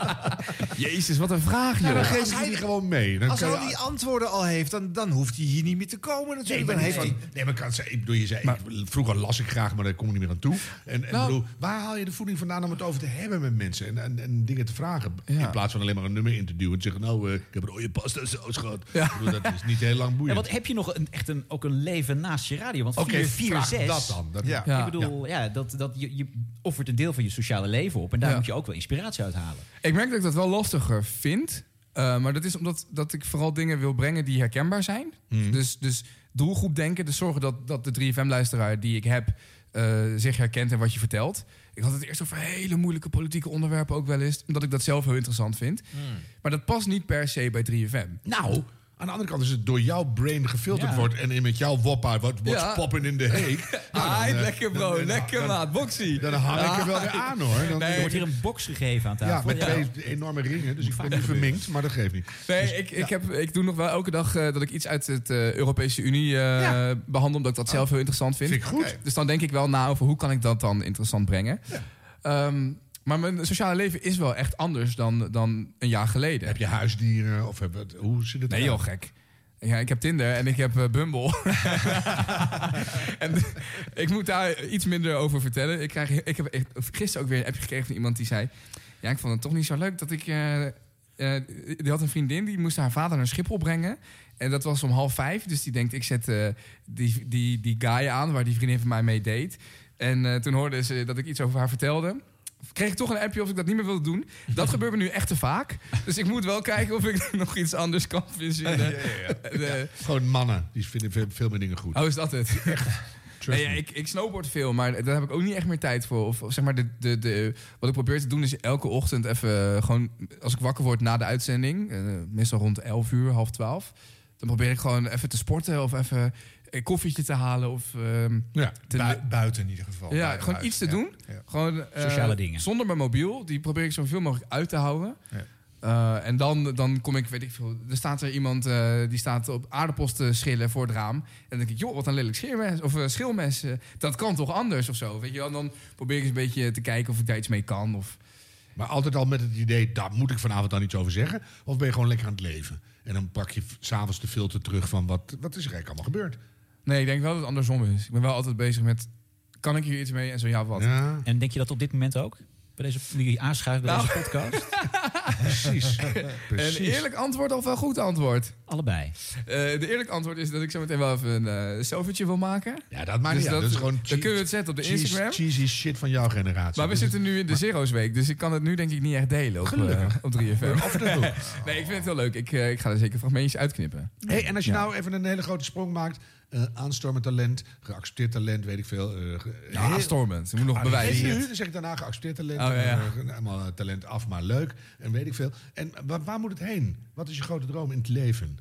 [SPEAKER 3] Jezus, wat een vraag, joh.
[SPEAKER 1] Ja, dan geef ik die gewoon mee. Dan
[SPEAKER 4] Als hij
[SPEAKER 1] kan
[SPEAKER 4] al die antwoorden al heeft, dan, dan hoeft hij hier niet meer te komen
[SPEAKER 1] Nee,
[SPEAKER 4] natuurlijk.
[SPEAKER 1] maar,
[SPEAKER 4] dan heeft hij...
[SPEAKER 1] nee, maar kan, ze- ik bedoel, je zei, ik- vroeger las ik graag, maar daar kom ik niet meer aan toe. En, en
[SPEAKER 4] Nou.
[SPEAKER 1] bedoel, waar haal je de voeding vandaan om het over te hebben met mensen? En, en, en dingen te vragen.
[SPEAKER 3] Ja.
[SPEAKER 1] In plaats van alleen maar een nummer in te duwen. En te zeggen, nou, eh, ik heb rode pasta saus gehad. Ik bedoel, dat is niet heel lang
[SPEAKER 2] Ja,
[SPEAKER 1] boeiend.
[SPEAKER 2] want heb je nog een, echt een, ook een leven naast je radio? Want
[SPEAKER 1] Oké,
[SPEAKER 2] 4, 4,
[SPEAKER 1] vraag
[SPEAKER 2] 6...
[SPEAKER 1] dat dan. Dat-
[SPEAKER 2] ja.
[SPEAKER 1] Ja.
[SPEAKER 2] Ik bedoel, ja, dat, dat, je, je offert een deel van je sociale leven op. En daar
[SPEAKER 3] Ja.
[SPEAKER 2] moet je ook wel inspiratie uit halen.
[SPEAKER 3] Ik merk dat ik dat wel lastiger vind. Eh, maar dat is omdat dat ik vooral dingen wil brengen die herkenbaar zijn.
[SPEAKER 2] Hmm.
[SPEAKER 3] Dus, dus doelgroep denken. Dus zorgen dat, dat de 3FM-luisteraar die ik heb eh, zich herkent en wat je vertelt. Ik had het eerst over hele moeilijke politieke onderwerpen ook wel eens. Omdat ik dat zelf heel interessant vind.
[SPEAKER 2] Hmm.
[SPEAKER 3] Maar dat past niet per se bij 3FM.
[SPEAKER 1] Nou, aan de andere kant is het door jouw brain gefilterd
[SPEAKER 3] Ja.
[SPEAKER 1] wordt... en in met jouw woppa, wat what's
[SPEAKER 3] Ja.
[SPEAKER 1] poppin' in de heek.
[SPEAKER 3] Ah,
[SPEAKER 1] dan, eh,
[SPEAKER 3] lekker bro, lekker maat, boxie. Ah.
[SPEAKER 1] Dan hang ik er wel weer aan, hoor. Dan-
[SPEAKER 3] Nee,
[SPEAKER 2] Er wordt hier een box gegeven aan
[SPEAKER 1] Ja,
[SPEAKER 2] tafel.
[SPEAKER 1] met twee enorme ringen. Dus ik ben nu verminkt, maar dat geeft niet. Dus-
[SPEAKER 3] Nee, ik, ik, heb, ik doe nog wel elke dag eh, dat ik iets uit het eh, Europese Unie eh, behandel, omdat ik dat zelf heel interessant vind.
[SPEAKER 1] Oh. vind ik goed.
[SPEAKER 3] Oké. Dus dan denk ik wel na over hoe kan ik dat dan interessant brengen. Ehm, maar mijn sociale leven is wel echt anders dan, dan een jaar geleden.
[SPEAKER 1] Heb je huisdieren? Of heb, het- hoe zit het
[SPEAKER 3] Nee,
[SPEAKER 1] eruit?
[SPEAKER 3] joh, gek. Ja, ik heb Tinder en ik heb eh, Bumble. en ik moet daar iets minder over vertellen. Ik, krijg, ik heb echt- gisteren ook weer een appje gekregen van iemand die zei... Ja, ik vond het toch niet zo leuk dat ik... eh, eh, die had een vriendin, die moest haar vader naar Schiphol brengen. En dat was om half vijf. Dus die denkt, ik zet eh, die, die, die guy aan waar die vriendin van mij mee deed. En eh, toen hoorde ze dat ik iets over haar vertelde. Kreeg ik toch een appje of ik dat niet meer wilde doen. Dat gebeurt me nu echt te vaak. Dus ik moet wel kijken of ik nog iets anders kan verzinnen. De-
[SPEAKER 1] Gewoon mannen, die vinden veel, veel meer dingen goed.
[SPEAKER 3] Oh, is dat het?
[SPEAKER 1] Trust
[SPEAKER 3] Nee, ja,
[SPEAKER 1] me.
[SPEAKER 3] ik, ik snowboard veel, maar daar heb ik ook niet echt meer tijd voor. Of, of zeg maar, de, de, de, wat ik probeer te doen is elke ochtend even... eh, gewoon, als ik wakker word na de uitzending... eh, meestal rond 11 uur, half 12... dan probeer ik gewoon even te sporten of even een koffietje te halen. Of, ehm,
[SPEAKER 1] Ja,
[SPEAKER 3] te-
[SPEAKER 4] bui- buiten in ieder geval.
[SPEAKER 3] ja,
[SPEAKER 4] Buiten
[SPEAKER 3] gewoon
[SPEAKER 4] huis.
[SPEAKER 3] iets te
[SPEAKER 4] Ja.
[SPEAKER 3] doen. Gewoon, eh,
[SPEAKER 2] Sociale dingen.
[SPEAKER 3] Zonder mijn mobiel. Die probeer ik zoveel mogelijk uit te houden. Eh, en dan, dan kom ik, weet ik veel. Er staat er iemand eh, die staat op aardappels te schillen voor het raam. En dan denk ik, joh, wat een lelijk scheermes. Of eh, schilmes. eh, dat kan toch anders of zo. Weet je wel? En dan probeer ik eens een beetje te kijken of ik daar iets mee kan. Of...
[SPEAKER 1] Maar altijd al met het idee, daar moet ik vanavond dan iets over zeggen. Of ben je gewoon lekker aan het leven? En dan pak je v- s'avonds de filter terug van wat, wat is er eigenlijk allemaal gebeurd?
[SPEAKER 3] Nee, ik denk wel dat het andersom is. Ik ben wel altijd bezig met. Kan ik hier iets mee en zo ja, Nou. wat?
[SPEAKER 1] Ja,
[SPEAKER 2] En denk je dat op dit moment ook? Bij deze, nu je aanschuift bij deze podcast?
[SPEAKER 1] precies.
[SPEAKER 3] Een eerlijk antwoord of wel goed antwoord?
[SPEAKER 2] Allebei.
[SPEAKER 3] Eh, de eerlijk antwoord is dat ik zo meteen wel even een eh, selfietje wil maken.
[SPEAKER 1] Ja, dat maakt
[SPEAKER 3] Dus
[SPEAKER 1] niet uit.
[SPEAKER 3] dat-
[SPEAKER 1] Dat is gewoon
[SPEAKER 3] dan
[SPEAKER 1] cheese-
[SPEAKER 3] kunnen we het zetten op de
[SPEAKER 1] cheese-
[SPEAKER 3] Instagram.
[SPEAKER 1] Cheesy shit van jouw generatie.
[SPEAKER 3] Maar we
[SPEAKER 1] Dus het-
[SPEAKER 3] zitten nu in de Zero's Week, dus ik kan het nu denk ik niet echt delen op,
[SPEAKER 1] Gelukkig.
[SPEAKER 3] eh, op 3FM.
[SPEAKER 1] Af en toe.
[SPEAKER 3] nee, ik vind het heel leuk. Ik, eh, ik ga er zeker fragmentjes uitknippen.
[SPEAKER 1] Hey, en als je
[SPEAKER 3] Ja.
[SPEAKER 1] nou even een hele grote sprong maakt. eh aanstormend talent, geaccepteerd talent, weet ik veel. eh, ge-
[SPEAKER 3] Ja,
[SPEAKER 1] heel-
[SPEAKER 3] aanstormend. Je moet nog
[SPEAKER 1] Ah,
[SPEAKER 3] bewijzen.
[SPEAKER 1] nee, Nu dan zeg ik daarna geaccepteerd talent.
[SPEAKER 3] Oh, ja, ja.
[SPEAKER 1] en, eh, Helemaal eh, talent af, maar leuk. En weet ik veel. En wa- waar, moet het heen? Wat is je grote droom in het leven?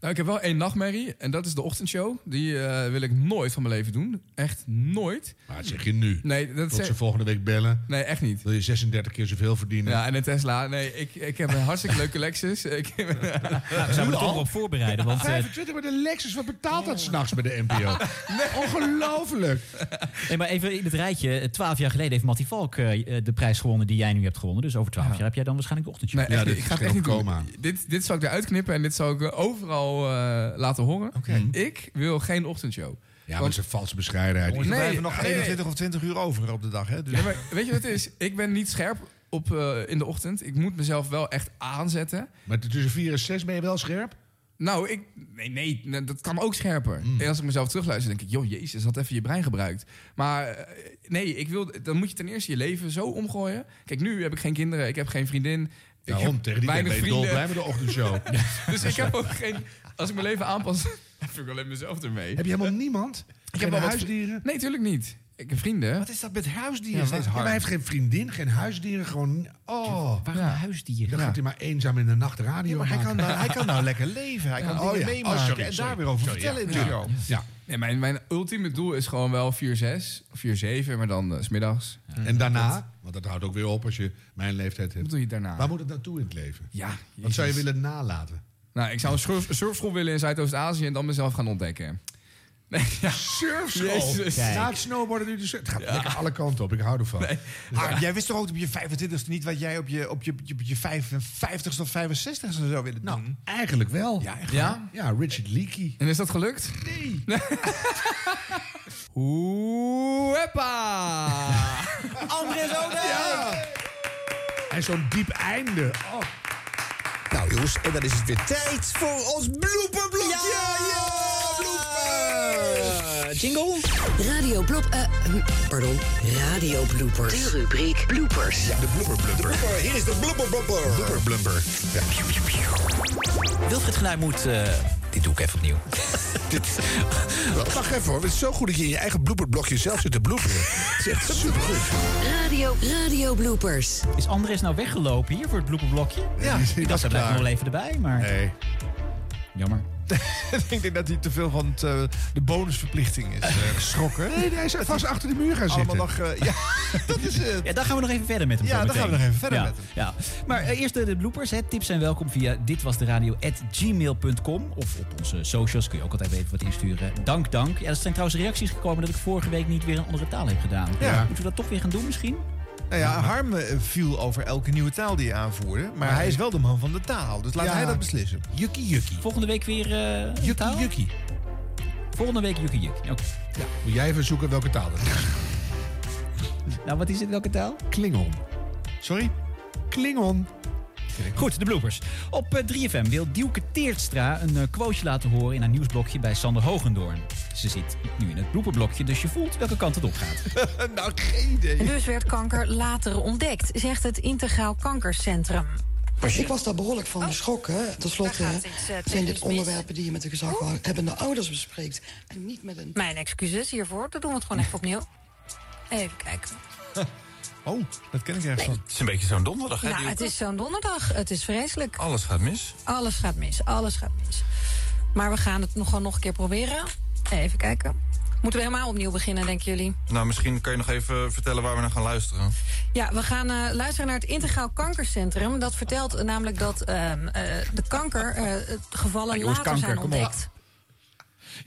[SPEAKER 3] Nou, ik heb wel één nachtmerrie en dat is de ochtendshow. Die eh, wil ik nooit van mijn leven doen. Echt nooit.
[SPEAKER 1] Maar dat zeg je nu.
[SPEAKER 3] Nee, dat
[SPEAKER 1] Tot
[SPEAKER 3] zeg-
[SPEAKER 1] ze volgende week bellen.
[SPEAKER 3] Nee, echt niet.
[SPEAKER 1] Wil je 36 keer zoveel verdienen?
[SPEAKER 3] Ja, en een Tesla. Nee, ik, ik heb een hartstikke leuke Lexus. Ik,
[SPEAKER 2] Nou, we zouden er toch wel op voorbereiden. Want eh,
[SPEAKER 1] 25 met een Lexus, wat betaalt dat s'nachts bij de NPO? Ongelooflijk.
[SPEAKER 2] Nee, maar even in het rijtje. Eh, Twaalf jaar geleden heeft Mattie Valk eh, eh, de prijs gewonnen die jij nu hebt gewonnen. Dus over twaalf jaar heb jij dan waarschijnlijk de ochtendshow.
[SPEAKER 3] Nee, echt,
[SPEAKER 1] Ja,
[SPEAKER 3] niet.
[SPEAKER 1] dit
[SPEAKER 3] ik
[SPEAKER 1] is
[SPEAKER 3] ga het
[SPEAKER 1] geen
[SPEAKER 3] echt niet doen.
[SPEAKER 1] coma.
[SPEAKER 3] Dit, dit zal ik eruit knippen en dit zal ik eh, overal eh, laten horen. Ik wil geen ochtendshow.
[SPEAKER 1] Ja, maar dat is een valse bescheidenheid.
[SPEAKER 4] Jongens, er
[SPEAKER 3] Nee,
[SPEAKER 4] blijven nog
[SPEAKER 3] nee, nee.
[SPEAKER 4] 21 of 20 uur over op de dag. Hè? Dus
[SPEAKER 3] Ja, maar weet je wat het is? Ik ben niet scherp op, eh, in de ochtend. Ik moet mezelf wel echt aanzetten.
[SPEAKER 1] Maar tussen 4 en 6 ben je wel scherp?
[SPEAKER 3] Nou, ik, nee, nee, nee, dat kan ook scherper.
[SPEAKER 1] Hmm.
[SPEAKER 3] En als ik mezelf terugluister, denk ik... joh, jezus, had even je brein gebruikt. Maar eh, nee, ik wil, dan moet je ten eerste je leven zo omgooien. Kijk, nu heb ik geen kinderen, ik heb geen vriendin. Ik
[SPEAKER 1] Daarom,
[SPEAKER 3] heb
[SPEAKER 1] Nou, tegen die tijd
[SPEAKER 3] weinig
[SPEAKER 1] ben je
[SPEAKER 3] vrienden.
[SPEAKER 1] dol blij met de ochtendshow.
[SPEAKER 3] Dus ik heb ook geen... Als ik mijn leven aanpas, heb ik alleen mezelf ermee.
[SPEAKER 1] Heb je helemaal niemand?
[SPEAKER 3] ik
[SPEAKER 1] Geen
[SPEAKER 3] wel wat-
[SPEAKER 1] huisdieren?
[SPEAKER 3] Nee, tuurlijk niet. Ik heb vrienden.
[SPEAKER 4] Wat is dat met huisdieren?
[SPEAKER 1] Ja, maar-
[SPEAKER 4] steeds
[SPEAKER 1] ja, maar
[SPEAKER 4] hard.
[SPEAKER 1] hij heeft geen vriendin, geen huisdieren, gewoon... Oh,
[SPEAKER 2] Waarom een huisdier?
[SPEAKER 1] dan gaat hij maar eenzaam in de nacht radio
[SPEAKER 4] Ja, maar hij,
[SPEAKER 1] maken.
[SPEAKER 4] kan nou, hij kan nou lekker leven. Hij kan
[SPEAKER 1] Ja.
[SPEAKER 4] dingen
[SPEAKER 1] Oh, ja.
[SPEAKER 4] meemaken
[SPEAKER 1] Oh, sorry,
[SPEAKER 4] en
[SPEAKER 1] sorry.
[SPEAKER 4] daar weer over
[SPEAKER 1] Sorry,
[SPEAKER 4] vertellen in de
[SPEAKER 1] ja.
[SPEAKER 4] show.
[SPEAKER 1] Ja.
[SPEAKER 3] Nee, mijn, mijn ultieme doel is gewoon wel 4-6, 4-7, maar dan eh, s middags.
[SPEAKER 1] En daarna, want dat houdt ook weer op als je mijn leeftijd
[SPEAKER 3] Wat
[SPEAKER 1] hebt.
[SPEAKER 3] doe je daarna?
[SPEAKER 1] Waar moet het naartoe in het leven?
[SPEAKER 3] Ja,
[SPEAKER 1] Wat zou je
[SPEAKER 3] jezus.
[SPEAKER 1] willen nalaten?
[SPEAKER 3] Nou, ik zou een surf- surfschool willen in Zuidoost-Azië en dan mezelf gaan ontdekken. Nee, ja.
[SPEAKER 1] Surfschool.
[SPEAKER 3] Jezus.
[SPEAKER 1] Na het snowboarden nu de surf. Het gaat lekker alle kanten op. Ik hou ervan. Dus,
[SPEAKER 4] Ah, jij wist toch ook op je 25ste niet wat jij op je, op je, op je, op je 55ste of 65ste zou willen doen? Nou,
[SPEAKER 1] eigenlijk wel.
[SPEAKER 4] Ja, echt wel.
[SPEAKER 1] Ja? ja, Richard Leakey.
[SPEAKER 3] En is dat gelukt?
[SPEAKER 1] Nee.
[SPEAKER 3] Hoeppa!
[SPEAKER 13] André Rode!
[SPEAKER 1] En zo'n diep einde. Oh.
[SPEAKER 8] Nou jongens, en dan is het weer tijd voor ons blooperblokje! Ja, bloeper!
[SPEAKER 6] Jingle. Radio blop... eh, pardon. Radio bloopers. De rubriek bloopers.
[SPEAKER 8] de blooper blumper. Hier is de blooper blumper. Blooper blumper.
[SPEAKER 7] Wilfried Genuij moet... eh, dit doe ik even opnieuw.
[SPEAKER 8] Dit- Wacht even hoor, het is zo goed dat je in je eigen blooperblokje zelf zit te bloeperen. Het is echt supergoed.
[SPEAKER 6] Radio, radio bloopers.
[SPEAKER 2] Is Andres nou weggelopen hier voor het blooperblokje?
[SPEAKER 4] Ja,
[SPEAKER 2] ik dacht,
[SPEAKER 4] was
[SPEAKER 2] hij blijft
[SPEAKER 4] klaar.
[SPEAKER 2] nog wel even erbij, maar...
[SPEAKER 1] Nee.
[SPEAKER 2] Jammer.
[SPEAKER 4] ik denk dat hij te veel van het, eh, de bonusverplichting is eh, geschrokken.
[SPEAKER 1] Nee, hij is vast achter de muur gaan zitten.
[SPEAKER 4] Allemaal nog, eh, ja, dat is het.
[SPEAKER 2] Ja, daar gaan we nog even verder met hem.
[SPEAKER 4] Ja, daar
[SPEAKER 2] zometeen.
[SPEAKER 4] gaan we nog even verder
[SPEAKER 2] Ja,
[SPEAKER 4] met hem.
[SPEAKER 2] Ja. Maar eh, eerst de, de bloopers. Hè. Tips zijn welkom via ditwasderadio.gmail.com. Of op onze socials kun je ook altijd even wat insturen. Dank, dank. Ja, er zijn trouwens reacties gekomen dat ik vorige week niet weer een andere taal heb gedaan.
[SPEAKER 4] Ja.
[SPEAKER 2] Moeten we dat toch weer gaan doen misschien?
[SPEAKER 4] Nou ja, Harm eh, viel over elke nieuwe taal die je aanvoerde. Maar hij is wel de man van de taal. Dus laat
[SPEAKER 2] Ja.
[SPEAKER 4] hij dat beslissen.
[SPEAKER 1] Jukkie jukkie.
[SPEAKER 2] Volgende week weer eh
[SPEAKER 1] Jukkie,
[SPEAKER 2] taal?
[SPEAKER 1] jukkie.
[SPEAKER 2] Volgende week jukkie jukkie. Oké.
[SPEAKER 1] Moet jij even zoeken welke taal dat is.
[SPEAKER 2] Nou, wat is het? Welke taal?
[SPEAKER 1] Klingon.
[SPEAKER 4] Sorry?
[SPEAKER 1] Klingon.
[SPEAKER 2] Goed, de bloopers. Op eh, 3FM wil Dielke Teertstra een eh, quoteje laten horen in haar nieuwsblokje bij Sander Hogendoorn. Ze zit nu in het blooperblokje, dus je voelt welke kant het op gaat.
[SPEAKER 4] nou, geen idee.
[SPEAKER 23] Dus werd kanker later ontdekt, zegt het Integraal Kankercentrum. Oh.
[SPEAKER 24] Ik was daar behoorlijk van geschrokken. Ten slotte
[SPEAKER 23] daar
[SPEAKER 24] hè,
[SPEAKER 23] gaat iets, eh,
[SPEAKER 24] zijn dit
[SPEAKER 23] technisch
[SPEAKER 24] onderwerpen die je met de gezaghebbende ouders bespreekt. En niet met een...
[SPEAKER 23] Mijn excuses hiervoor, dan doen we het gewoon even opnieuw. Even kijken.
[SPEAKER 4] Oh, dat ken ik ergens van.
[SPEAKER 7] Het is een beetje zo'n donderdag, hè?
[SPEAKER 23] Nou,
[SPEAKER 7] die-
[SPEAKER 23] het is zo'n donderdag. Het is vreselijk.
[SPEAKER 7] Alles gaat mis.
[SPEAKER 23] Alles gaat mis, alles gaat mis. Maar we gaan het nog gewoon nog een keer proberen. Even kijken. Moeten we helemaal opnieuw beginnen, denken jullie?
[SPEAKER 25] Nou, misschien kan je nog even vertellen waar we naar gaan luisteren.
[SPEAKER 23] Ja, we gaan eh, luisteren naar het Integraal Kankercentrum. Dat vertelt namelijk dat ehm, eh, de kankergevallen
[SPEAKER 1] Ah, jongens,
[SPEAKER 23] later
[SPEAKER 1] kanker,
[SPEAKER 23] zijn
[SPEAKER 1] kom op.
[SPEAKER 23] ontdekt.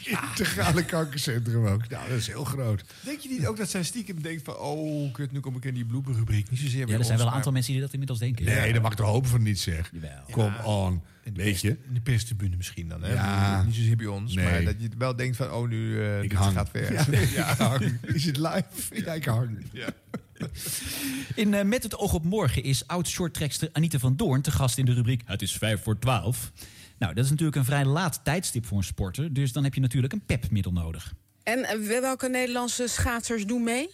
[SPEAKER 8] eh,
[SPEAKER 1] Integrale kankercentrum ook. Nou, dat is heel groot.
[SPEAKER 4] Denk je niet ook dat zij stiekem denkt van... oh, kut, nu kom ik in die bloepenrubriek. Niet zozeer
[SPEAKER 2] Ja, er zijn wel een aantal mensen die dat inmiddels denken.
[SPEAKER 1] Nee, daar mag ik er hopen van niet zeg. Kom on. Weet je?
[SPEAKER 4] In de perstribune misschien dan, hè?
[SPEAKER 1] Ja.
[SPEAKER 4] Niet zozeer bij ons,
[SPEAKER 1] Nee.
[SPEAKER 4] maar dat je wel denkt van... oh, nu eh, dit
[SPEAKER 1] hang.
[SPEAKER 4] gaat weer.
[SPEAKER 1] Ja, ik hang. Is het live? Ja, ik hang.
[SPEAKER 2] In eh, Met het oog op morgen is oud-shorttrekster Anita van Doorn te gast in de rubriek Het is 5 voor 12. Nou, dat is natuurlijk een vrij laat tijdstip voor een sporter, dus dan heb je natuurlijk een pepmiddel nodig.
[SPEAKER 26] En eh, welke Nederlandse schaatsers doen mee?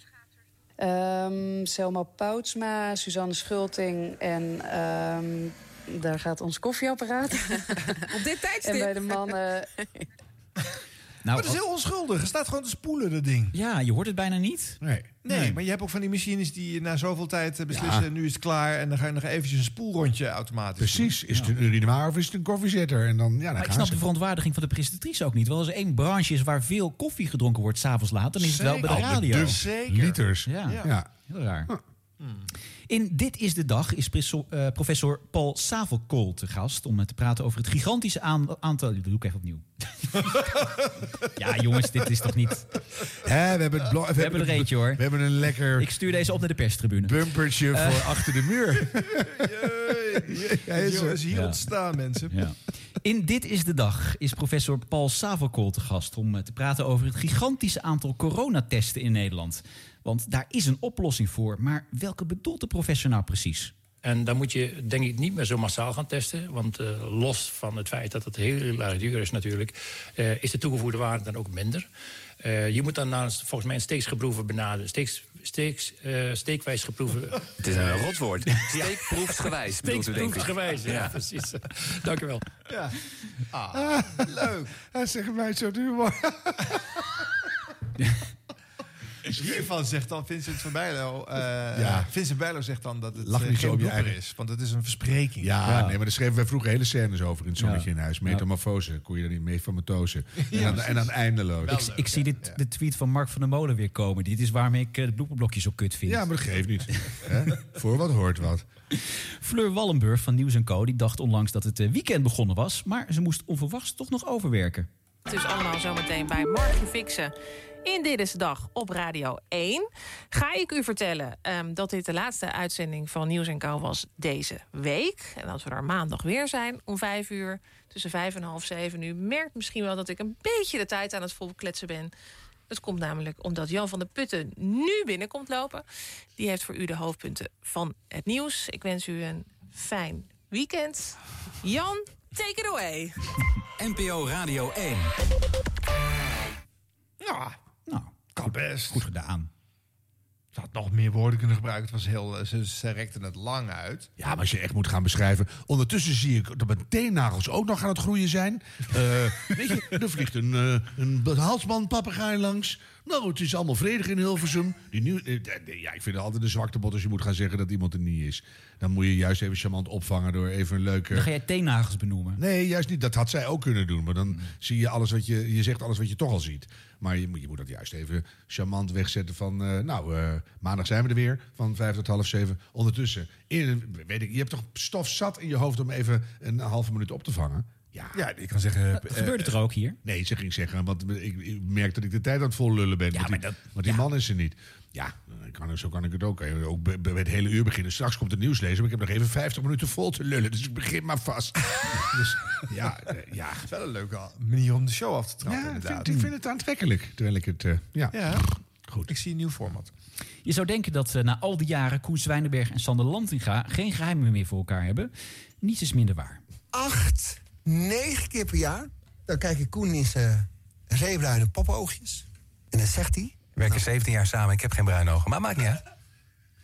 [SPEAKER 27] Ehm, Selma Poutsma, Suzanne Schulting en ehm, daar gaat ons koffieapparaat.
[SPEAKER 26] Op dit tijdstip?
[SPEAKER 27] En bij de mannen...
[SPEAKER 2] Nou,
[SPEAKER 4] maar dat is heel onschuldig. Het staat gewoon te spoelen, dat ding.
[SPEAKER 2] Ja, je hoort het bijna niet.
[SPEAKER 1] Nee.
[SPEAKER 4] Nee, maar je hebt ook van die machines die na zoveel tijd eh, beslissen...
[SPEAKER 1] Ja.
[SPEAKER 4] nu is het klaar en dan ga je nog eventjes een spoelrondje automatisch
[SPEAKER 1] Precies. Is het een urinoir of is het een koffiezetter? En dan, ja, dan
[SPEAKER 2] Maar ik
[SPEAKER 1] gaan
[SPEAKER 2] snap
[SPEAKER 1] ze.
[SPEAKER 2] de verontwaardiging van de presentatrice ook niet. Wel als er één branche is waar veel koffie gedronken wordt s'avonds laat, dan is het wel bij de
[SPEAKER 1] Al
[SPEAKER 2] radio.
[SPEAKER 1] dub Liters.
[SPEAKER 2] Ja.
[SPEAKER 1] Ja.
[SPEAKER 2] heel raar.
[SPEAKER 4] Hmm.
[SPEAKER 2] In Dit is de Dag is prisso- eh, professor Paul Savelkool te gast... om eh, te praten over het gigantische aan- aantal... Dat doe ik echt opnieuw. ja, jongens, dit is toch niet...
[SPEAKER 1] Hè, we hebben, het blo- we
[SPEAKER 2] hebben er
[SPEAKER 1] het-
[SPEAKER 2] eentje, hoor.
[SPEAKER 1] We hebben een lekker
[SPEAKER 2] Ik stuur deze op naar de perstribune.
[SPEAKER 1] bumpertje
[SPEAKER 2] Eh.
[SPEAKER 1] voor achter de muur.
[SPEAKER 4] Hij is, is hier
[SPEAKER 2] Ja.
[SPEAKER 4] ontstaan, mensen.
[SPEAKER 2] Ja. In Dit is de Dag is professor Paul Savelkool te gast... om eh, te praten over het gigantische aantal coronatesten in Nederland. Want daar is een oplossing voor. Maar welke bedoelt de professor nou precies?
[SPEAKER 28] En dan moet je denk ik niet meer zo massaal gaan testen. Want eh, los van het feit dat het heel erg duur is natuurlijk... eh, is de toegevoegde waarde dan ook minder. Eh, je moet dan naar, een- volgens mij een steeksgeproeven benaderen. Steeks, steeks, eh, steekwijs geproeven.
[SPEAKER 7] Het is een rotwoord. Steekproefsgewijs bedoelt u, denk ik.
[SPEAKER 28] Steekproefsgewijs, ja,
[SPEAKER 7] Ja.
[SPEAKER 28] precies. Dank u wel.
[SPEAKER 4] Ja.
[SPEAKER 1] Ah, leuk. Hij zegt mij zo duur.
[SPEAKER 4] Hiervan zegt dan Vincent van Bijlo... eh,
[SPEAKER 1] Ja.
[SPEAKER 4] Vincent Bijlo zegt dan dat het
[SPEAKER 1] Lach
[SPEAKER 4] eh,
[SPEAKER 1] niet zo
[SPEAKER 4] geen
[SPEAKER 1] op je
[SPEAKER 4] blooper
[SPEAKER 1] eigen-
[SPEAKER 4] is. Want het is een verspreking.
[SPEAKER 1] Ja, nee, maar daar schreven wij vroeger hele scènes over in het zonnetje
[SPEAKER 4] Ja.
[SPEAKER 1] in huis.
[SPEAKER 4] Ja.
[SPEAKER 1] Metamorfose, kon je er niet mee van metozen.
[SPEAKER 2] Ja,
[SPEAKER 1] En, dan,
[SPEAKER 2] precies.
[SPEAKER 1] en dan eindeloos.
[SPEAKER 2] Ik, ik zie dit, de tweet van Mark van der Molen weer komen. Dit is waarom ik eh, de bloepenblokjes zo kut vind.
[SPEAKER 1] Ja, maar dat geeft niet. Hè? Voor wat hoort wat.
[SPEAKER 2] Fleur Wallenburg van Nieuws Co. die dacht onlangs dat het eh, weekend begonnen was. Maar ze moest onverwachts toch nog overwerken.
[SPEAKER 10] Het is allemaal zometeen bij Margie Fixen. In Dit is de Dag op Radio 1 ga ik u vertellen ehm, dat dit de laatste uitzending van Nieuws en Co was deze week. En dat we er maandag weer zijn om vijf uur, tussen vijf en half zeven. U merkt misschien wel dat ik een beetje de tijd aan het volkletsen ben. Dat komt namelijk omdat Jan van der Putten nu binnenkomt lopen. Die heeft voor u de hoofdpunten van het nieuws. Ik wens u een fijn weekend. Jan, take it away.
[SPEAKER 11] NPO Radio 1.
[SPEAKER 4] Ja,
[SPEAKER 2] nou,
[SPEAKER 4] kan best.
[SPEAKER 2] Goed gedaan.
[SPEAKER 4] Ze had nog meer woorden kunnen gebruiken. Het was heel, eh, ze, ze rekten het lang uit.
[SPEAKER 1] Ja, maar als je echt moet gaan beschrijven. Ondertussen zie ik dat mijn teennagels ook nog aan het groeien zijn. Eh, weet je, er vliegt een, eh een halsbandpapegaai langs. Nou, het is allemaal vredig in Hilversum. Die nieuw, eh, eh, ja, ik vind het altijd een zwakte bot als je moet gaan zeggen dat iemand er niet is. Dan moet je juist even charmant opvangen door even een leuke...
[SPEAKER 2] Dan ga jij teennagels benoemen. Mm.
[SPEAKER 1] Nee, juist niet. Dat had zij ook kunnen doen. Maar dan zie je alles wat je. Je zegt alles wat je toch al ziet. Maar je moet, je moet dat juist even charmant wegzetten van. eh, nou, eh, maandag zijn we er weer. Van vijf tot half zeven. Ondertussen. In, weet ik, je hebt toch stof zat in je hoofd om even een halve minuut op te vangen? Ja, ja
[SPEAKER 4] ik kan zeggen. eh,
[SPEAKER 2] gebeurde het er ook hier?
[SPEAKER 1] Nee, ze ging zeggen. Want ik, ik merk dat ik de tijd aan het vollullen ben. want die, want die man is er niet. Ja, dan kan, zo kan ik het ook. Eh, Ook bij bij het hele uur beginnen. Straks komt de nieuwslezer. Maar ik heb nog even 50 minuten vol te lullen. Dus ik begin maar vast. dus ja, eh, ja.
[SPEAKER 4] Wel een leuke manier om de show af te trappen.
[SPEAKER 1] Ja, ik
[SPEAKER 4] inderdaad.
[SPEAKER 1] vind- ik vind het aantrekkelijk. Terwijl ik het. eh, ja.
[SPEAKER 4] Ja.
[SPEAKER 1] Goed.
[SPEAKER 4] Ik zie een nieuw format.
[SPEAKER 2] Je zou denken dat eh, na al die jaren Koen Zwijnenberg en Sander Lantinga... geen geheimen meer voor elkaar hebben. Niets is minder waar.
[SPEAKER 12] acht, negen keer per jaar. Dan kijk ik Koen in zijn zeebruine popoogjes. En dan zegt hij...
[SPEAKER 14] We werken 17 jaar samen, ik heb geen bruine ogen. Maar maakt niet uit.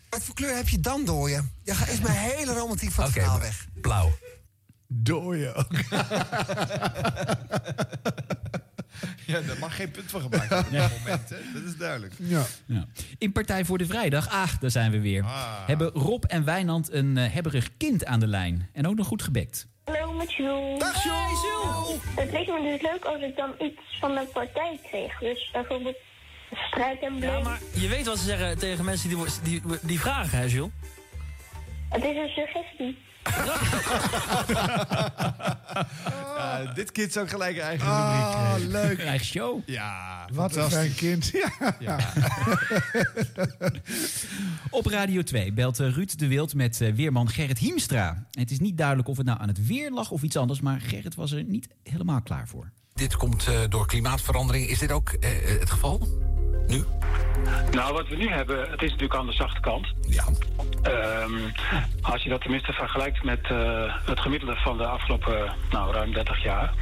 [SPEAKER 12] Wat voor kleur heb je dan door je? Ja, ga- is mijn hele romantiek van het verhaal weg.
[SPEAKER 14] Blauw.
[SPEAKER 1] Door je ook.
[SPEAKER 4] Ja, daar mag geen punt van gemaakt worden op dat moment. Hè. Dat is duidelijk.
[SPEAKER 1] Ja.
[SPEAKER 2] Ja. In Partij voor de Vrijdag, ah, daar zijn we weer.
[SPEAKER 1] Ah.
[SPEAKER 2] Hebben Rob en Wijnand een eh, hebberig kind aan de lijn. En ook nog goed gebekt.
[SPEAKER 15] Hallo met Jules. Dag Jules. Het leek me dus leuk als ik dan iets van de partij kreeg. Dus bijvoorbeeld strijk en blink.
[SPEAKER 16] Je weet wat ze zeggen tegen mensen die, wo- die, die vragen, hè, Jules?
[SPEAKER 15] Het is een suggestie.
[SPEAKER 4] Ja, Ah, dit kind zou gelijk een eigen
[SPEAKER 1] Ah,
[SPEAKER 4] rubriek
[SPEAKER 1] leuk.
[SPEAKER 2] Een eigen show.
[SPEAKER 4] Ja,
[SPEAKER 1] Wat een fijn
[SPEAKER 4] fantastisch.
[SPEAKER 1] kind. Ja.
[SPEAKER 2] Op Radio 2 belt eh, Ruud de Wild met eh, weerman Gerrit Hiemstra. Het is niet duidelijk of het nou aan het weer lag of iets anders... maar Gerrit was er niet helemaal klaar voor.
[SPEAKER 14] Dit komt eh, door klimaatverandering. Is dit ook eh, het geval?
[SPEAKER 17] Nou, wat we nu hebben, het is natuurlijk aan de zachte kant. Ja. als je dat tenminste vergelijkt met eh, het gemiddelde van de afgelopen nou, ruim 30 jaar.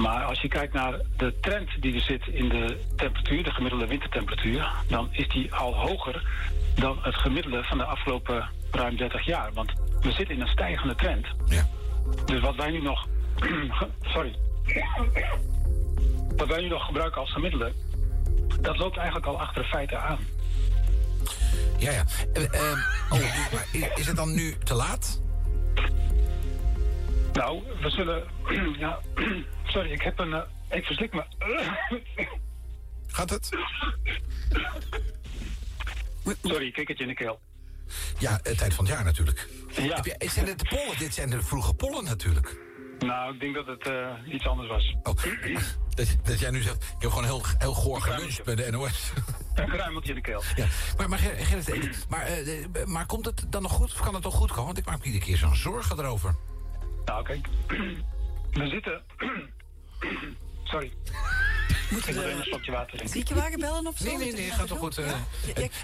[SPEAKER 17] Maar als je kijkt naar de trend die er zit in de temperatuur, de gemiddelde wintertemperatuur, dan is die al hoger dan het gemiddelde van de afgelopen ruim 30 jaar. Want we zitten in een stijgende trend. Dus wat wij nu nog. sorry. Wat wij nu nog gebruiken als gemiddelde, dat loopt eigenlijk al achter de feiten aan.
[SPEAKER 14] Ja, ja. Eh, eh, oh, maar i- is het dan nu te laat?
[SPEAKER 17] Nou, we zullen. ja, sorry, ik heb een. eh, ik verslik me.
[SPEAKER 14] Gaat het?
[SPEAKER 17] Sorry, ik kijk het je in de keel.
[SPEAKER 14] Ja, eh, tijd van het jaar natuurlijk.
[SPEAKER 17] Ja.
[SPEAKER 14] Heb je, zijn dit de pollen? Dit zijn de vroege pollen natuurlijk. Oh,
[SPEAKER 17] Nou, ik denk dat het eh, iets anders was.
[SPEAKER 14] Dat, dat jij nu zegt, ik heb gewoon heel, heel goor geluncht bij de NOS.
[SPEAKER 17] Een kruimeltje in de keel.
[SPEAKER 14] Ja. Maar, maar, Ger- Gerrit, eh, maar, eh, eh, maar komt het dan nog goed? Of kan het nog goed komen? Want ik maak me iedere keer zo'n zorgen erover.
[SPEAKER 17] Nou, kijk. we zitten. sorry. ik wil even een slokje water drinken.
[SPEAKER 15] Ziekenwagen bellen of zo?
[SPEAKER 14] Nee, nee, nee, gaat toch goed. eh. Eh,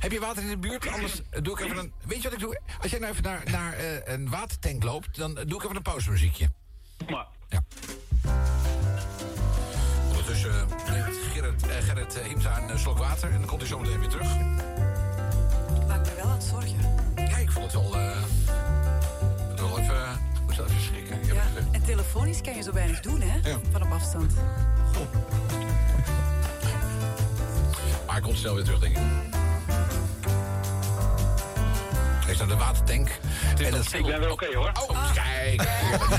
[SPEAKER 14] heb je water in de buurt? Anders eh, doe ik even een... Weet je wat ik doe? Als jij nou even naar, naar eh, een watertank loopt, dan eh, doe ik even een pauzemuziekje.
[SPEAKER 17] Maar.
[SPEAKER 14] Ondertussen eh, neemt Gerrit, eh, Gerrit eh, Hiemstra een eh, slok water en dan komt hij zo meteen weer terug.
[SPEAKER 15] Maakt me wel aan het zorgen.
[SPEAKER 14] Ja, ik vond het wel... eh het wel even... Ik moest wel even schrikken. Ik heb
[SPEAKER 15] Ja,
[SPEAKER 14] het, eh,
[SPEAKER 15] en telefonisch kan je zo weinig doen, hè?
[SPEAKER 14] Ja.
[SPEAKER 15] Van op afstand.
[SPEAKER 14] Maar
[SPEAKER 29] hij komt snel weer terug, denk ik. Hij is naar de watertank. En dat ik ben weer oké, hoor. Oh, kijk.
[SPEAKER 15] Ah.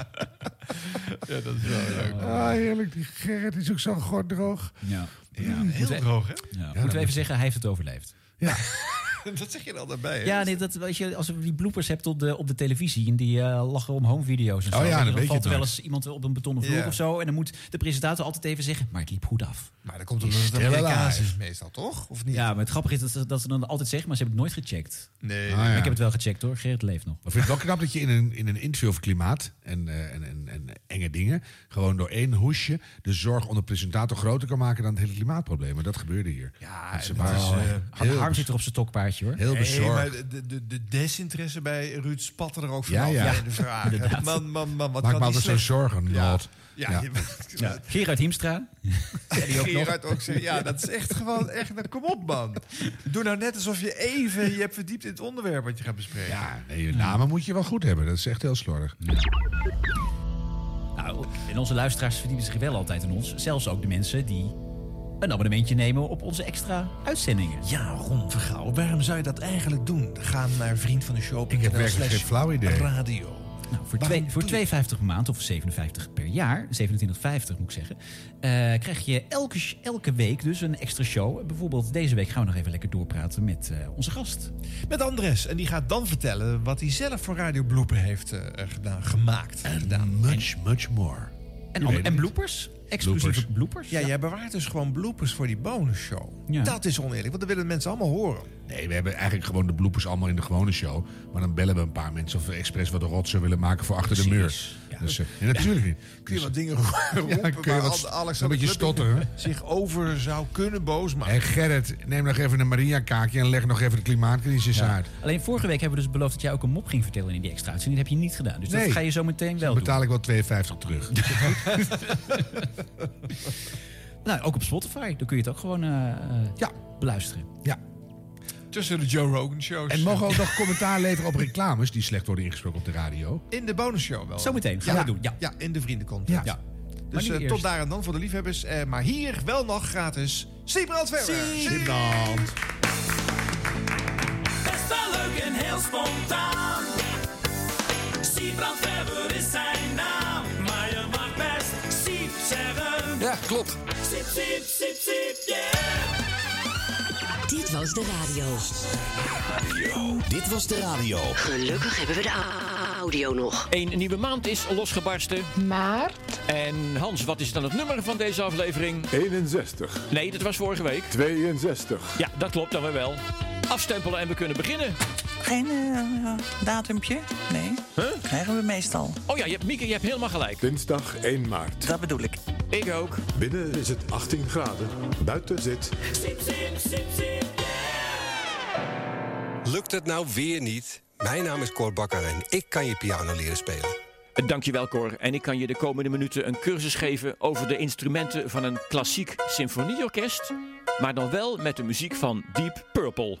[SPEAKER 1] Ja, dat is wel leuk. Ah, heerlijk. Die Gerrit is ook zo droog.
[SPEAKER 2] Ja.
[SPEAKER 1] Ja, heel droog, hè?
[SPEAKER 2] Ja. Moeten we even zeggen, hij heeft het overleefd.
[SPEAKER 4] dat zeg je dan daarbij. hè?
[SPEAKER 2] Ja, nee, dat, als, je, als je die bloopers hebt op de, op de televisie... en die eh, lachen om homevideo's en zo...
[SPEAKER 1] Oh ja, dan weet
[SPEAKER 2] dan
[SPEAKER 1] je
[SPEAKER 2] valt
[SPEAKER 1] het
[SPEAKER 2] er wel
[SPEAKER 1] nooit.
[SPEAKER 2] eens iemand op een betonnen vloer
[SPEAKER 1] Ja.
[SPEAKER 2] of zo... en dan moet de presentator altijd even zeggen... maar het liep goed af.
[SPEAKER 4] Maar dan komt
[SPEAKER 2] Die
[SPEAKER 4] er een
[SPEAKER 2] sterke
[SPEAKER 4] relaas
[SPEAKER 2] haar.
[SPEAKER 4] is meestal, toch? Of niet?
[SPEAKER 2] Ja, maar het grappige is dat, ze- dat ze dan altijd zeggen... maar ze hebben het nooit gecheckt.
[SPEAKER 4] Nee.
[SPEAKER 1] Ah, ja.
[SPEAKER 2] Ik heb het wel gecheckt hoor, Gerrit leeft nog.
[SPEAKER 1] Maar vind ik wel knap dat je in een, in een interview over klimaat en, eh, en, en, en enge dingen... gewoon door één hoesje de zorg onder presentator groter kan maken... dan het hele klimaatprobleem. En dat gebeurde hier. Ja, ze waren
[SPEAKER 2] Oh,
[SPEAKER 1] al, eh,
[SPEAKER 2] Harm-
[SPEAKER 1] heel
[SPEAKER 2] Harm zit er op zijn tokpaardje hoor.
[SPEAKER 1] Heel bezorgd.
[SPEAKER 4] maar de, de, de desinteresse bij Ruud spatte er ook
[SPEAKER 1] Ja,
[SPEAKER 4] vanaf ja,
[SPEAKER 1] ja.
[SPEAKER 4] ja. de vraag.
[SPEAKER 1] Inderdaad.
[SPEAKER 4] Man, man, man, wat
[SPEAKER 1] Maak
[SPEAKER 4] kan die
[SPEAKER 1] me altijd zo'n
[SPEAKER 4] slecht...
[SPEAKER 1] zorgen, Lord.
[SPEAKER 4] Ja,
[SPEAKER 1] Ja.
[SPEAKER 4] je-
[SPEAKER 2] Ja. Gerard Hiemstra.
[SPEAKER 4] die
[SPEAKER 2] ook nog.
[SPEAKER 4] Gerard ook zeggen, ja, dat is echt gewoon, echt, nou, kom op man. Doe nou net alsof je even, je hebt verdiept in het onderwerp wat je gaat bespreken.
[SPEAKER 1] Ja, nee, je namen moet je wel goed hebben. Dat is echt heel slordig.
[SPEAKER 2] Nou, en onze luisteraars verdienen zich wel altijd aan ons. Zelfs ook de mensen die een abonnementje nemen op onze extra uitzendingen.
[SPEAKER 4] Ja, Ron Vergouw, waarom zou je dat eigenlijk doen? Ga naar vriend van de show.
[SPEAKER 1] Ik heb werkelijk geen flauw idee.
[SPEAKER 4] Radio.
[SPEAKER 2] Nou, voor twee- voor 2,50 per maand of 57 per jaar, 27,50 moet ik zeggen, eh, krijg je elke, sh- elke week dus een extra show. Bijvoorbeeld deze week gaan we nog even lekker doorpraten met eh, onze gast.
[SPEAKER 4] Met Andres. En die gaat dan vertellen wat hij zelf voor Radio Blooper heeft eh, eh, gedaan, gemaakt. gedaan.
[SPEAKER 1] Much, much more.
[SPEAKER 2] En,
[SPEAKER 4] U
[SPEAKER 2] al-
[SPEAKER 4] weet
[SPEAKER 2] en
[SPEAKER 4] het.
[SPEAKER 2] bloopers, exclusieve bloopers.
[SPEAKER 4] Ja, jij bewaart dus gewoon bloopers voor die bonusshow.
[SPEAKER 1] Ja.
[SPEAKER 4] Dat is oneerlijk, want dan willen mensen allemaal horen.
[SPEAKER 1] Nee, we hebben eigenlijk gewoon de bloepers allemaal in de gewone show. Oh, Maar dan bellen we een paar mensen of we expres wat rotsen willen maken voor achter de muur.
[SPEAKER 4] Precies.
[SPEAKER 1] Dus, eh, ja, natuurlijk niet. Dus-
[SPEAKER 4] Kun je wat dingen roepen
[SPEAKER 1] Ja, kun je
[SPEAKER 4] waar
[SPEAKER 1] wat
[SPEAKER 4] Al-
[SPEAKER 1] st-
[SPEAKER 4] Alexander
[SPEAKER 1] een beetje
[SPEAKER 4] Klupping
[SPEAKER 1] stotteren.
[SPEAKER 4] zich over zou kunnen boos maken.
[SPEAKER 1] En Gerrit, neem nog even een Maria-kaakje en leg nog even de klimaatcrisis uit.
[SPEAKER 2] Alleen vorige week hebben we dus beloofd dat jij ook een mop ging vertellen in die extra uitzending. Dat heb je niet gedaan, dus
[SPEAKER 1] Nee.
[SPEAKER 2] dat ga je zo meteen wel
[SPEAKER 1] Dan
[SPEAKER 2] doen.
[SPEAKER 1] betaal ik wel 2,50 terug.
[SPEAKER 2] Nou, ook op Spotify, dan kun je het ook gewoon eh, eh, beluisteren.
[SPEAKER 1] Ja.
[SPEAKER 4] Tussen de Joe Rogan shows.
[SPEAKER 1] En mogen we ook nog commentaar leveren op reclames Dus die slecht worden ingesproken op de radio?
[SPEAKER 4] In de bonusshow wel.
[SPEAKER 2] Zometeen, gaan
[SPEAKER 4] Ja.
[SPEAKER 2] we doen. Ja.
[SPEAKER 4] Ja, in de vriendencontent.
[SPEAKER 1] Ja.
[SPEAKER 4] Dus
[SPEAKER 2] nu
[SPEAKER 4] eh,
[SPEAKER 2] eerst.
[SPEAKER 4] tot daar en dan voor de liefhebbers. Eh, maar hier wel nog gratis. Siebrand verder.
[SPEAKER 8] Best wel leuk en heel spontaan. Siebrand Verber is zijn naam. Maar je mag best Siep zeggen.
[SPEAKER 15] Ja, klopt.
[SPEAKER 8] Siep, siep, siep, siep, yeah.
[SPEAKER 10] Dit was de radio.
[SPEAKER 30] Dit was de radio.
[SPEAKER 10] Gelukkig hebben we de a- audio nog.
[SPEAKER 14] Een nieuwe maand is losgebarsten.
[SPEAKER 10] Maar?
[SPEAKER 14] En Hans, wat is dan het nummer van deze aflevering?
[SPEAKER 26] 61,
[SPEAKER 14] Nee, dat was vorige week.
[SPEAKER 26] 62.
[SPEAKER 14] Ja, dat klopt dan weer wel. Afstempelen en we kunnen beginnen.
[SPEAKER 13] Geen eh, datumpje? Nee. Krijgen we meestal.
[SPEAKER 14] Oh ja, je hebt, Mieke, je hebt helemaal gelijk.
[SPEAKER 26] Dinsdag 1 maart.
[SPEAKER 13] Dat bedoel ik.
[SPEAKER 14] Ik ook.
[SPEAKER 26] Binnen is het 18 graden. Buiten zit
[SPEAKER 8] Siep, siep, siep, siep,
[SPEAKER 15] Lukt het nou weer niet? Mijn naam is Cor Bakker en ik kan je piano leren spelen.
[SPEAKER 14] Eh, Dankjewel, Cor. En ik kan je de komende minuten een cursus geven over de instrumenten van een klassiek symfonieorkest. Maar dan wel met de muziek van Deep Purple.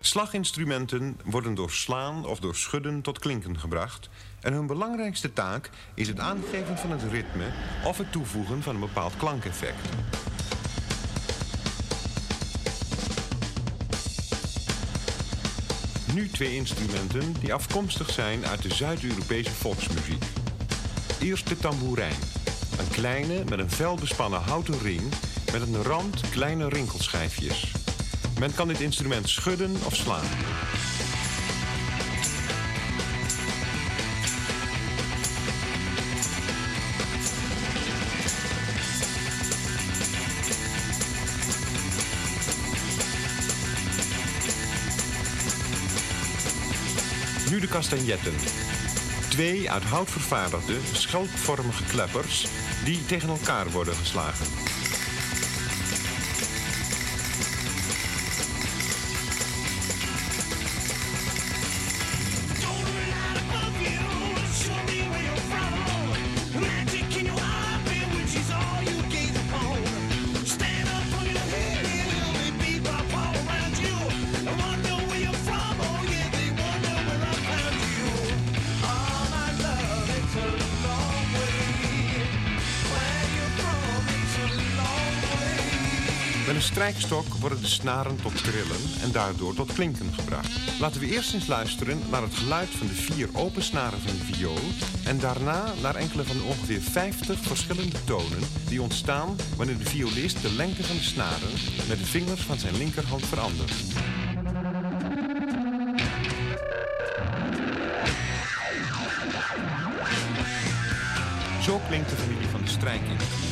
[SPEAKER 6] Slaginstrumenten worden door slaan of door schudden tot klinken gebracht. En hun belangrijkste taak is het aangeven van het ritme of het toevoegen van een bepaald klankeffect. Nu twee instrumenten die afkomstig zijn uit de Zuid-Europese volksmuziek. Eerst de tamboerijn. Een kleine, met een vel bespannen houten ring met een rand kleine rinkelschijfjes. Men kan dit instrument schudden of slaan. Nu de castagnetten. Twee uit hout vervaardigde, schelpvormige kleppers die tegen elkaar worden geslagen.
[SPEAKER 8] yeah.
[SPEAKER 6] Met een strijkstok worden de snaren tot trillen en daardoor tot klinken gebracht. Laten we eerst eens luisteren naar het geluid van de vier open snaren van de viool... en daarna naar enkele van de ongeveer 50 verschillende tonen... die ontstaan wanneer de violist de lengte van de snaren... met de vingers van zijn linkerhand verandert. Zo klinkt de familie van de strijkinstrumenten.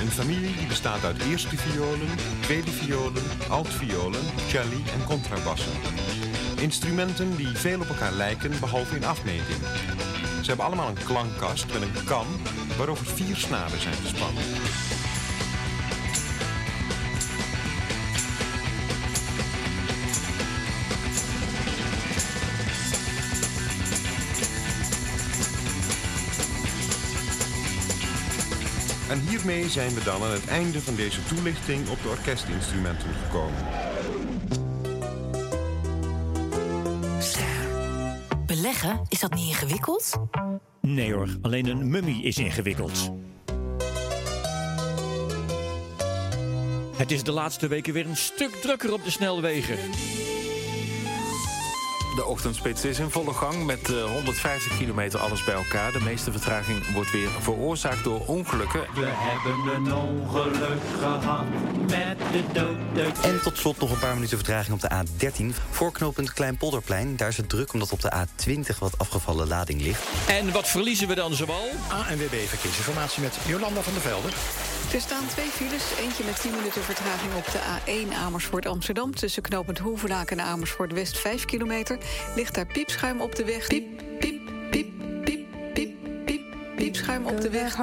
[SPEAKER 6] Een familie die bestaat uit eerste violen, tweede violen, altviolen, celli en contrabassen. Instrumenten die veel op elkaar lijken, behalve in afmeting. Ze hebben allemaal een klankkast met een kam waarover vier snaren zijn gespannen. En hiermee zijn we dan aan het einde van deze toelichting op de orkestinstrumenten gekomen.
[SPEAKER 23] Beleggen, is dat niet ingewikkeld?
[SPEAKER 31] Nee hoor, alleen een mummie is ingewikkeld. Het is de laatste weken weer een stuk drukker op de snelwegen.
[SPEAKER 14] De ochtendspits is in volle gang met eh, 150 kilometer alles bij elkaar. De meeste vertraging wordt weer veroorzaakt door ongelukken.
[SPEAKER 2] We hebben een ongeluk gehad met de dood.
[SPEAKER 21] En tot slot nog een paar minuten vertraging op de A13. Voorknopend Kleinpolderplein. Daar is het druk omdat op de A20 wat afgevallen lading ligt.
[SPEAKER 31] En wat verliezen we dan zoal?
[SPEAKER 14] ANWB Verkeersinformatie met Jolanda van der Velden.
[SPEAKER 22] Er staan twee files, eentje met 10 minuten vertraging op de A1 Amersfoort-Amsterdam... tussen knooppunt Hoevenaak en Amersfoort-West 5 kilometer. Ligt daar piepschuim op de weg. Piep, piep, piep, piep, piep, piep, piepschuim op de weg.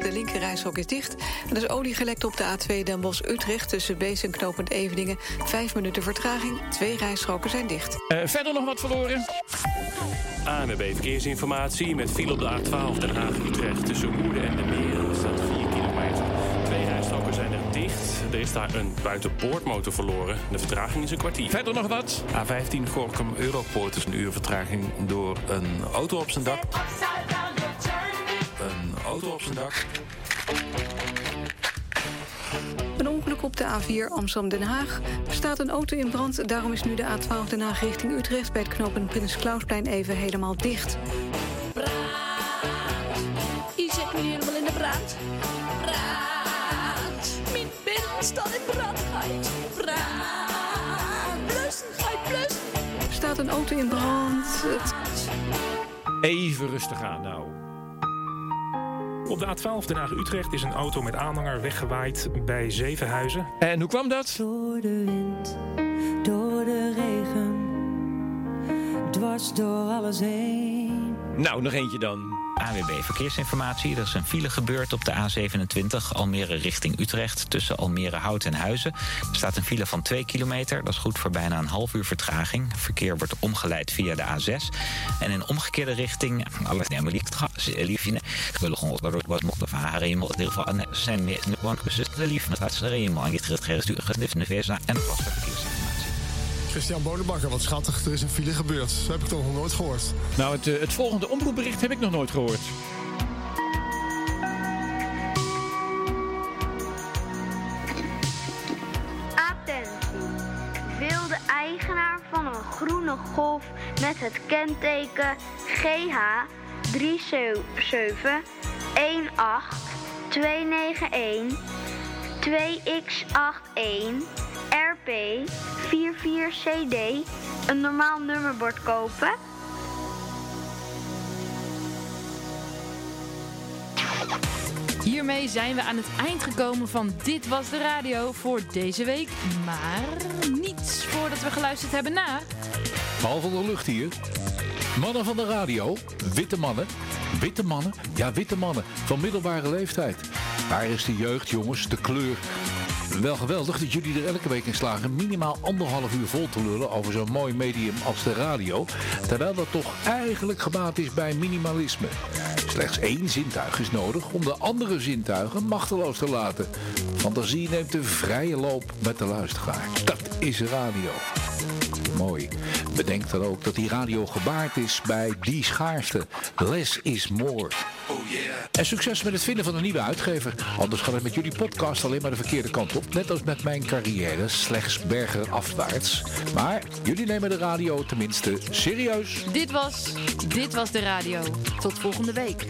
[SPEAKER 22] De linkerrijshok is dicht en er is olie gelekt op de A2 Den Bosch-Utrecht... tussen Bees en knooppunt Eveningen. Vijf minuten vertraging, twee rijstroken zijn dicht.
[SPEAKER 14] Eh, verder nog wat verloren? ANWB Verkeersinformatie met file op de A12 Den Haag-Utrecht... tussen Woerden en de Meren staat 4 kilometer. Twee rijstroken zijn er dicht. Er is daar een buitenpoortmotor verloren. De vertraging is een kwartier. Verder nog wat? A15 Gorkum Europoort is een uur vertraging door een auto op zijn dak. Een auto op zijn dak.
[SPEAKER 22] Een ongeluk op de A4 Amsterdam-Den Haag. Er staat een auto in brand, daarom is nu de A12 Den Haag richting Utrecht... bij het knooppunt Prins Klausplein even helemaal dicht.
[SPEAKER 8] Hier zit me nu helemaal in de brand. Brand. Mijn binnen staat in brand uit. Brand. Blussen, uit blussen.
[SPEAKER 22] Er staat een auto in brand. Het...
[SPEAKER 31] Even rustig aan nou.
[SPEAKER 32] Op de A12 Den Haag-Utrecht is een auto met aanhanger weggewaaid bij Zevenhuizen.
[SPEAKER 31] En hoe kwam dat?
[SPEAKER 5] Door de wind, door de regen, dwars door alles heen.
[SPEAKER 31] Nou, nog eentje dan.
[SPEAKER 26] AWB Verkeersinformatie. Er is een file gebeurd op de A27 Almere richting Utrecht... tussen Almere Hout en Huizen. Er staat een file van 2 kilometer. Dat is goed voor bijna een half uur vertraging. Verkeer wordt omgeleid via de A6. En in omgekeerde richting... Alles nemen liefst gas, liefje. Ik wil gewoon wat wat mocht of haar eenmaal... In ieder geval, en zijn meer... Nu want we zitten lief... Maar dat is er eenmaal. En je trekt gerestuurd... Gedift in de VSA en vaste verkeersinformatie.
[SPEAKER 4] Christian Bonenbakker, wat schattig. Er is een file gebeurd. Dat heb ik toch nog nooit gehoord.
[SPEAKER 31] Nou, het, eh, het volgende omroepbericht heb ik nog nooit gehoord.
[SPEAKER 33] Attentie! Wil de eigenaar van een groene golf met het kenteken GH 3718291 2x81 RP 44CD een normaal nummerbord kopen?
[SPEAKER 34] Hiermee zijn we aan het eind gekomen van Dit Was De Radio voor deze week. Maar niets voordat we geluisterd hebben na.
[SPEAKER 35] Paul van der Lucht hier. Mannen van de radio, witte mannen. Witte mannen? Ja, witte mannen. Van middelbare leeftijd. Waar is de jeugd, jongens? De kleur. Wel geweldig dat jullie er elke week in slagen minimaal anderhalf uur vol te lullen over zo'n mooi medium als de radio. Terwijl dat toch eigenlijk gebaat is bij minimalisme. Slechts één zintuig is nodig om de andere zintuigen machteloos te laten. Fantasie neemt de vrije loop met de luisteraar. Dat is radio. Mooi. Bedenk dan ook dat die radio gebaard is bij die schaarste. Less is more. En succes met het vinden van een nieuwe uitgever. Anders gaat het met jullie podcast alleen maar de verkeerde kant op. Net als met mijn carrière, slechts bergen afwaarts. Maar jullie nemen de radio tenminste serieus.
[SPEAKER 34] Dit was Dit was de radio. Tot volgende week.